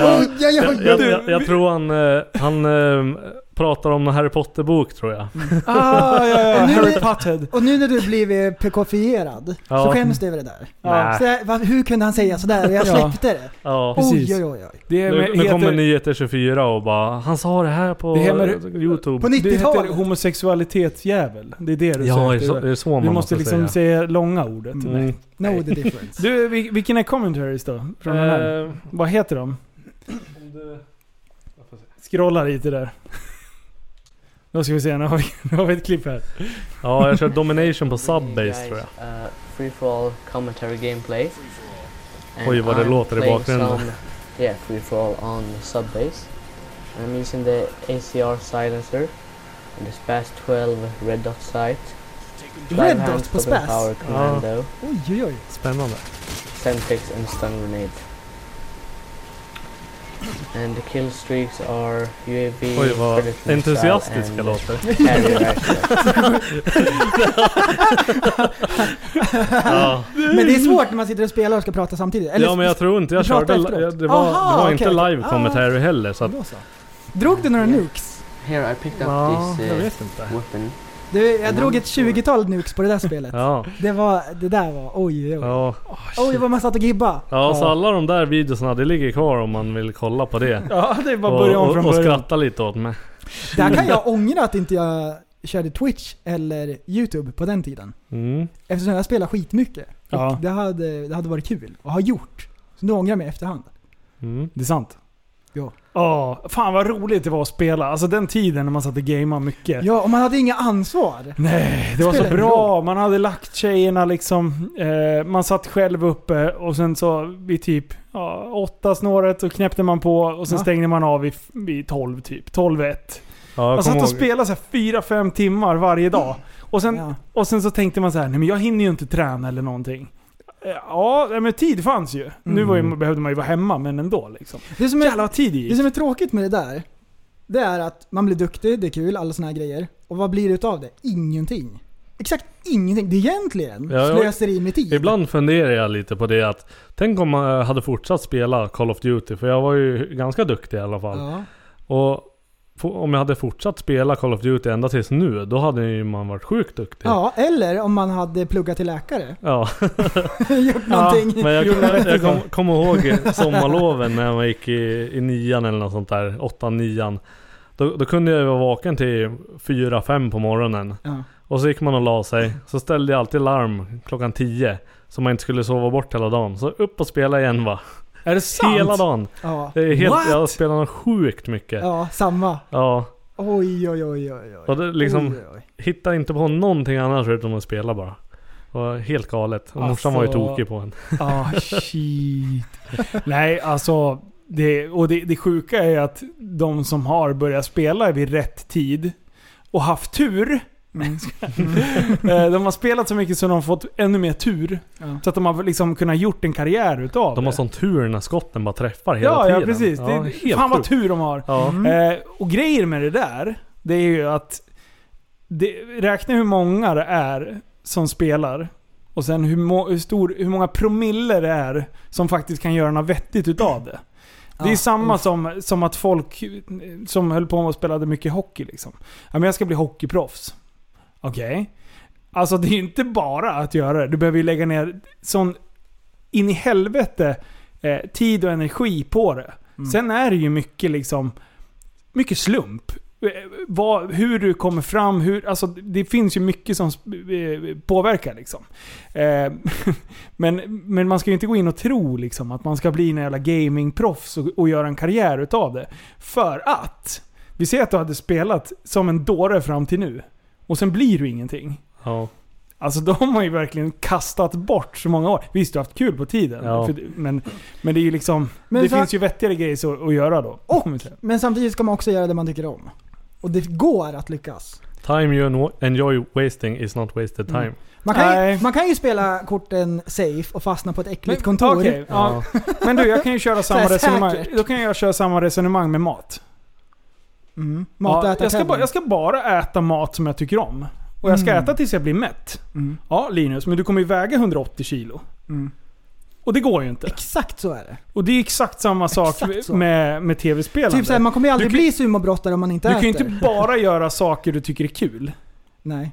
D: oj,
E: Jag, jag, jag tror han, eh, han eh, pratar om en Harry Potter-bok tror jag.
C: Ah, ja, ja.
D: Och nu-
C: Harry Potter.
D: Och nu när du blivit PK-fierad så
E: Ja.
D: skäms du över det där.
E: Nej.
D: Så jag, va, hur kunde han säga sådär? Och jag
C: Ja.
D: släppte det.
E: Ja.
C: Precis.
D: Oj, oj, oj, oj.
C: Det, är
E: Nu,
C: med,
E: nu kommer
C: heter,
E: Nyheter 24 och bara Han sa det här på
C: Det heter-
E: Youtube.
D: På
C: det heter
D: 90-talet.
C: homosexualitet jävel. Det är det du
E: ja, är det så,
C: sökte.
E: är det så man
C: Du måste
E: måste
C: liksom
E: säga?
C: säga långa ordet.
E: Mm.
D: Know the difference.
C: Du, vil- vilken är commentaries då? Från den här?
E: Eh,
C: Vad heter de?
E: om du-
C: Scrolla lite där. Då ska vi se, nu har vi, nu har vi ett klipp här.
E: Ja, jag kör Domination på Subbase tror jag.
H: Uh, free for all commentary gameplay. And
E: Oj, vad det
H: I'm
E: låter i
H: playing
E: bakgrunden.
H: some- Yeah, free for all on Subbase. And I'm using the ACR silencer and the SPAS 12 red dot sight.
D: Red Dot på
H: Spaz? Power
D: Spas?
H: commando,
D: Oj, oj, oj.
E: Spännande.
H: Semtex and stun grenade. And the kill streaks are UAV,
E: Oj, vad
H: predicted missile
E: entusiastisk jag
H: and
E: låter.
H: carrier action.
E: Ja.
D: Men det är svårt när man sitter och spelar och ska prata samtidigt. Eller,
E: ja, men jag tror inte jag
D: Vi pratar
E: körde...
D: efteråt.
E: ja, Det var,
D: Aha,
E: det var
D: okej,
E: inte
D: okej. Ah.
E: live commentary heller så att...
D: Då så. Drog du några nukes?
H: Here I picked up
E: Ja,
H: this
E: jag
H: uh,
E: vet inte.
H: weapon.
D: Du, jag drog ett 20-tal nukes på det där spelet.
E: Ja, Ah,
D: Det, var, det där var oj, oj, oj.
E: ja.
D: Oj, vad man satt och gibba.
E: ja,
D: Ah.
E: så alla de där videorna det ligger kvar om man vill kolla på det.
C: Ja, det är bara
E: Och,
C: att börja om från
E: och, och
C: början.
E: skratta lite åt mig.
D: Där
E: Typ.
D: kan jag ångra att inte jag körde Twitch eller YouTube på den tiden.
E: Mm.
D: Eftersom jag spelar skitmycket. Och
C: Ja.
D: det, hade, det hade varit kul att ha gjort. Så nu ångrar jag mig i efterhand.
E: Mm.
C: Det är sant.
D: Ja.
C: Ja, fan vad roligt det var att spela. Alltså den tiden när man satt och gamade mycket.
D: Ja, och man hade inga ansvar.
C: Nej, det var så
D: Spelar ingen
C: bra. Man hade lagt tjejerna liksom. Eh, man satt själv uppe och sen så vid typ ja, åtta snåret så knäppte man på och sen
D: Ja.
C: stängde man av vid, vid tolv typ. Tolv ett.
E: Ja,
C: Man
D: Alltså
E: jag kommer
C: satt och
E: ihåg.
C: spelade så här fyra, fem timmar varje dag. Och sen,
D: Ja.
C: och sen så tänkte man så här, nej men jag hinner ju inte träna eller någonting. Eh, Ja, nej, men tid fanns ju. Nu var ju, behövde man ju vara hemma, men ändå liksom.
D: Det som,
C: Jävlar
D: är,
C: vad tid det
D: det
C: gick.
D: som är tråkigt med det där, det är att man blir duktig, det är kul, alla såna här grejer. Och vad blir det utav det? Ingenting. Exakt ingenting. Det är egentligen
E: Ja, jag-
D: slöseri med tid.
E: Ibland funderar jag lite på det att Tänk om man hade fortsatt spela Call of Duty, för jag var ju ganska duktig i alla fall.
D: Ja.
E: Och f- om jag hade fortsatt spela Call of Duty ända tills nu, då hade ju man varit sjukt duktig.
D: ja, eller om man hade pluggat till läkare.
E: Ja,
D: Gjort någonting.
E: men jag,
C: Gjorde rätt
E: jag
C: idag.
E: kom, kom ihåg sommarloven när man gick i, i nian eller något sånt där, åttan, nian. Då, då kunde jag ju vara vaken till fyra, fem på morgonen.
D: Ja.
E: Och så gick man och la sig. Så ställde jag alltid larm klockan tio. Så man inte skulle sova bort hela dagen. Så upp och spela igen va.
C: Är det sant?
E: Hela dagen.
D: Ja.
E: Det är helt,
C: What?
E: jag spelar något sjukt mycket. Ja.
D: ja, samma. Oj, oj, oj, oj. oj.
E: Och det, liksom,
C: Oh.
D: Oj, oj, oj.
E: hittade inte på någonting annars förutom att spela bara. Det var helt galet. Och
C: Alltså-
E: morsan var ju tokig på en.
C: Ah, shit. Nej, alltså. Det, och det, det sjuka är att de som har börjat spela vid rätt tid och haft tur. Eh, de har spelat så mycket så de har fått ännu mer tur.
D: Ja.
C: Så att de har liksom kunnat gjort en karriär utav
E: De har
C: det.
E: sån tur när skotten bara träffar hela
C: ja,
E: tiden.
C: ja, precis.
E: Ja,
C: det,
E: helt
C: fan vad
E: sjukt.
C: tur de har.
E: Ja.
C: Eh, och grejer med det där, det är ju att det, räkna hur många det är som spelar och sen hur, må, hur, stor, hur många promille det är som faktiskt kan göra något vettigt utav det. Det är
D: Ja,
C: samma som, som att folk eh, som höll på och spelade mycket hockey liksom. Ja, men jag ska bli hockeyproffs. Okej. Alltså det är ju inte bara att göra det. Du behöver ju lägga ner sån in i helvete eh, tid och energi på det. Sen är det ju mycket liksom mycket slump. Eh, Vad, hur du kommer fram, hur, alltså det finns ju mycket som eh, påverkar liksom. Eh, men, men man ska ju inte gå in och tro liksom, att man ska bli en jävla gamingproffs och, och göra en karriär utav det. För att, vi ser att du hade spelat som en dåre fram till nu. Och sen blir du ingenting.
E: Ja.
C: Alltså de har ju verkligen kastat bort så många år. Visst, du har haft kul på tiden.
E: Ja.
C: För, men, men det är ju liksom...
D: Men
C: det
D: så-
C: finns ju vettigare grejer så, att göra då. Och,
D: Men samtidigt ska man också göra det man tycker om. Och det går att lyckas.
E: Time you enwo- enjoy wasting is not wasted
C: Mm.
E: time.
D: Man kan, ju,
C: Nej.
D: man kan ju spela korten safe och fastna på ett äckligt kontor.
C: Okej, ja.
E: Ja.
C: Men du, jag kan ju köra samma
D: Så här
C: resonemang.
D: säkert.
C: Då kan jag köra samma resonemang med mat.
D: Mm. Mata,
C: ja,
D: äta,
C: jag, ska
D: tävla.
C: bara, jag ska bara äta mat som jag tycker om. Och jag ska
D: Mm.
C: äta tills jag blir mätt.
D: Mm.
C: Ja, Linus, men du kommer ju väga 180 kilo.
D: Mm.
C: Och det går ju inte.
D: Exakt så är det.
C: Och det är exakt samma sak
D: Exakt så.
C: med, med tv-spelande.
D: Typ såhär, man kommer ju aldrig
C: Du kan-
D: bli sumobrottare om man inte
C: du kan
D: äter.
C: ju inte bara göra saker du tycker är kul.
D: Nej,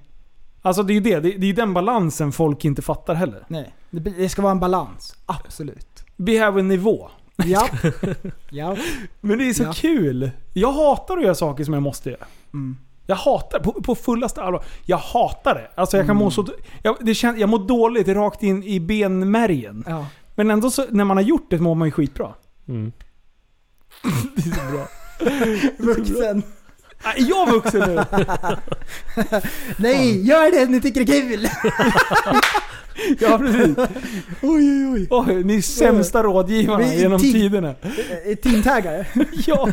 C: Alltså det är ju det. Det det är ju den balansen folk inte fattar heller.
D: nej. Det, blir- det ska vara en balans. Absolut.
C: Behöver nivå.
D: Ja. ja.
C: Men det är så
D: Ja.
C: kul. Jag hatar att göra saker som jag måste göra.
D: Mm.
C: Jag hatar på, på fullaste allvar. Jag hatar det. Alltså jag kan
D: Mm.
C: må så... Jag, det kän, jag mår dåligt rakt in i benmärgen.
D: ja.
C: Men ändå så, när man har gjort det mår man ju skitbra.
E: Mm.
D: Vuxen.
C: Äh, Är jag vuxen nu?
D: Nej, gör det ni tycker det är kul!
C: Ja precis.
D: Oj, oj, oj.
C: Oj, ni är sämsta rådgivarna
D: Vi är
C: genom
D: ti-
C: tiderna.
D: Eh, Teamtaggare.
C: Ja.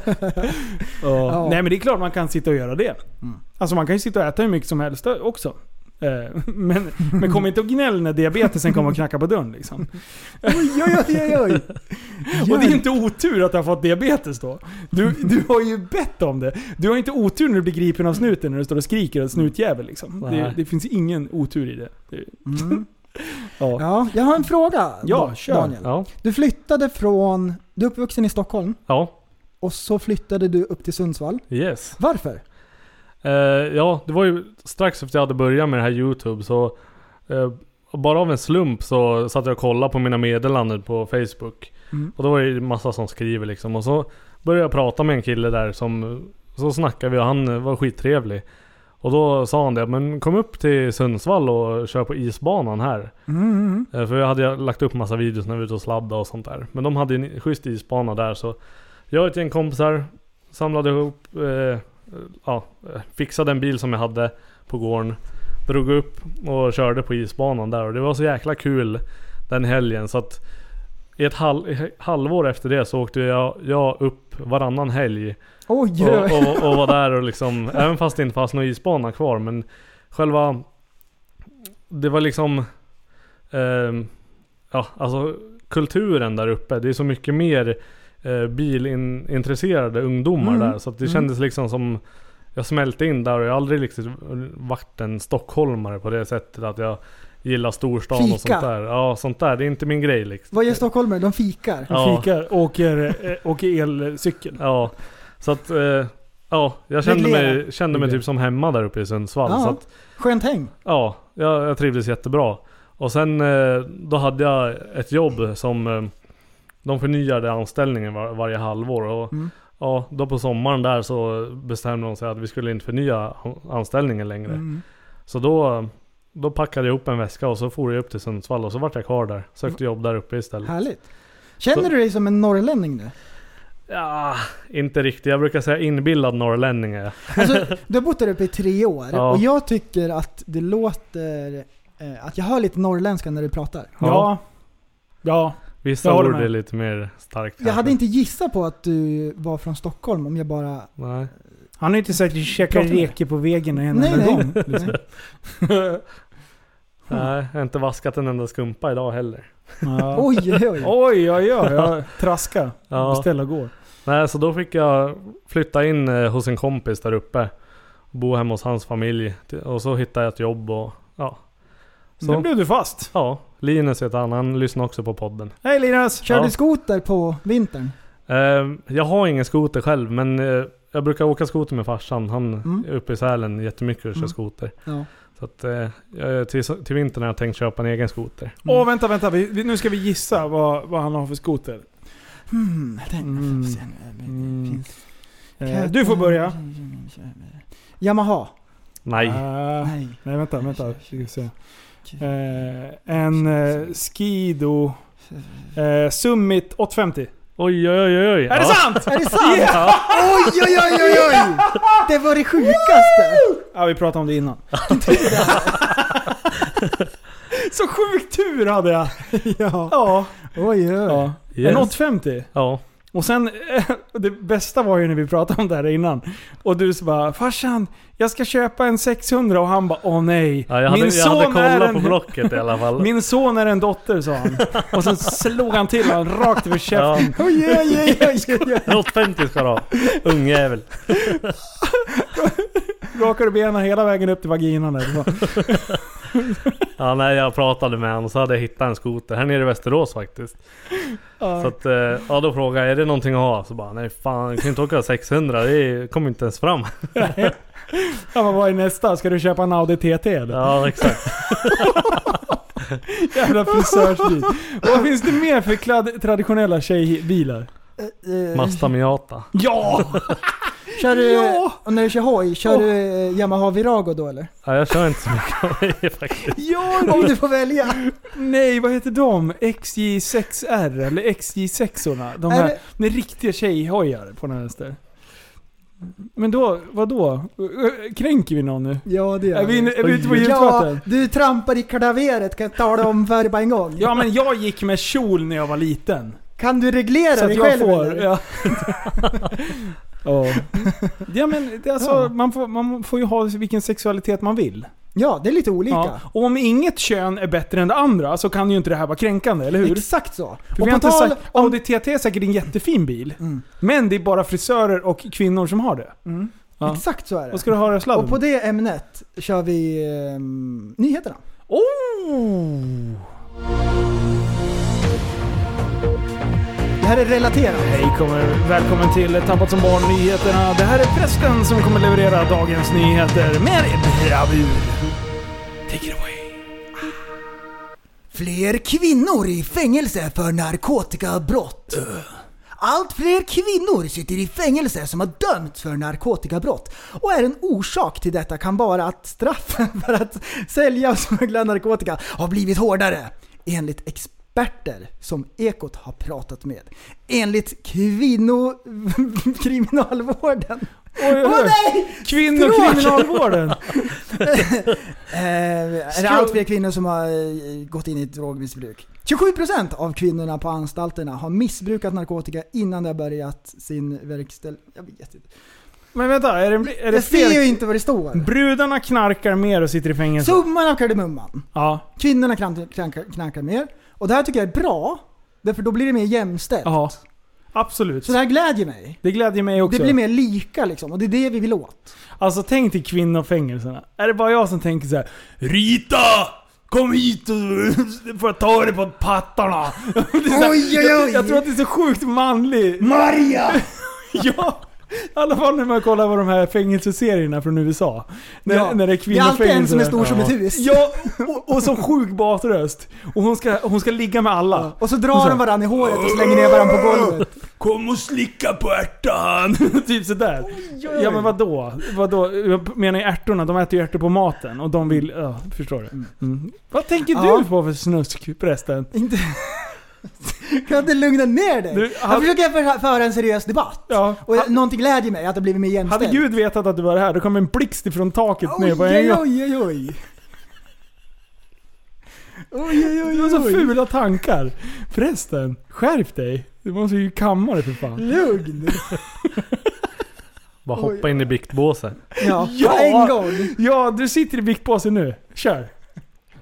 C: Ja. Nej men det är klart man kan sitta och göra det.
D: Mm.
C: Alltså man kan ju sitta och äta hur mycket som helst också. Eh, Men, men kom inte och gnäll när diabetesen kommer och knackar på dörren liksom.
D: Oj, oj, oj, oj, oj.
C: Och det är inte otur att du har fått diabetes då. Du, du har ju bett om det. Du har inte otur när du blir gripen av snuten när du står och skriker åt snutjävel liksom. Det,
E: Nej.
C: det finns ingen otur i det. det
D: Mm.
C: ja.
D: Ja, jag har en fråga.
C: Ja,
D: Da-
C: kör.
D: Daniel.
E: Ja.
D: Du flyttade från... Du är uppvuxen i Stockholm
E: Ja.
D: och så flyttade du upp till Sundsvall.
E: Yes.
D: Varför?
E: Eh, ja, det var ju strax efter jag hade börjat med det här YouTube så eh, bara av en slump så satt jag och kollade på mina meddelanden på Facebook.
D: Mm.
E: Och då var det ju massa som skriver liksom. Och så började jag prata med en kille där som, så snackade vi och han eh, var skittrevlig. Och då sa han det, men kom upp till Sundsvall och kör på isbanan här.
D: Mm.
E: Eh, För jag hade ju lagt upp massa videos när vi var ute och sladdade och sånt där. Men de hade ju en schysst isbana där så jag och ett gäng kompisar samlade ihop, eh, ja, eh, fixade en bil som jag hade på gården. Drog upp och körde på isbanan där och det var så jäkla kul den helgen så att i ett hal- i halvår efter det så åkte jag, jag upp varannan helg
D: Oj,
E: och,
D: oj.
E: och, och var där och liksom, även fast det inte fanns någon isbana kvar men själva Det var liksom ehm, Ja alltså kulturen där uppe, det är så mycket mer eh, bilintresserade ungdomar
D: Mm.
E: där så att det
D: Mm.
E: kändes liksom som Jag smälte in där och jag har aldrig liksom varit en stockholmare på det sättet att jag Gillar storstan
D: Fika.
E: och sånt där. Ja sånt där, det är inte min grej liksom.
D: Vad gör stockholmare? De fikar.
E: Ja.
C: Fikar, åker, eh, åker elcykel.
E: Ja, så att... Eh, ja, jag kände mig,
D: Reglera.
E: kände mig typ som hemma där uppe i Sundsvall.
D: Ja.
E: Så att,
D: Skönt häng.
E: ja, jag, jag trivdes jättebra. Och sen eh, då hade jag ett jobb som... Eh, de förnyade anställningen var, varje halvår. Och,
D: Mm.
E: Ja, då på sommaren där så bestämde de sig att vi skulle inte förnya anställningen längre.
D: Mm.
E: Så då, då packade jag ihop en väska och så for jag upp till Sundsvall och så vart jag kvar där. Sökte jobb där uppe istället.
D: Härligt. Känner du dig som en norrlänning nu?
E: Ja, inte riktigt. Jag brukar säga inbillad norrlänning är jag.
D: Alltså, du har bott där uppe i tre år
E: Ja.
D: och jag tycker att det låter... Eh, att jag hör lite norrländska när du pratar.
C: Ja. Ja.
E: Vissa
C: Jag håller
E: ord
C: med.
E: är lite mer starkt.
D: Jag
E: kanske.
D: hade inte gissat på att du var från Stockholm om jag bara...
E: Nej.
C: Han har ju inte sagt käka
D: Pratar med dig.
C: reke på vägen en
D: Nej,
C: enda
D: nej.
C: gång. Liksom.
E: Nej, jag har inte vaskat en enda skumpa idag heller.
C: Ja.
D: Oj, oj, oj.
C: Oj, oj, oj. Jag traska.
E: Ja.
C: Beställa och gå.
E: Nej, så då fick jag flytta in eh, hos en kompis där uppe. Bo hemma hos hans familj. Till- Och så hittade jag ett jobb och ja. Så.
C: Sen blev du fast.
E: Ja, Linus heter han. Han lyssnar också på podden.
C: Hej Linus!
D: Kör
E: Ja.
D: du skoter på vintern?
E: Eh, jag har ingen skoter själv men eh, jag brukar åka skoter med farsan. Han
D: Mm.
E: är uppe i Sälen jättemycket och kör
D: Mm.
E: skoter.
D: Ja.
E: Så att, eh, jag- till, till vintern har jag tänkt köpa en egen skoter.
C: Åh vänta, vänta. Vi, vi, nu ska vi gissa vad, vad han har för skoter.
D: Hmm, den,
C: Mm.
D: sen, eh, finns-
C: Eh, du får börja.
D: Yamaha.
E: Nej.
C: Ah,
D: Nej.
C: nej vänta, vänta. Vi ska se. Eh, en eh, Skido eh, Summit 850.
E: Oj oj oj oj.
C: Är det
E: Ja.
C: sant?
D: Är det sant?
E: Ja.
D: Oj, oj, oj, oj, oj! Det var det sjukaste!
C: Ja, vi pratade om det innan. Så sjuk tur hade jag!
D: Ja.
C: Ja.
D: Oj, oj, oj.
C: ja. En
E: Yes.
C: 850.
E: Ja.
C: Och sen, eh, det bästa var ju när vi pratade om det här innan. Och du så bara 'Farsan, jag ska köpa en 600' och han bara 'Åh nej,
E: Ja, jag, hade, jag hade
C: är
E: kollat
C: en,
E: på Blocket i alla fall.
C: min son är en dotter' sa han. Och sen slog han till honom rakt över
E: ja,
C: käften.
D: Oj, oj, oj, oj, oj, oj.
E: en 850 ska du ha. Ungjävel.
C: Rakade benen hela vägen upp till vaginan där. Det var-
E: Ja, nej, jag pratade med honom och så hade jag hittat en skoter här nere i Västerås faktiskt. Så
C: Ja.
E: att, eh, ja, då frågade jag, är det någonting att ha? Så bara, nej fan, jag kan ju inte åka 600, det kommer inte ens fram.
C: Ja, men vad är nästa? Ska du köpa en Audi TT eller?
E: Ja, exakt.
C: Jävla frisörsbil. Vad finns det mer för kladd, traditionella tjejbilar?
D: Eh,
E: Mazda Miata.
C: Ja!
D: Kör du,
C: Ja!
D: och när du kör hoj, kör
C: Oh.
D: du eh, Yamaha Virago då eller?
E: Ja, jag kör inte så mycket av det faktiskt.
C: Ja,
D: Om du får välja.
C: Nej, vad heter de? XJ6R eller XJ6orna? De
D: Är
C: här
D: det-
C: med riktiga tjejhojar på den här vänster. Men då, vadå? Ö, Kränker vi någon nu?
D: Ja det gör
C: Är vi, inne- är vi ute på djupt
D: Ja,
C: vatten?
D: du trampar i klaveret, kan jag tala om för bara en gång.
C: Ja men jag gick med kjol när jag var liten.
D: Kan du reglera
C: Så att
D: dig
C: jag
D: själv
C: får...
D: eller? Mm.
C: Ja. Ja. ja men det- alltså,
D: Ja.
C: Man, får, man får ju ha vilken sexualitet man vill.
D: Ja, det är lite olika.
C: Ja. Och om inget kön är bättre än det andra så kan ju inte det här vara kränkande, eller hur?
D: Exakt så.
C: För
D: Och
C: vi har
D: på
C: inte
D: tal
C: sagt, Audi TT är säkert en jättefin bil.
D: Mm.
C: Men det är bara frisörer och kvinnor som har det. Ja.
D: Exakt så är
C: Vad
D: det.
C: ska du höra sladden?
D: Och på det ämnet kör vi ehm, nyheterna.
C: Oh!
D: Det här är relaterat.
C: Hej, kommer, välkommen till Tappat som barn nyheterna. Det här är prästen som kommer leverera dagens nyheter med bravur. Take it away.
D: Fler kvinnor i fängelse för narkotikabrott. Allt fler kvinnor sitter i fängelse som har dömts för narkotikabrott. Och är en orsak till detta kan vara att straffen för att sälja och smuggla narkotika har blivit hårdare. Enligt experter som Ekot har pratat med. Enligt kvinnokriminalvården.
C: Oj, oj,
D: Åh
C: oj.
D: nej!
C: Kvinnokriminalvården.
D: Eh, är det allt fler kvinnor som har eh, gått in i ett drogmissbruk? 27% av kvinnorna på anstalterna har missbrukat narkotika innan de har börjat sin verkställ... Jag vet inte.
C: Men vänta, är det, är det
D: Jag ser ju
C: fel?
D: inte vad det står.
C: Brudarna knarkar mer och sitter i fängelse.
D: Summan av kardemumman.
C: Ja.
D: Kvinnorna krank- krank- knarkar mer. Och det här tycker jag är bra. Därför då blir det mer jämställt.
C: Ja. Absolut.
D: Så det här glädjer mig.
C: Det glädjer mig också.
D: Det blir mer lika liksom. Och det är det vi vill åt.
C: Alltså tänk till kvinnofängelserna. Är det bara jag som tänker så här: Rita! Kom hit och får jag ta dig på pattarna. Det är så här,
D: Oj, oj, oj.
C: Jag, jag tror att det är så sjukt manlig.
D: Maria!
C: ja! I alla fall när man kollar på de här fängelseserierna från USA. När,
D: Ja.
C: när det är
D: Det är
C: kvinnofängelser.
D: alltid en som är stor som ett hus.
C: Ja, och, och så sjuk basröst. Och hon ska, hon ska ligga med alla.
D: Och så drar de varandra i håret och slänger ner varandra på golvet.
C: Kom och slicka på ärtan! typ sådär. Ja men vadå? vadå? Jag menar ju ärtorna, de äter ju ärtor på maten och de vill... Ja, förstår du? Mm. Vad tänker
D: Ja.
C: du på för snusk förresten?
D: Inte... Kan du lugna ner dig?
C: Du,
D: Jag
C: han,
D: försöker för- föra en seriös debatt.
C: ja,
D: Och
C: han,
D: någonting glädjer mig, att det blivit mer jämställt.
C: hade Gud vetat att du var här, då kom en blixt ifrån taket ner
D: Oj,
C: på en
D: oj,
C: gång.
D: oj, oj, oj. Oj, oj,
C: Du
D: oj,
C: har så
D: oj.
C: fula tankar. Förresten, skärp dig. Du måste ju kamma dig för fan.
D: Lugn.
E: Bara
D: Oj.
E: hoppa in i biktbåset.
D: Ja,
C: Ja.
D: på en gång.
C: Ja, du sitter i biktpåsen nu. Kör.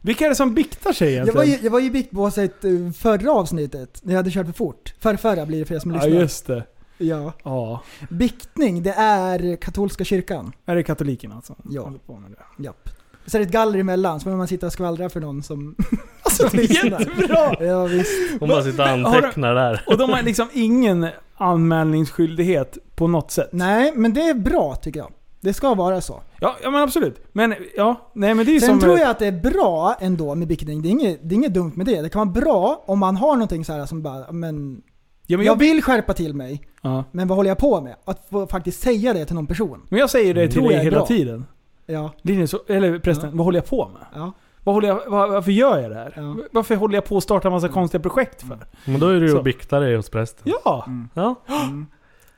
C: Vilka är det som biktar sig
D: Jag
C: egentligen?
D: var ju, jag var ju i biktbåset eh, förra avsnittet, när jag hade kört för fort. Förra, förra blir det för er som
C: ja,
D: lyssnar.
C: just det.
D: Ja.
C: Ja.
D: Biktning, det är katolska kyrkan.
C: Är det katolikerna alltså?
D: Ja.
C: Håller på med det.
D: Japp. Så är det ett galler emellan, så behöver man sitta och skvallra för någon som... Alltså
C: Det är jättebra!
D: Ja, visst.
E: Hon bara sitter och
C: Men har du-
E: antecknar där.
C: Och de har liksom ingen anmälningsskyldighet på något sätt.
D: Nej, men det är bra tycker jag. Det ska vara så.
C: Ja, ja men absolut. Men ja, nej men det är
D: Sen
C: som...
D: tror jag att det är bra ändå med biktning. Det är, inget, det är inget dumt med det. Det kan vara bra om man har någonting så här som
C: ja,
D: bara, men,
C: men,
D: jag
C: jag,
D: vill skärpa till mig,
C: ja.
D: men vad håller jag på med? Att få faktiskt säga det till någon person.
C: men jag säger det till
D: Mm. Tror
C: dig
D: jag är
C: hela
D: bra.
C: tiden.
D: Ja,
C: Linus, eller prästen, vad håller jag på med?
D: ja.
C: Vad håller jag, var, varför gör jag det här?
D: Ja. Mm.
C: Varför håller jag på att starta en massa konstiga projekt för?
E: Men då är du ju
C: Så.
E: och biktar dig hos prästen.
C: Ja!
D: Mm.
C: Ah!
E: Ja.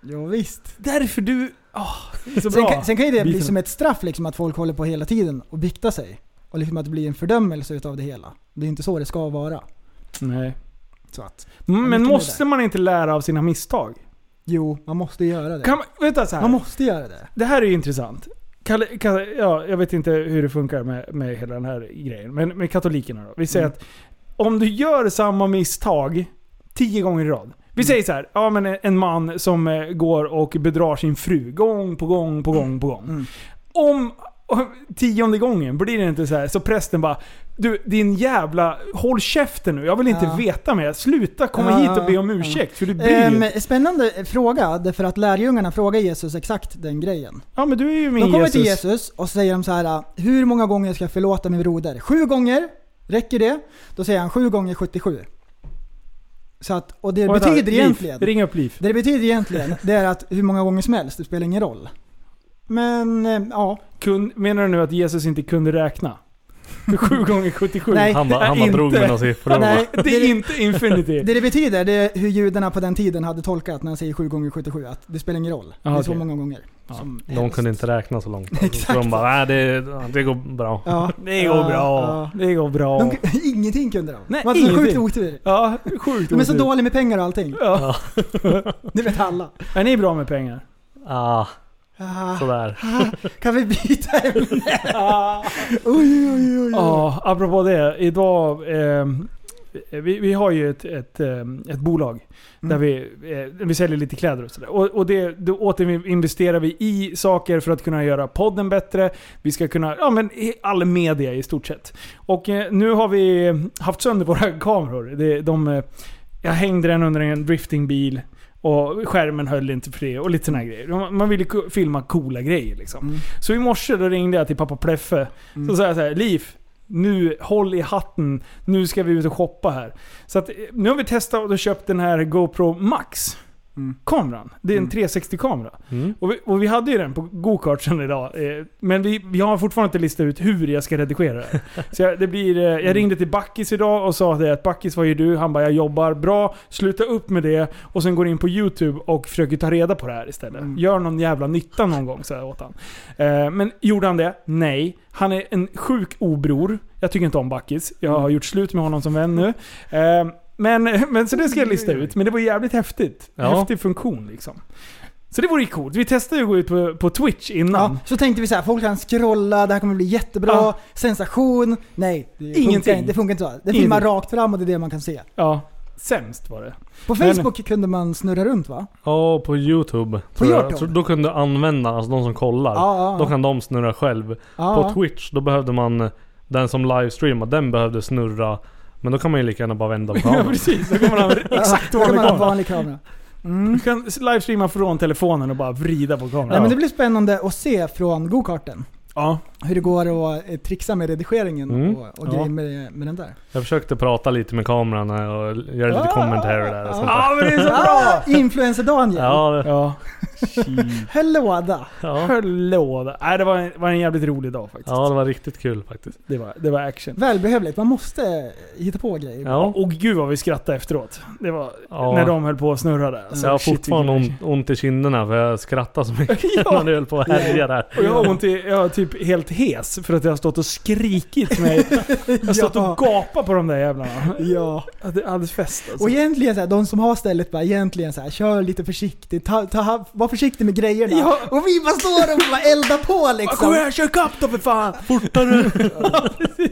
D: Jo, visst.
C: Därför du... ah, det är så
D: Sen
C: bra.
D: kan, sen kan ju det bli
C: Biten.
D: som ett straff liksom att folk håller på hela tiden och biktar sig. Och liksom att det blir en fördömelse utav det hela. Det är inte så det ska vara.
C: Nej.
D: Så att,
C: Mm, men
D: mycket
C: måste
D: med
C: man inte lära av sina misstag?
D: jo, man måste göra det.
C: Kan man, vänta så här.
D: man måste göra det.
C: Det här är ju intressant. Kalle, Kalle, ja, jag vet inte hur det funkar med, med hela den här grejen. Men med katolikerna då. Vi
D: Mm.
C: säger att om du gör samma misstag tio gånger i rad. Vi
D: Mm.
C: säger så här, ja, men en man som eh, går och bedrar sin fru gång på gång på gång på gång.
D: Mm.
C: om om tionde gången blir det inte så här. Så prästen bara Du din jävla, håll käften nu. Jag vill inte
D: Ja.
C: veta mer. Sluta komma
D: Ja,
C: hit och be om
D: ja.
C: ursäkt. För du bryr dig.
D: Ehm, spännande fråga, därför att lärjungarna frågar Jesus exakt den grejen.
C: Ja men du är ju min
D: De kommer
C: Jesus.
D: till Jesus och säger de så här, hur många gånger ska jag förlåta min broder? Sju gånger? Räcker det? Då säger han sju gånger 77. Så att, och det
C: Och vänta,
D: betyder
C: Liv.
D: egentligen...
C: Ring upp Liv.
D: Det det betyder egentligen, det är att hur många gånger som helst, det spelar ingen roll. Men, eh, ja.
C: Kun, menar du nu att Jesus inte kunde räkna? 7 gånger 77?
D: Nej.
E: Han, bara- han bara
C: Inte.
E: drog med några siffror. och bara-
D: Nej,
C: Det är inte infinity.
D: Det det betyder, det är hur judarna på den tiden hade tolkat när han säger 7 gånger 77 att det spelar ingen roll.
C: Ah,
D: det är så
C: okej.
D: många gånger.
C: Ja,
D: som
E: De
D: helst.
E: kunde inte räkna så långt. Så
D: Exakt.
E: de bara, nej det, det går bra.
D: Ja.
C: Det går
D: Ja,
C: bra.
D: ja.
C: Det går bra.
D: De, kun- ingenting kunde de.
C: Nej,
D: de hade så sjukt
C: ingenting.
D: otur.
C: Ja, sjukt
D: De är så
C: otur.
D: dåliga med pengar och allting.
C: Ja.
D: Det vet alla.
C: Är ni bra med pengar?
E: Ah,
D: Ah,
E: sådär.
D: kan vi byta ämne? Oj, oj, oj. oj.
C: Ja, apropå det. Idag... ehm, vi, vi har ju ett, ett, ehm, ett bolag där
D: Mm.
C: vi, eh, vi säljer lite kläder och sådär. Och, och det, då återinvesterar vi i saker för att kunna göra podden bättre. Vi ska kunna, ja men i all media i stort sett. Och eh, nu har vi haft sönder våra kameror. Det, de, eh, jag hängde den under en driftingbil och skärmen höll inte för det och lite såna här grejer. Man- Man ville ku- filma coola grejer liksom.
D: Mm.
C: Så i morse då ringde jag till pappa Pleffe. Så sa jag så här, Liv, nu håll i hatten. Nu ska vi ut och shoppa här. Så att, eh, nu har vi testat och köpt den här GoPro Max. Kameran. Det är en 360-kamera.
E: Mm.
C: Och, vi, och vi hade ju den på gokartsen idag. Eh, men vi, vi har fortfarande inte listat ut hur jag ska redigera det här. Så jag, det blir, eh, jag ringde till Backis idag och sa det att Backis, vad gör du? Han bara, jag jobbar. Bra, sluta upp med det. Och sen går in på YouTube och försöker ta reda på det här istället. Gör någon jävla nytta någon gång, så jag åt han. Eh, men gjorde han det? Nej. Han är en sjuk obror. Jag tycker inte om Backis. Jag har gjort slut med honom som vän nu. Eh, men, men så det ska jag lista ut. Men det var jävligt häftigt.
E: Ja.
C: Häftig funktion liksom. Så det vore ju coolt. Vi testade ju att gå ut på, på Twitch innan.
D: Ja, så tänkte vi så här, folk kan scrolla, det här kommer bli jättebra,
C: Ja.
D: sensation. Nej, det funkar
C: Ingenting.
D: inte. Det funkar inte så. Det filmar
C: Ingenting.
D: rakt fram och det är det man kan se.
C: Ja, sämst var det.
D: På
C: Men-
D: Facebook kunde man snurra runt va?
E: Ja, på YouTube. tror jag.
D: YouTube? Ah.
E: Så då kunde användarna, alltså de som kollar,
D: Ja, ja,
E: då
D: ja.
E: kan de snurra själv.
D: Ja.
E: På Twitch, då behövde man, den som livestreamade, den behövde snurra. Men då kan man ju lika gärna bara vända på
C: Ja,
E: kameran.
C: precis. Då kan man använda exakt
D: Då kan
C: vanlig
D: man ha en
C: kamera.
D: vanlig kamera.
C: Du kan livestreama från telefonen och bara vrida på kameran.
D: Nej, men det blir spännande att se från gokarten.
C: Ja.
D: Hur det går att eh, trixa med redigeringen
E: Mm.
D: och,
C: Ja.
D: och grejer med, med den där.
E: Jag försökte prata lite med kameran här och göra lite kommentarer där och sånt där.
C: Ja, men det är så bra!
D: Ah, Influencer-Daniel!
E: Ja,
C: Ja.
D: Hallåda!
E: ja.
C: Hallå där. Nej, det var en, var en jävligt rolig dag faktiskt.
E: ja, det var riktigt kul faktiskt.
C: Det, var, det var action.
D: Välbehövligt, man måste eh, hitta på grejer.
E: Ja.
C: Och gud vad vi skrattade efteråt. Det var
E: Ja.
C: när de höll på att snurra där. Alltså,
E: Så jag har fortfarande ont,
C: ont.
E: ont i kinderna för jag skrattar så mycket
C: Ja.
E: när du höll på att härja där.
C: Och jag har ont i, jag är typ helt hes för att jag har stått och skrikit mig. Jag har stått och gapat på de där jävlarna.
D: Ja.
C: Ja, Det är alldeles fest alltså.
D: Och egentligen så här, de som har stället bara egentligen så här, kör lite försiktigt, ta, ta, var försiktig med grejerna.
C: Ja.
D: Och vi bara står och bara eldar på
C: Kom
D: liksom.
C: här, kör ikapp dem för fan! Fortare! ja, precis.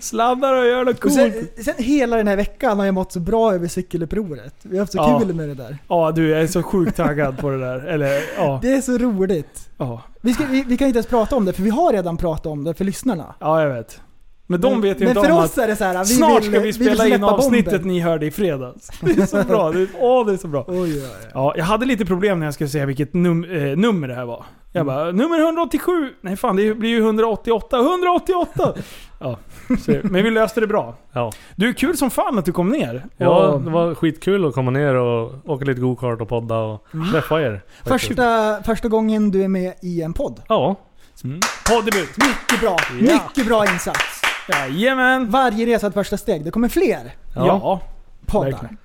C: Sladdar och gör något
D: Och
C: coolt.
D: sen, sen hela den här veckan har jag mått så bra över cykelupproret. Vi har haft så
C: Ja.
D: kul med det där.
C: Ja du, jag är så sjukt taggad på det där. Eller ja.
D: Det är så roligt.
C: Ja,
D: Vi, ska, vi, vi kan inte ens prata om det, för vi har redan pratat om det för lyssnarna.
C: ja jag vet. Men de vet ju
D: Men
C: inte
D: för
C: om
D: oss
C: att
D: är det så här, vi
C: snart
D: vill,
C: ska vi spela
D: vill
C: in
D: släppa
C: avsnittet
D: bomben.
C: ni hörde i fredags. Det är så bra. Det är, åh, det är så bra.
D: Oj, oj, oj.
C: Ja, jag hade lite problem när jag skulle säga vilket num eh, nummer det här var. Jag bara, nummer 187! Nej fan, det blir ju 188. 188! ja, så, men vi löste det bra.
E: Ja.
C: Du, kul som fan att du kom ner.
E: Ja,
C: Och-
E: det var skitkul att komma ner och åka lite gokart och podda och träffa er. faktiskt.
D: Första, första gången du är med i en podd.
E: Ja,
C: Mm. Poddebut!
D: Mycket bra. Mycket bra insats.
C: Jajamän!
D: Varje resa ett första steg. Det kommer fler
E: Ja.
C: Ja,
D: poddar.
C: verkligen.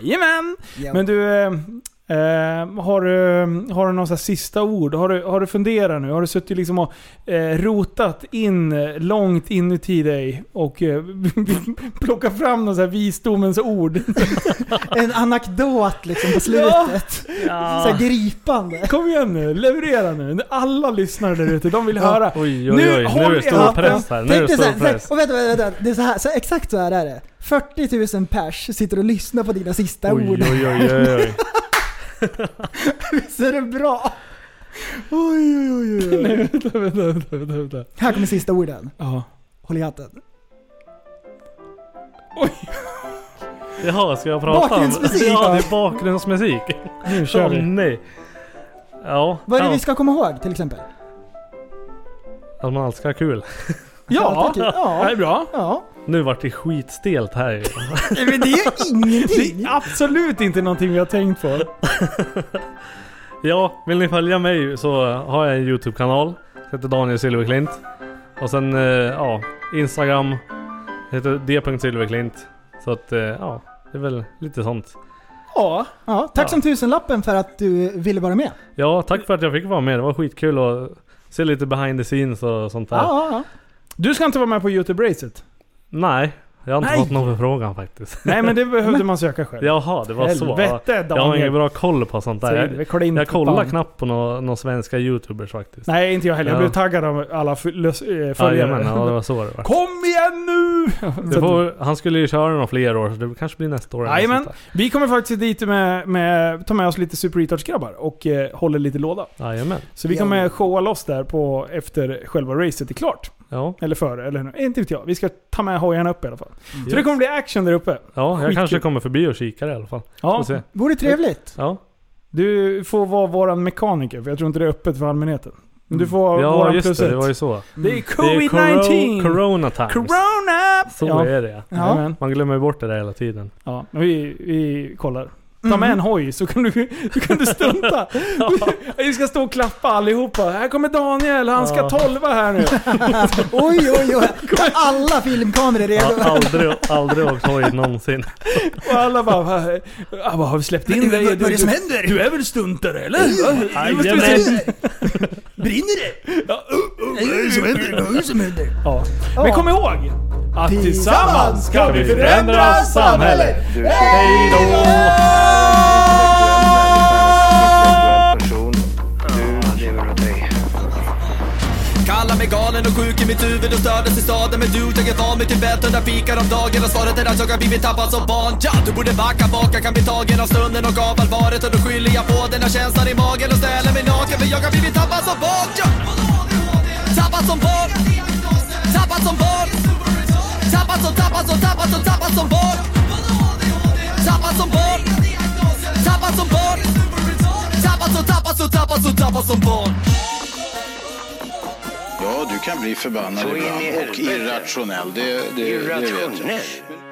C: Jajamän!
D: Ja.
C: Men du, eh, eh, har, du har du några så här sista ord? Har du, har du funderat nu? Har du suttit liksom och eh, rotat in eh, långt inuti dig och eh, plockat fram några så här visdomens ord?
D: En anekdot liksom på slutet. Så här gripande.
C: Kom igen nu, leverera nu. Alla lyssnare där ute, de vill höra.
E: Oj, oj, oj. Nu är
C: håll i
E: det stor
C: hatten.
E: press här. Nu är det
D: Tänk dig så här-
E: stor press.
D: så här- Och vänta, vänta, vänta. Det är så här, så här, exakt så här är det. 40 000 pers sitter och lyssnar på dina sista
E: Oj,
D: ord.
E: oj, oj, oj, oj.
D: Visst är det bra? Oj, oj, oj, oj.
C: Nej, vänta, vänta, vänta, vänta, vänta.
D: Här kommer sista orden.
C: Ja.
D: Håll i hatten.
E: Jaha, ska jag prata om-
D: Bakgrundsmusik,
E: Ja, det
D: va?
E: är bakgrundsmusik.
C: Nu
E: Åh
C: kör vi.
E: nej. Ja,
D: Vad är det
E: ja.
D: vi ska komma ihåg till exempel?
E: att man alltid ska ha kul.
C: Ja,
D: tack. Ja.
C: det är bra.
D: Ja.
E: Nu vart det skitstelt här ju.
D: Nej, Men det är ju ingenting!
C: Det är absolut inte någonting vi har tänkt på.
E: Ja, vill ni följa mig så har jag en Youtube-kanal. Heter Daniel Silverklint. Och sen, eh, ja, Instagram. Heter d.silverklint. Så att, eh, ja, det är väl lite sånt.
C: Ja.
D: Ja, tack
E: Ja.
D: som tusenlappen för att du ville vara med.
E: Ja, tack för att jag fick vara med. Det var skitkul att se lite behind the scenes och sånt där.
D: Ja, ja, ja.
C: Du ska inte vara med på Youtube-racet?
E: Nej, jag har inte
C: Nej.
E: fått någon förfrågan faktiskt.
C: Nej, men det behövde man söka själv.
E: Jaha, det var så. Ja,
C: Helvete
E: Jag har ingen
C: Daniel.
E: bra koll på sånt där. Jag,
C: Silverklint,
E: jag kollar
C: fan.
E: knappt på några nå svenska Youtubers faktiskt.
C: Nej, inte jag heller. Jag
E: Ja.
C: blev taggad av alla fy- lös- eh,
E: Jajamän,
C: följare.
E: ja, det var så det var.
C: Kom igen nu!
E: Det får, han skulle ju köra några fler år, så det kanske blir nästa år. eller
C: Jajamän.
E: sånt
C: Vi kommer faktiskt dit med, med ta med oss lite Super Retards-grabbar och eh, håller lite låda.
E: där. Jajamän.
C: Så vi kommer showa loss där på, efter själva racet är klart.
E: Ja,
C: Eller före, eller nu. inte vet jag. Vi ska ta med hojarna upp i alla fall. Så
E: Yes.
C: det kommer bli action där uppe.
E: ja jag
C: Skitkul.
E: kanske kommer förbi och kikar i alla fall. Får
C: Ja,
E: se.
D: Vore trevligt.
E: Ja,
C: du får vara våran mekaniker, för jag tror inte det är öppet för allmänheten. Men du får vara
E: ja
C: våran
E: just
C: plus
E: det.
C: ett.
E: Det var ju så.
C: Det är
E: Det är coro-
C: covid-19!
E: corona times.
C: Corona!
E: Så
C: Ja.
E: är det ja.
D: Ja.
C: Jajamän.
E: Man glömmer bort det där hela tiden.
C: Ja, men vi, vi kollar. Ta med en hoj så kan du, så kan du stunta. Vi ska stå och klappa allihopa. Här kommer Daniel, han ska
E: Ja.
C: tolva här nu.
D: Oj, oj, oj. Alla filmkameror
E: Jag
D: redo.
E: har aldrig, aldrig åkt hoj någonsin.
C: Och alla bara, "Va- ah, vad har vi släppt in dig? Du, du,
D: händer?
C: du är väl stuntare eller? Va? Du måste väl se-
E: Jajamän.
D: Brinner det?
C: Ja, uh, uh.
D: Vad är det som händer? Vad är det som händer?
C: Ja. Men kom ihåg att tillsammans kan vi förändra
E: förändra
C: samhället.
E: samhället!
A: Du är en intellektuell människa, en intellektuell person. Du lever av dig.
B: Kallar mig galen och sjuk i mitt huvud och stördes i staden Men du, jag är van vid Tibet under fikar om dagen Och svaret är att jag har blivit tappad som barn ja, Du borde backa bak, jag kan bli tagen av stunden och av allvaret Och då skyller jag på den här känslan i magen och ställer mig naken För jag har blivit tappad som barn ja. Tappad som barn Tappad som barn Tappad som, tappad som, tappad som, tappad som barn Tappad som barn Tappad som barn Tappad som, tappad som, tappad som, tappad som barn
I: Ja, du kan bli förbannad
A: in i
I: ibland och
A: helvete.
I: irrationell. Det, det, det vet jag.
A: Irrationell.